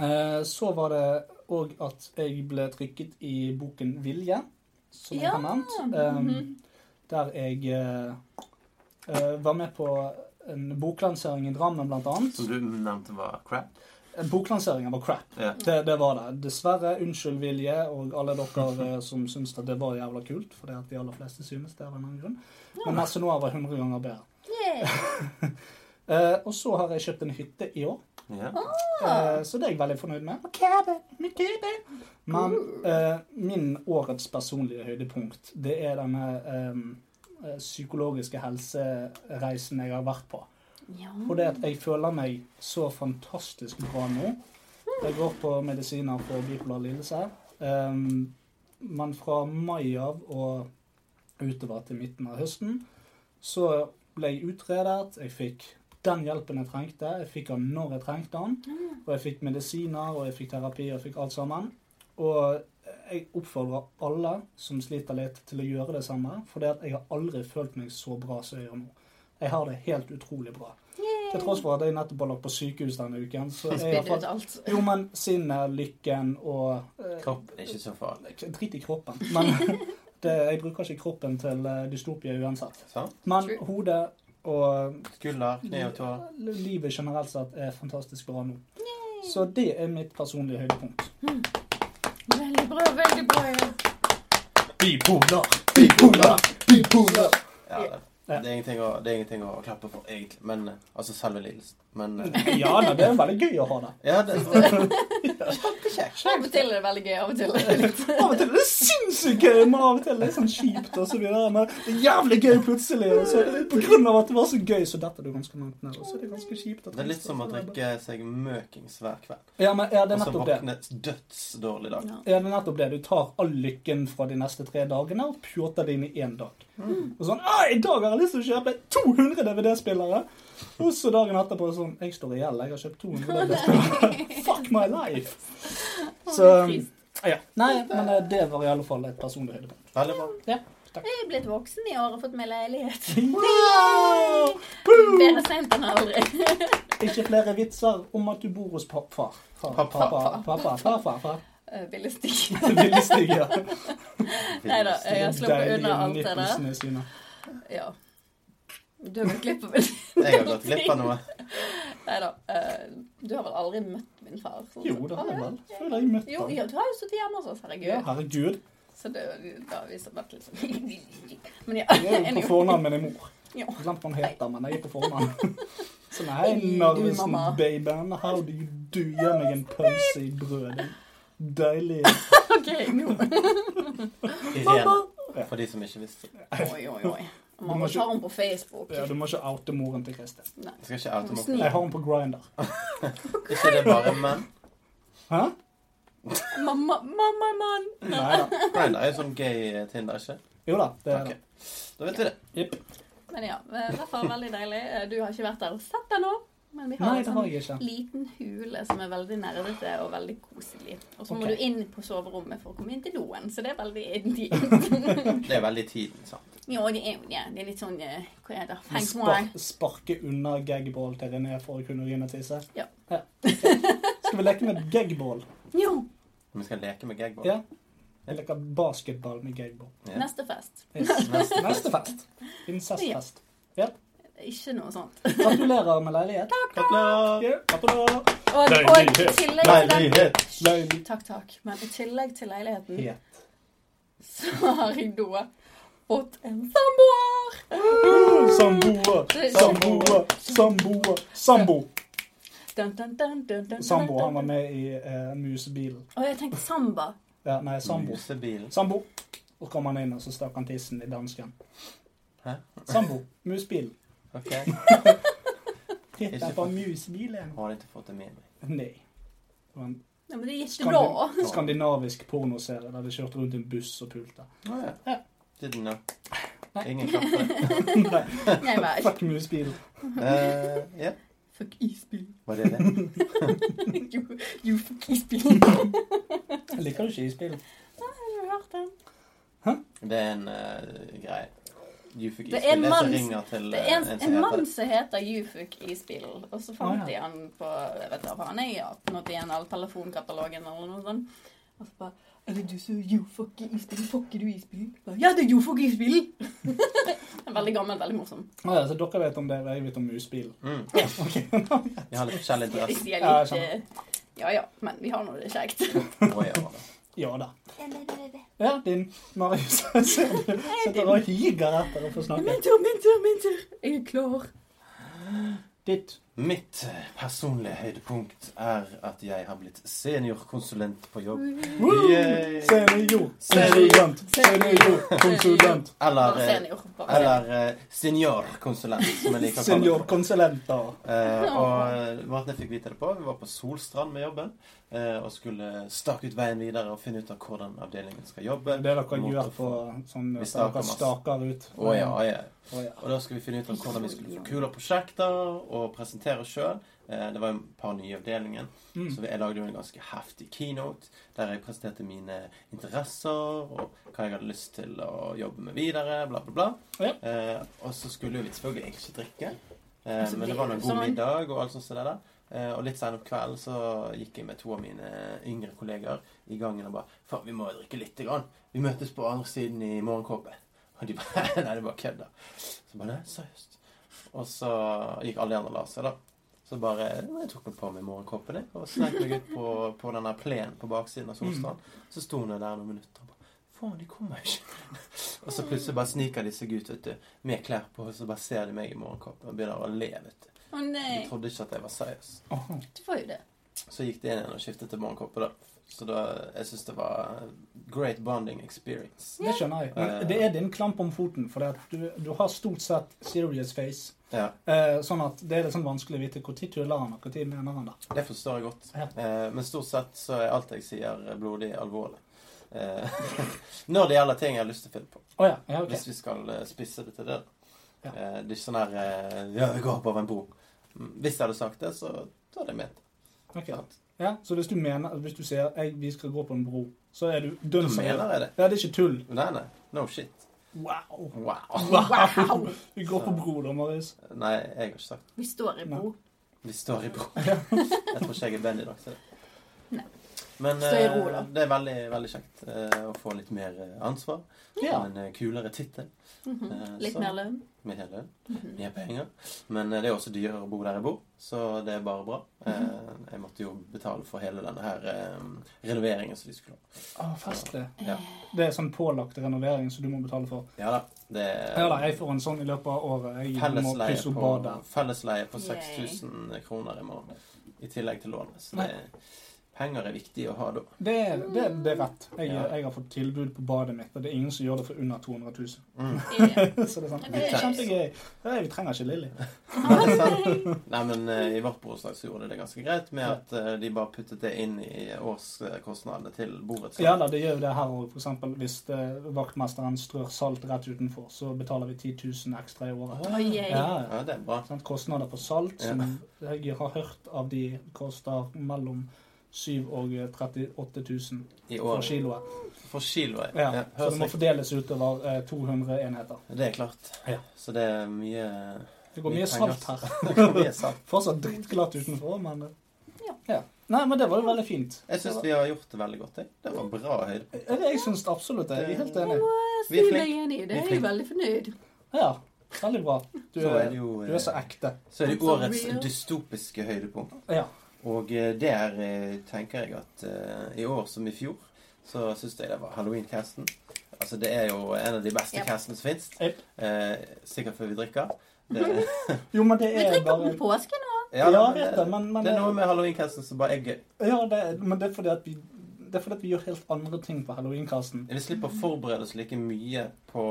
eh, så var det òg at jeg ble trykket i boken Vilje, som jeg Ja, har nevnt. Ehm, Der jeg eh, Eh, var med på en boklansering i Drammen, blant annet. Som du nevnte var crap. Eh, Boklanseringen var crap. Ja. Det, det var det. Dessverre. Unnskyld, Vilje, og alle dere eh, som syns at det var jævla kult. Fordi at de aller fleste synes det av en eller annen grunn. Men Nesse Noir var 100 ganger bedre. [laughs] Yeah. Eh, og så har jeg kjøpt en hytte i år, Ja. Ah. eh, så det er jeg veldig fornøyd med. Med cabin, med cabin. Men eh, min årets personlige høydepunkt, det er denne eh, psykologiske helsereisen jeg har vært på. Ja. Og det at jeg føler meg så fantastisk bra nå. Jeg går på medisiner for bipolar lidelse. Ehm, men fra mai av og utover til midten av høsten så ble jeg utredet. Jeg fikk den hjelpen jeg trengte. Jeg fikk den når jeg trengte den. Og jeg fikk medisiner, og jeg fikk terapi, og jeg fikk alt sammen. Og jeg oppfordrer alle som sliter litt, til å gjøre det samme. For det at jeg har aldri følt meg så bra som jeg gjør nå. Jeg har det helt utrolig bra. Til tross for at jeg nettopp har lagt på sykehus denne uken. Så jeg har Spydd ut fått alt. jo, men sinnet, lykken og eh, Kroppen er ikke så farlig. Drit i kroppen. Men [laughs] det, jeg bruker ikke kroppen til eh, dystopia uansett. Sant? Men True. hodet Sånn. og Skulder, kne og tå. Livet generelt sett er fantastisk bra nå. Så det er mitt personlige høydepunkt. Veldig bra, veldig bra. ja. Bipolar, bipolar, bipolar. Ja, det. det er ingenting å, det er ingenting å klappe for, egentlig. Men, eh, altså selve lidelsen. Men eh, [laughs] Ja, da, det er veldig gøy å ha det. Ja, det Kjempekjekt. Av og til er det veldig gøy, av og til er det litt Av og til er det sinnssykt gøy, men av og til er det sånn kjipt og så videre. Men det er jævlig gøy plutselig. Og så på grunn av at det var så gøy, så detter du ganske langt ned. Og så er det ganske kjipt. og Det er litt trist, som å og så videre. drikke seg møkings hver kveld. Ja, men ja, det er Og så nettopp det. våkne dødsdårlig dag. Ja. Ja, det er nettopp det. Du tar all lykken fra de neste tre dagene og pjåter det inn i én dag. Mm. Og sånn, «Å, I dag har jeg lyst til å kjøpe 200 DVD-spillere! Og så dagen etterpå sånn Jeg står i gjeld. Jeg har kjøpt 200 DVD-spillere. Fuck my life! Så trist. ja. Nei, men eh, det var i alle fall et personlig høydepunkt. Veldig bra. Jeg er blitt voksen i år og fått meg leilighet. [laughs] Wow! Bedre sent enn aldri. Ikke flere vitser om at du bor hos pappa. Pappa, Pappa. pappa, pappa, pappa, pappa. Eh, Ville stige. Ville stige. [laughs] Nei da, jeg har sluppet Deilige unna alt det der. nippelsene sine. Ja. Du har gått glipp av en Jeg har gått glipp av noe. Nei da. eh, Du har vel aldri møtt min far? sånn Jo, sett? det Har har du jeg vel. Føler jeg møtte Jo, han. ja, du har jo sittet hjemme hos oss, herregud. Ja, herregud. Så det da har vi så vært litt sånn [laughs] Men ja, Jeg [laughs] er jo på fornavn med din mor. Ja. Jeg Glemte hva hun heter, men jeg er på fornavn. [laughs] Sånn Så nei, Du, Narvesen, mamma. babyen. How do you do? Gjør meg en pølse i brødet. Deilig. OK, nå Irene. For de som ikke visste. Oi, oi, oi. Du må Mamma ikke- tar henne på Facebook. Ja, du må ikke oute moren til Kristin. Jeg skal ikke oute meg. Snill. Jeg har henne på Grinder. Ikke det bare menn. Hæ? Mamma, mamma, mann! Nei da. Nei, det er jo sånn gay Tinder, ikke? Jo da, det er Ok. det. Da vet vi det. Jepp. Men ja, eh, i hvert fall veldig deilig. Eh, Du har ikke vært der og sett det nå, men vi har liksom Nei, en det har jeg ikke. liten hule som er veldig nerdete og veldig koselig. Og så må Ok. du inn på soverommet for å komme inn til doen, så det er veldig [laughs] intimt. Det er veldig tiden, sant. ja, det er, ja, det er litt sånn eh, Hva er det? Du Frank Moir. spar sparker unna gagball til René for å kunne rinne og tisse. Ja. Ok. Skal vi leke med gagball? Jo! Vi skal leke med gagball. Ja. Jeg leker basketball med gagball. Ja. Neste fest. Yes. Neste. Neste fest. Incestfest. Ikke noe sånt. Gratulerer med leilighet. Gratulerer. Ja, Gratulerer. [laughs] Og, og i tillegg til den Leilighet. Leilighet. Takk, takk. Men i tillegg til leiligheten [laughs] så har jeg da fått en samboer! Uh, Samboer, samboer, samboer, sambo. Dun, dun, dun, dun, dun, Sambo, han var dun. med i eh, musebilen. Å, jeg tenkte samba. Ja, nei, sambo. Musebilen. Sambo. Og kom han inn, og så stakk han tissen i dansken. Hæ? Sambo. Musbilen. OK. Titt Ikke på fått- musbilen. Har ikke fått det med meg. Nei. Det var en Ja, men det gikk skandi- bra. skandinavisk pornoserie der de kjørte rundt i en buss og [laughs] pulte. Å ja. Ja. Didn't know. Nei. Ingen kaffe. Nei, [laughs] Nei, bare fuck musbilen. Eh, Ja, Fuck isbil. var det det? Jo, jo, fuck isbil. [laughs] Har Jeg liker jo ikke isbilen. du hørt den? Det er en eh, greie. You fikk Det er en isbil. Det som mann- ringer til Det eh, er en, som en heter- mann som heter Jufuk Isbilen, og så fant Å, ja. de han på jeg vet da faen jeg, 1881 eller telefonkatalogen eller noe sånt. Og så bare Eller du så jofucke isbil, fucker du isbil? Ja, det er jofucke isbil! Den er [laughs] Veldig gammel, veldig morsom. Ah, ja, så dere vet om det, og jeg vet om musbil. Mm. [laughs] Ok. Vi har litt forskjellig De dress. sier Ja, jeg litt eh, Ja ja, men vi har nå det [laughs] kjekt. på i år. ja da. Ja, din Marius [laughs] sitter og higer etter å få [laughs] snakke. Min tur, min tur, min tur! Jeg er klar. Ditt. Mitt eh, personlige høydepunkt er at jeg har blitt seniorkonsulent på jobb. Mm. Yay! Senior. Konsulent. Senior. Konsulent. Eller, Bare eh, senior. Bare senior. eller eh, seniorkonsulent, som jeg liker å kalle det. Seniorkonsulenter. Eh, og Martin fikk vite det på. Vi var på Solstrand med jobben eh, og skulle stake ut veien videre og finne ut av hvordan avdelingen skal jobbe. Det er det dere Mot gjør å på få- sånn Vi at staker dere masse. staker ut. Å ja, å ja. Å, ja. Og da skulle vi finne ut av hvordan vi skulle få kule prosjekter og presentere sjøl. Det var jo et par nye i avdelingen, Mm. så vi- jeg lagde jo en ganske heftig keynote der jeg presenterte mine interesser og hva jeg hadde lyst til å jobbe med videre, bla, bla, bla. Ja. Eh, Og så skulle jo vi selvfølgelig egentlig ikke drikke, eh, Altså, men det det var er nå en jo god sånn- middag og alt sånt som det der. Eh, Og litt senere på kvelden så gikk jeg med to av mine yngre kolleger i gangen og bare Faen, vi må jo drikke lite grann. Vi møtes på andre siden i morgenkåpen. Og de bare [laughs] Nei, det er bare kødd, da. Så bare, nei, seriøst. Og så gikk alle de andre og la seg, da. Så bare Jeg tok meg på meg morgenkåpen jeg, og snek meg ut på, på den der plenen på baksiden av Solstrand. Så sto hun der noen minutter og bare Faen, de kommer ikke. [laughs] og så plutselig bare sniker de seg ut, vet du, med klær på, og så bare ser de meg i morgenkåpen og begynner å le, vet du. Å De nei. trodde ikke at jeg var seriøs. Åh. eh, Du får jo det. Så gikk de inn igjen og skiftet til morgenkåpe, da. Så da Jeg syns det var great bonding experience. Det skjønner jeg. Men det er din klamp om foten, for det at du, du har stort sett serious face. Ja. Eh, sånn at det er litt sånn vanskelig å vite når tuller han, og når mener han det. Det forstår jeg godt. Ja. Eh, men stort sett så er alt jeg sier, blodig alvorlig. Eh, [laughs] når det gjelder ting jeg har lyst til å finne på. Å ja. ja ok. Hvis vi skal eh, spisse det til det. da. Ja. Eh, det er ikke sånn her eh, Ja, vi går opp over en bro. Mm, Hvis jeg hadde sagt det, så da hadde jeg ment det. Sånn. Ok. sant? Ja, så hvis du mener, hvis du sier jeg, vi skal gå på en bro, så er du Da dønn seriøs. mener jeg det. Ja, det er ikke tull. Nei, nei. No shit. Wow. Wow. Wow! Vi går på bro da, Marius. Nei, jeg har ikke sagt det. Vi står i bro. Vi står i bro. jeg tror ikke jeg er venn i dag til det. Nei. Men Stå i eh, ro, da. det er veldig, veldig kjekt eh, å få litt mer eh, ansvar. Ja. En eh, kulere tittel. Eh, Mhm. Litt så- mer lønn. med hele lønn. Mhm. Mye penger. Men eh, det er også dyrere å bo der jeg bor, så det er bare bra. Eh, Mhm. Jeg måtte jo betale for hele denne her eh, renoveringen som de skulle ha. Å, festlig. Ja. Det er sånn pålagt renovering som du må betale for. Ja da. Det Ja da, er jeg får en sånn i løpet av året. Jeg må fellesleie pusse opp på, badet. fellesleie på Yay. 6000 kroner i måneden. I tillegg til lånet. Så det, penger er viktig å ha da. Det, er- det, er- det er rett. Jeg, Ja. jeg har fått tilbud på badet mitt, og det er ingen som gjør det for under 200 000. Mm. Ja. [laughs] Så det er sånn, Ja, det det er er kjempegøy. Nei, vi trenger ikke Lilly. [laughs] ah, Nei, men eh, i vårt borettslag så gjorde de det ganske greit med at eh, de bare puttet det inn i årskostnadene til Ja borettslaget. da, det gjør jo det her òg. For eksempel hvis eh, vaktmesteren strør salt rett utenfor, så betaler vi 10 000 ekstra i året. Oi, ei. Ja, ja. Ja, det er bra. Sånn, kostnader på salt, som jeg har hørt av de koster mellom 7 og 38 000 I for år. kiloet. For kiloet. Ja, så høres det må fordeles utover eh, 200 enheter. Det er klart. Ja. Så det er mye [laughs] Det går mye salt her. Det går mye salt. Fortsatt drittglatt utenfor, men eh, Ja. ja. Nei, men det var jo veldig fint. Jeg syns vi har gjort det veldig godt. Jeg. Det var bra høyde. Ja, det- Jeg syns det absolutt det. Jeg sånn er helt enig. Jeg må eh, Vi er si flink. meg enig i Vi det. er Jeg er flink. veldig fornøyd. Ja, veldig bra. Du Så er er, det jo du eh, er så ekte. Så er det I'm so årets real. dystopiske høydepunkt. Ja. Og eh, der eh, tenker jeg at eh, i år som i fjor, så syns jeg det var Halloween-casten. Altså det er jo en av de beste Yep. castene som fins. Yep. Eh, sikkert før vi [laughs] drikker. Det, Jo, men det Vi er drikker bare på påske nå. Ja, da, jeg vet det, men, men eh, det er noe med Halloween-casten som bare er gøy. Ja, det, men det er fordi at vi det er fordi at vi gjør helt andre ting på halloweenkassen. Vi slipper å forberede oss like mye på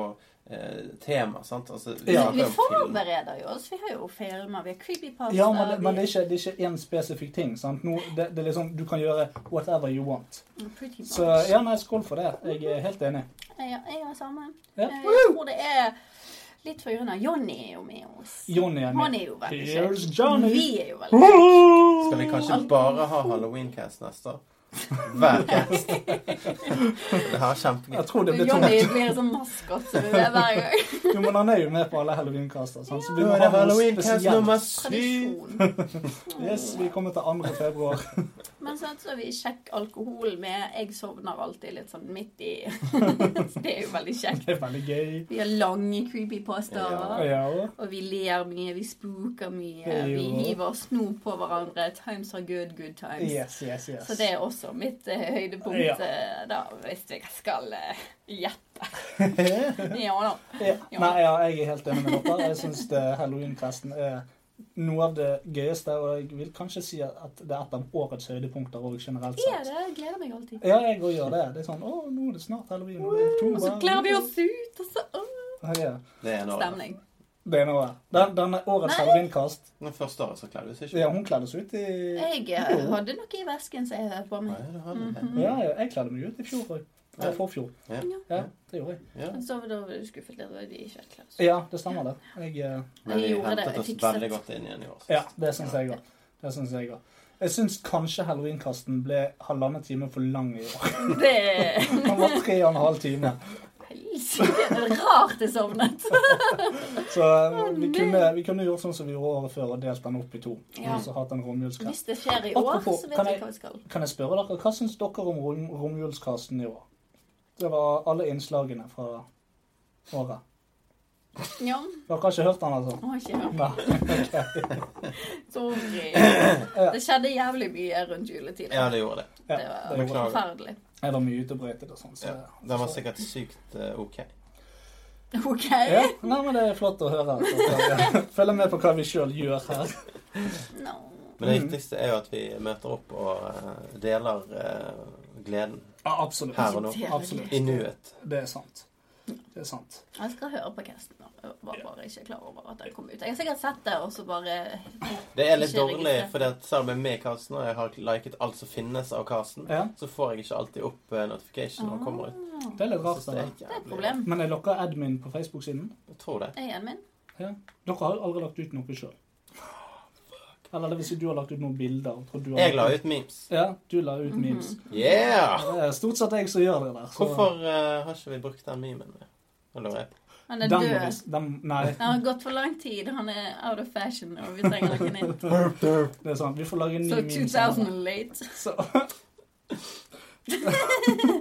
eh, tema, sant? Altså, Ja. snakker Vi om film. forbereder jo oss. Vi har jo filmer, vi har creepypasta. Ja, men, det, men det, vi- er ikke, det er ikke én spesifikk ting. sant? Nå, det, det er liksom, Du kan gjøre whatever you want. Pretty much. Så ja, nei, skål for det. Jeg er helt enig. Ja, jeg har samme. Ja. Eh, Jeg tror det er litt for grunn av Johnny er jo med oss. Johnny er Han med. er jo veldig Here's kjekk. Johnny. Vi er jo veldig kjekk. Skal vi kanskje bare ha Halloween-cast neste år? Hver cast. Det her er kjempegøy. Jeg tror det blir Johnny tungt. blir sånn maskot som vi er hver [laughs] gang. Jo, men han er jo med på alle halloweenkaster. sant? Så vi Nå må er det ha noe Halloween-cast spesielt. nummer syv. [laughs] Tradisjon. Yes, vi kommer til 2. februar. [laughs] Men sånn så vi sjekk alkohol med Jeg sovner alltid litt sånn midt [laughs] i Så det er jo veldig kjekt. Det er veldig gøy. Vi har lange creepy pastaer. Ja, ja. Og vi ler mye, vi spooker mye. Vi Jo. hiver snop på hverandre. Times are good, good times. Yes, yes, yes. Så det er også mitt eh, høydepunkt, Ja. eh, da, hvis jeg skal eh, [laughs] gjette. ja da. Ja. Nei, ja, jeg er helt enig med dere. Jeg syns halloweenfesten er noe av det gøyeste, og jeg vil kanskje si at det er et av årets høydepunkter òg, generelt Er sett. det? Jeg gleder meg alltid. Ja, jeg òg gjør det. Det er sånn Å, nå er det snart halloween. og det er Og så oktober». kler vi oss ut, og så åh, Ja. Det er nå. Stemning. Det er noe. Den, denne årets Nei. halloweenkast Men første året så kledde du seg ikke. ja, Hun kledde seg ut i Jeg eh, hadde noe i vesken som jeg hadde på meg. Nei, du hadde det. Mm-hmm. Ja, ja, jeg kledde meg ut i fjor òg. Eller forfjor. Ja. Ja, det gjorde jeg. Ja. Men Så da var du skuffet litt over de kjøttklausene. Ja, det stemmer det. Jeg, eh, Men vi Jeg gjorde det, hentet jeg oss fikset. veldig godt inn igjen i år. synes ja, jeg. det syns jeg òg. Det syns jeg òg. Jeg syns kanskje halloweenkasten ble halvannen time for lang i år. [laughs] [laughs] Det er Han var tre og en halv time. helsike det er rart jeg sovnet. Så eh, vi kunne, vi kunne gjort sånn som vi gjorde året før, og delt den opp i to. Ja. Og så hatt en romjulskast. Hvis det skjer i år, Apropos, så kan vet vi jeg- hva vi skal. Kan jeg spørre dere, hva syns dere om rom, romjulskasten i år? Det var alle innslagene fra året. Ja, Dere har ikke hørt den, altså? å, ikke hørt. Nei. [laughs] Sorry. Det skjedde jævlig mye rundt juletid. Ja, det gjorde det. Ja, Det var- det gjorde jeg. Forferdelig. Jeg var mye ute og brøytet og sånn, så Ja. Den var sikkert sykt eh, OK. OK. ja. Nei, men det er flott å [laughs] høre. at dere Følger med på hva vi sjøl gjør her. No. Men det Mhm. viktigste er jo at vi møter opp og eh, deler eh, gleden Ja, absolutt. Her og nå. Absolutt. i nuet. Det er sant. Det er sant. Jeg skal høre på casten. nå. Jeg var bare ikke klar over at den kom ut. Jeg har sikkert sett det, og så bare Det er litt Ikke dårlig, registrert. for selv om jeg er med i casten og jeg har liket alt som finnes av casten, Ja, så får jeg ikke alltid opp eh, notification når den kommer ut. Ah, det er litt Jeg rart. synes det Det. er Det er et jævlig- problem. Men er dere admin på Facebook-siden? Jeg tror det. Er jeg min? Dere har jo aldri lagt ut noe sjøl. Eller det vil si, du har lagt ut noen bilder. og tror du har Jeg la ut memes. Ja, du la Mhm. ut memes. Yeah! Det er stort sett jeg som gjør det der. så- Hvorfor eh, har ikke vi brukt den memen? Nå lurer jeg på. Han er Den må død. vi- den- Nei, Det har gått for lang tid. Han er out of fashion, og vi trenger noen inn. det er sant. Vi får lage en ny Så meme. 2000 and late. Så. [laughs]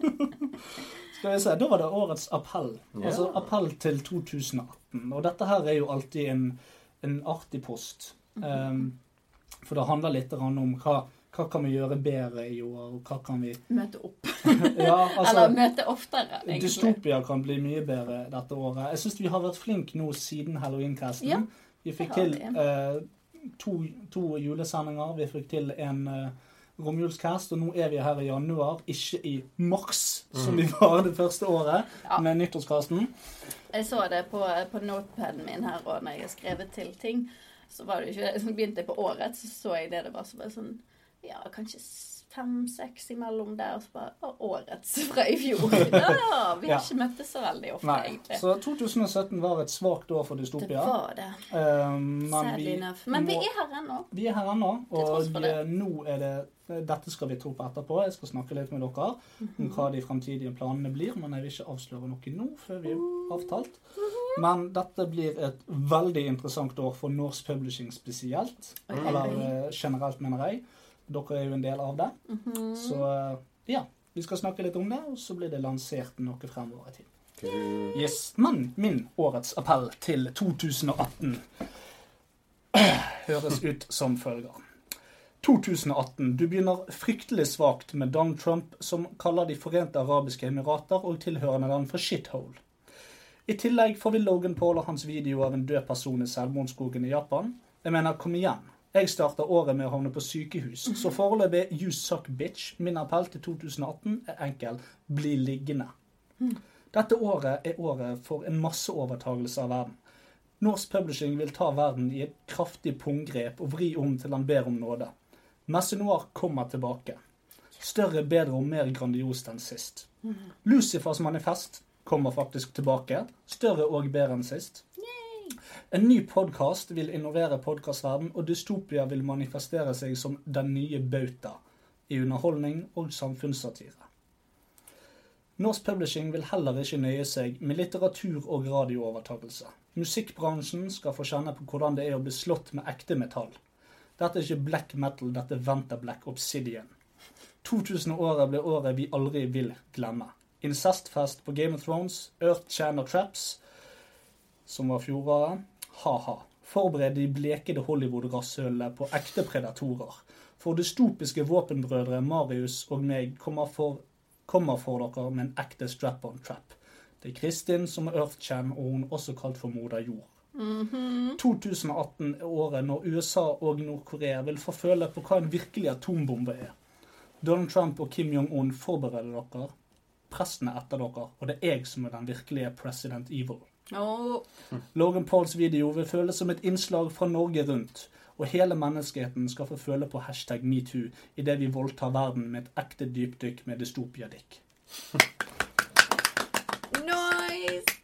Skal vi se, Da var det årets appell. Altså Ja. appell til 2018. Og dette her er jo alltid en, en artig post. Mhm. Um, for det handler litt grann om hva, hva kan vi gjøre bedre i år, og hva kan vi Møte opp. [laughs] Ja, Eller altså møte oftere, egentlig. Dystopia kan bli mye bedre dette året. Jeg syns vi har vært flinke nå siden halloweencasten. Ja, vi fikk det har til eh, to, to julesendinger, vi fikk til en eh, romjulscast, og nå er vi her i januar, ikke i mars, som vi var det første året, Mm. Ja. med nyttårscasten. Jeg så det på, på notepaden min her, og når jeg har skrevet til ting, så var det jo ikke Så begynte jeg på året, så så jeg det det var så bare sånn Ja, kanskje fem-seks imellom der, og så bare Å, årets fra i [laughs] fjor. Ja, ja. Vi har Ja. ikke møttes så veldig ofte, Nei. egentlig. Så 2017 var et svakt år for Det dystopia. var det. Eh, men Sadly vi, enough. Men vi må- er her ennå. Vi er her ennå, Til tross og for det. eh, nå er det eh, Dette skal vi ta opp etterpå. Jeg skal snakke litt med dere om Mm, hva de fremtidige planene blir, men jeg vil ikke avsløre noe nå før vi er avtalt. Men dette blir et veldig interessant år for norsk publishing spesielt. Oi, oi, Eller oi. eh, generelt, mener jeg. Dere er jo en del av det. Mhm. Så eh, ja, vi skal snakke litt om det, og så blir det lansert noe fremover i tid. Yes, Men min årets appell til 2018 høres ut som følger. 2018. Du begynner fryktelig svakt med Don Trump, som kaller De forente arabiske emirater og tilhørende land for shithole. I tillegg får vi Logan Paul og hans video av en død person i Selvmordsskogen i Japan. Jeg mener, kom igjen. Jeg starter året med å havne på sykehus, så foreløpig you suck bitch. Min appell til 2018 er enkel. Bli liggende. Dette året er året for en masseovertagelse av verden. Norsk Publishing vil ta verden i et kraftig punggrep og vri om til han ber om nåde. Messe Noir kommer tilbake. Større, bedre og mer grandiost enn sist. Lucifers manifest kommer faktisk tilbake. Større og bedre enn sist. En ny podkast vil innovere podkastverdenen, og dystopia vil manifestere seg som den nye bauta i underholdning og samfunnssatire. Norsk Publishing vil heller ikke nøye seg med litteratur og radioovertakelse. Musikkbransjen skal få kjenne på hvordan det er å bli slått med ekte metall. Dette er ikke black metal, dette er Venter Black Obsidian. 2000-året ble året vi aldri vil glemme. Incestfest på Game of Thrones, Earth Channel Traps, som var fjoråret. Ha-ha. Forbered de blekede Hollywood-rasshølene på ekte predatorer. For dystopiske våpenbrødre Marius og meg kommer for, kommer for dere med en ekte strap-on-trap. Det er Kristin som er Earth-Chan, og hun er også kalt for Moder Jord. 2018 er året når USA og Nord-Korea vil få føle på hva en virkelig atombombe er. Donald Trump og Kim Jong-un forbereder dere, presten er etter dere, og det er jeg som er den virkelige president evil. Åh, Logan Pauls video vil føles som et innslag fra Norge rundt, og hele menneskeheten skal få føle på hashtag metoo idet vi voldtar verden med et ekte dypdykk med dystopiadikk. nice!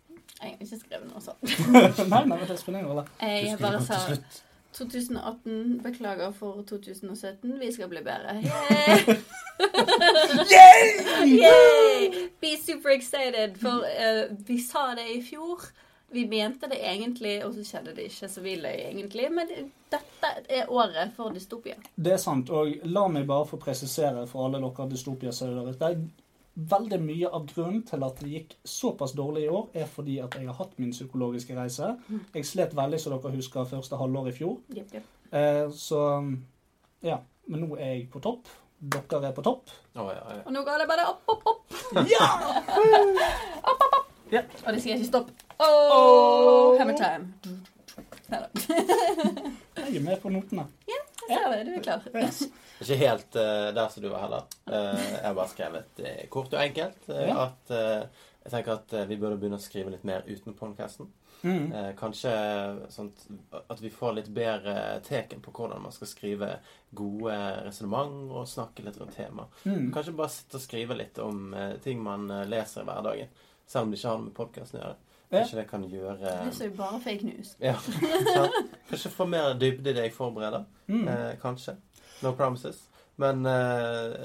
Jeg har ikke skrevet noe sånt. nei, nei, men det spiller ingen rolle. Eh, Jeg skriver bare det sa til slutt. 2018, beklager for 2017. Vi skal bli [laughs] bedre. Yay! Yay! Be super excited, for eh, vi sa det i fjor. Vi mente det egentlig, og så skjedde det ikke, så vi løy egentlig. Men det- dette er året for dystopia. Det er sant, og la meg bare få presisere for alle dere dystopiasauer der ute. Veldig mye av grunnen til at det gikk såpass dårlig i år, er fordi at jeg har hatt min psykologiske reise. Jeg slet veldig, som dere husker, første halvår i fjor. Jepp, jepp. Eh, så ja. Men nå er jeg på topp. Dere er på topp. Å, ja, ja. Og nå går det bare opp, opp, [laughs] opp. Ja. Og det skal ikke stoppe. Oh, hammer time. Neida. Jeg er med på notene. Jeg ser det, du er klar. Yes. Ikke helt eh, der som du var heller. Eh, jeg har bare skrevet eh, kort og enkelt eh, Ja. at eh, jeg tenker at eh, vi burde begynne å skrive litt mer uten podcasten. Mm. Eh, kanskje sånn at- at vi får litt bedre teken på hvordan man skal skrive gode resonnement og snakke litt rundt tema. Mm. Kanskje bare sitte og skrive litt om eh, ting man eh, leser i hverdagen. Selv om det ikke har noe med podkasten å gjøre. Kanskje det kan gjøre eh, Det er jo bare fake news. ja, [laughs] sant? Kanskje få mer dybde i det jeg forbereder. Mm. Eh, kanskje. No promises. Men eh,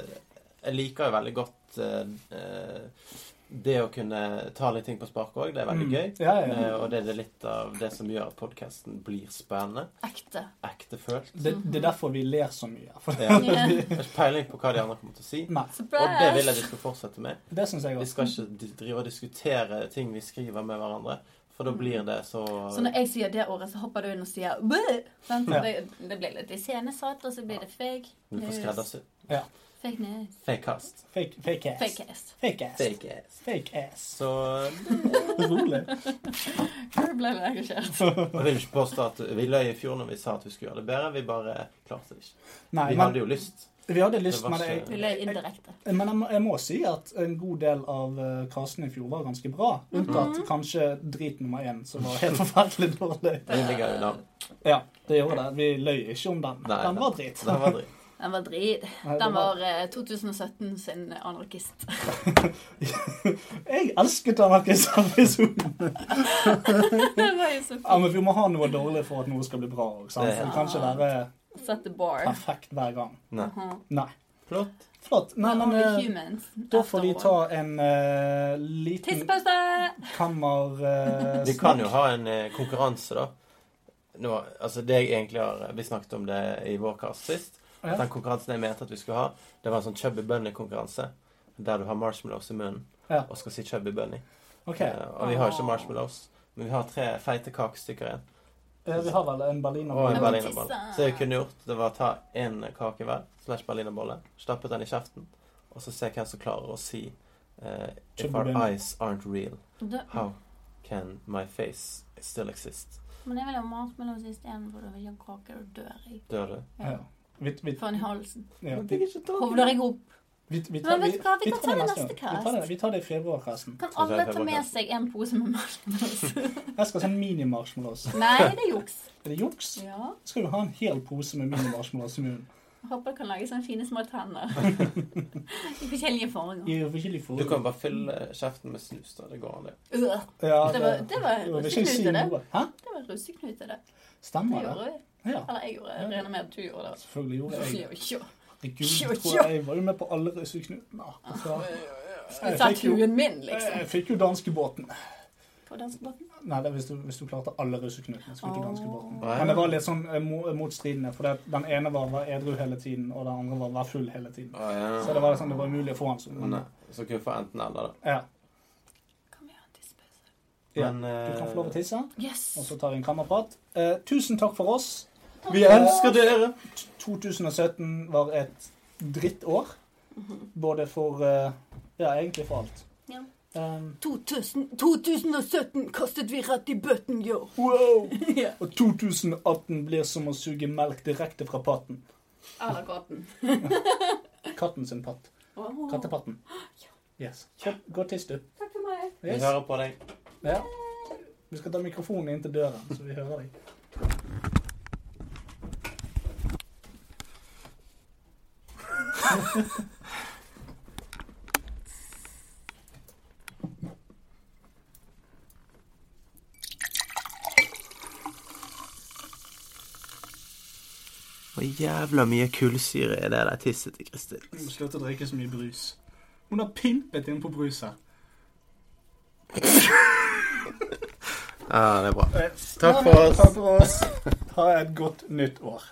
jeg liker jo veldig godt eh, eh, det å kunne ta litt ting på sparket òg. Det er veldig Mm. gøy. Ja, ja. Eh, og det er litt av det som gjør at podkasten blir spennende. Ekte. [laughs] Ektefølt. Det, det er derfor vi ler så mye. For Ja. Jeg Yeah. har ikke peiling på hva de andre kommer til å si. Nei, Og det vil Surprise! jeg vi skal fortsette med. det syns jeg Vi også. skal ikke di- drive og diskutere ting vi skriver med hverandre, for da blir det så Mm. Så når jeg sier det ordet, så hopper du inn og sier «Bæ!» Sant? Ja. Det, det blir litt iscenesatt, og så blir det fake Vi får news. skreddersydd. Fake news. Fake cast. Fake, fake ass. Fake ass. Fake ass. Fake ass. Fake ass. Så Rolig. Hvor [laughs] ble det engasjert? Jeg vil ikke påstå at vi løy i fjor når vi sa at vi skulle gjøre det bedre. Vi bare klarte det ikke. [laughs] Nei, Vi men hadde jo lyst. vi hadde lyst, Det var men jeg, ikke- Du løy indirekte. men jeg, må, jeg må si at en god del av eh, casten i fjor var ganske bra. Unntatt kanskje drit nummer én, som var helt [laughs] forferdelig dårlig. Det ligger jo i navn. Ja, det gjorde det. Vi løy ikke om den. Nei, den var drit. Det var dritt. Den var drit. Nei, det Den var eh, 2017 sin anarkist. Jeg elsket den arkivsepisoden. Det var jo så Ja, fint. men vi må ha noe dårlig for at noe skal bli bra òg. Det er Det helt kan ikke være Set the bar. perfekt hver gang. Nei. Mhm. Nei. Flott. Flott. Nei, men Only eh, humans. da får vi After all. ta en eh, liten [laughs] Tissepause! kammer... eh, Vi kan jo ha en eh, konkurranse, da. Nå, altså det jeg egentlig har Vi snakket om det i vår cast sist. At Ja. Den konkurransen jeg mente at vi skulle ha, det var en sånn Chubby Bunny-konkurranse. Der du har marshmallows i munnen Ja. og skal si Chubby Bunny. Ok, Eh, og vi har ikke marshmallows, men vi har tre feite kakestykker igjen. eh, vi har vel en berliner. Og en Jeg må berlinerbolle. tisse. Så det jeg kunne gjort, det var å ta én kake hver, slash berlinerbolle, stappe den i kjeften, og så se hvem som klarer å si eh, If our Chubby-bunny. eyes aren't real, Da, how can my face still exist? men jeg vil ha matmelon istedenfor å ha kaker og dør i. Dør du? Ja. Vi, vi, Får den i halsen. ja. Men det er ikke dårlig. Hovner jeg opp. Vi, vi, tar, Men vi, vet du hva, vi vi kan ta tar det det neste neste gang. Vi tar det, cast. vi tar det i februar, forresten. Kan Så det er alle ta februar, med kanskje. seg en pose med marshmallows? [laughs] Jeg skal ha sånn en mini-marshmallows. Nei, det er juks. Er det juks? Ja. Skal du ha en hel pose med mini-marshmallows i munnen? Håper du kan lage sånne fine små [laughs] tenner. I forskjellige former. I forskjellig Du form. kan bare fylle kjeften med snus, da. Det går an, det. Øh, Ja, Det var- det var- Jo, vil ikke jeg si det. noe. Hæ? Det var russeknute, det. Det Stemmer det? gjorde vi. Ja. Eller jeg gjorde det. Jeg regner med at du gjorde det. Selvfølgelig gjorde jeg det. Fy, tjo. Herregud, Tjo, jeg tjo. tror jeg var jo med på alle russeknutene. Du satt huden min, liksom. Jeg fikk jo danskebåten. på danskebåten? Nei, det er hvis du, hvis du klarte alle russeknutene, så fikk du Åh. danskebåten. Nei. Men det var litt sånn eh, mo- motstridende, for det, den ene var, var edru hele tiden, og den andre var, var full hele tiden. Å, ja. eh, Så det var sånn, det var umulig å få han sånn. Men, Nei, Så kunne vi få enten eller, da. ja. Kan vi ha en tissepause? Ja, Men Du kan få lov å eh, tisse, Yes! og så tar vi en kammerprat. Eh, tusen takk for oss. Vi elsker dere! 2017 var et drittår, Mhm. både for eh, Ja, egentlig for alt. Ja. Um, 2017 kastet vi rett i bøtten, yo. wow! [laughs] Ja. Og 2018 blir som å suge melk direkte fra patten. Eller katten. Katten sin patt. Åh. Kattepatten. Yes. Gå, gå og tiss, du. Takk for meg. Vi Yes. hører på deg. Ja. Vi skal ta mikrofonen inn til døren, så vi hører deg. Hvor jævla mye kullsyre er det der tisset til Kristin? Hun må slutte å drikke så mye brus. Hun har pimpet innpå bruset. Ja, det er bra. Eh, Takk for oss. Takk for oss. Ha et godt nytt år.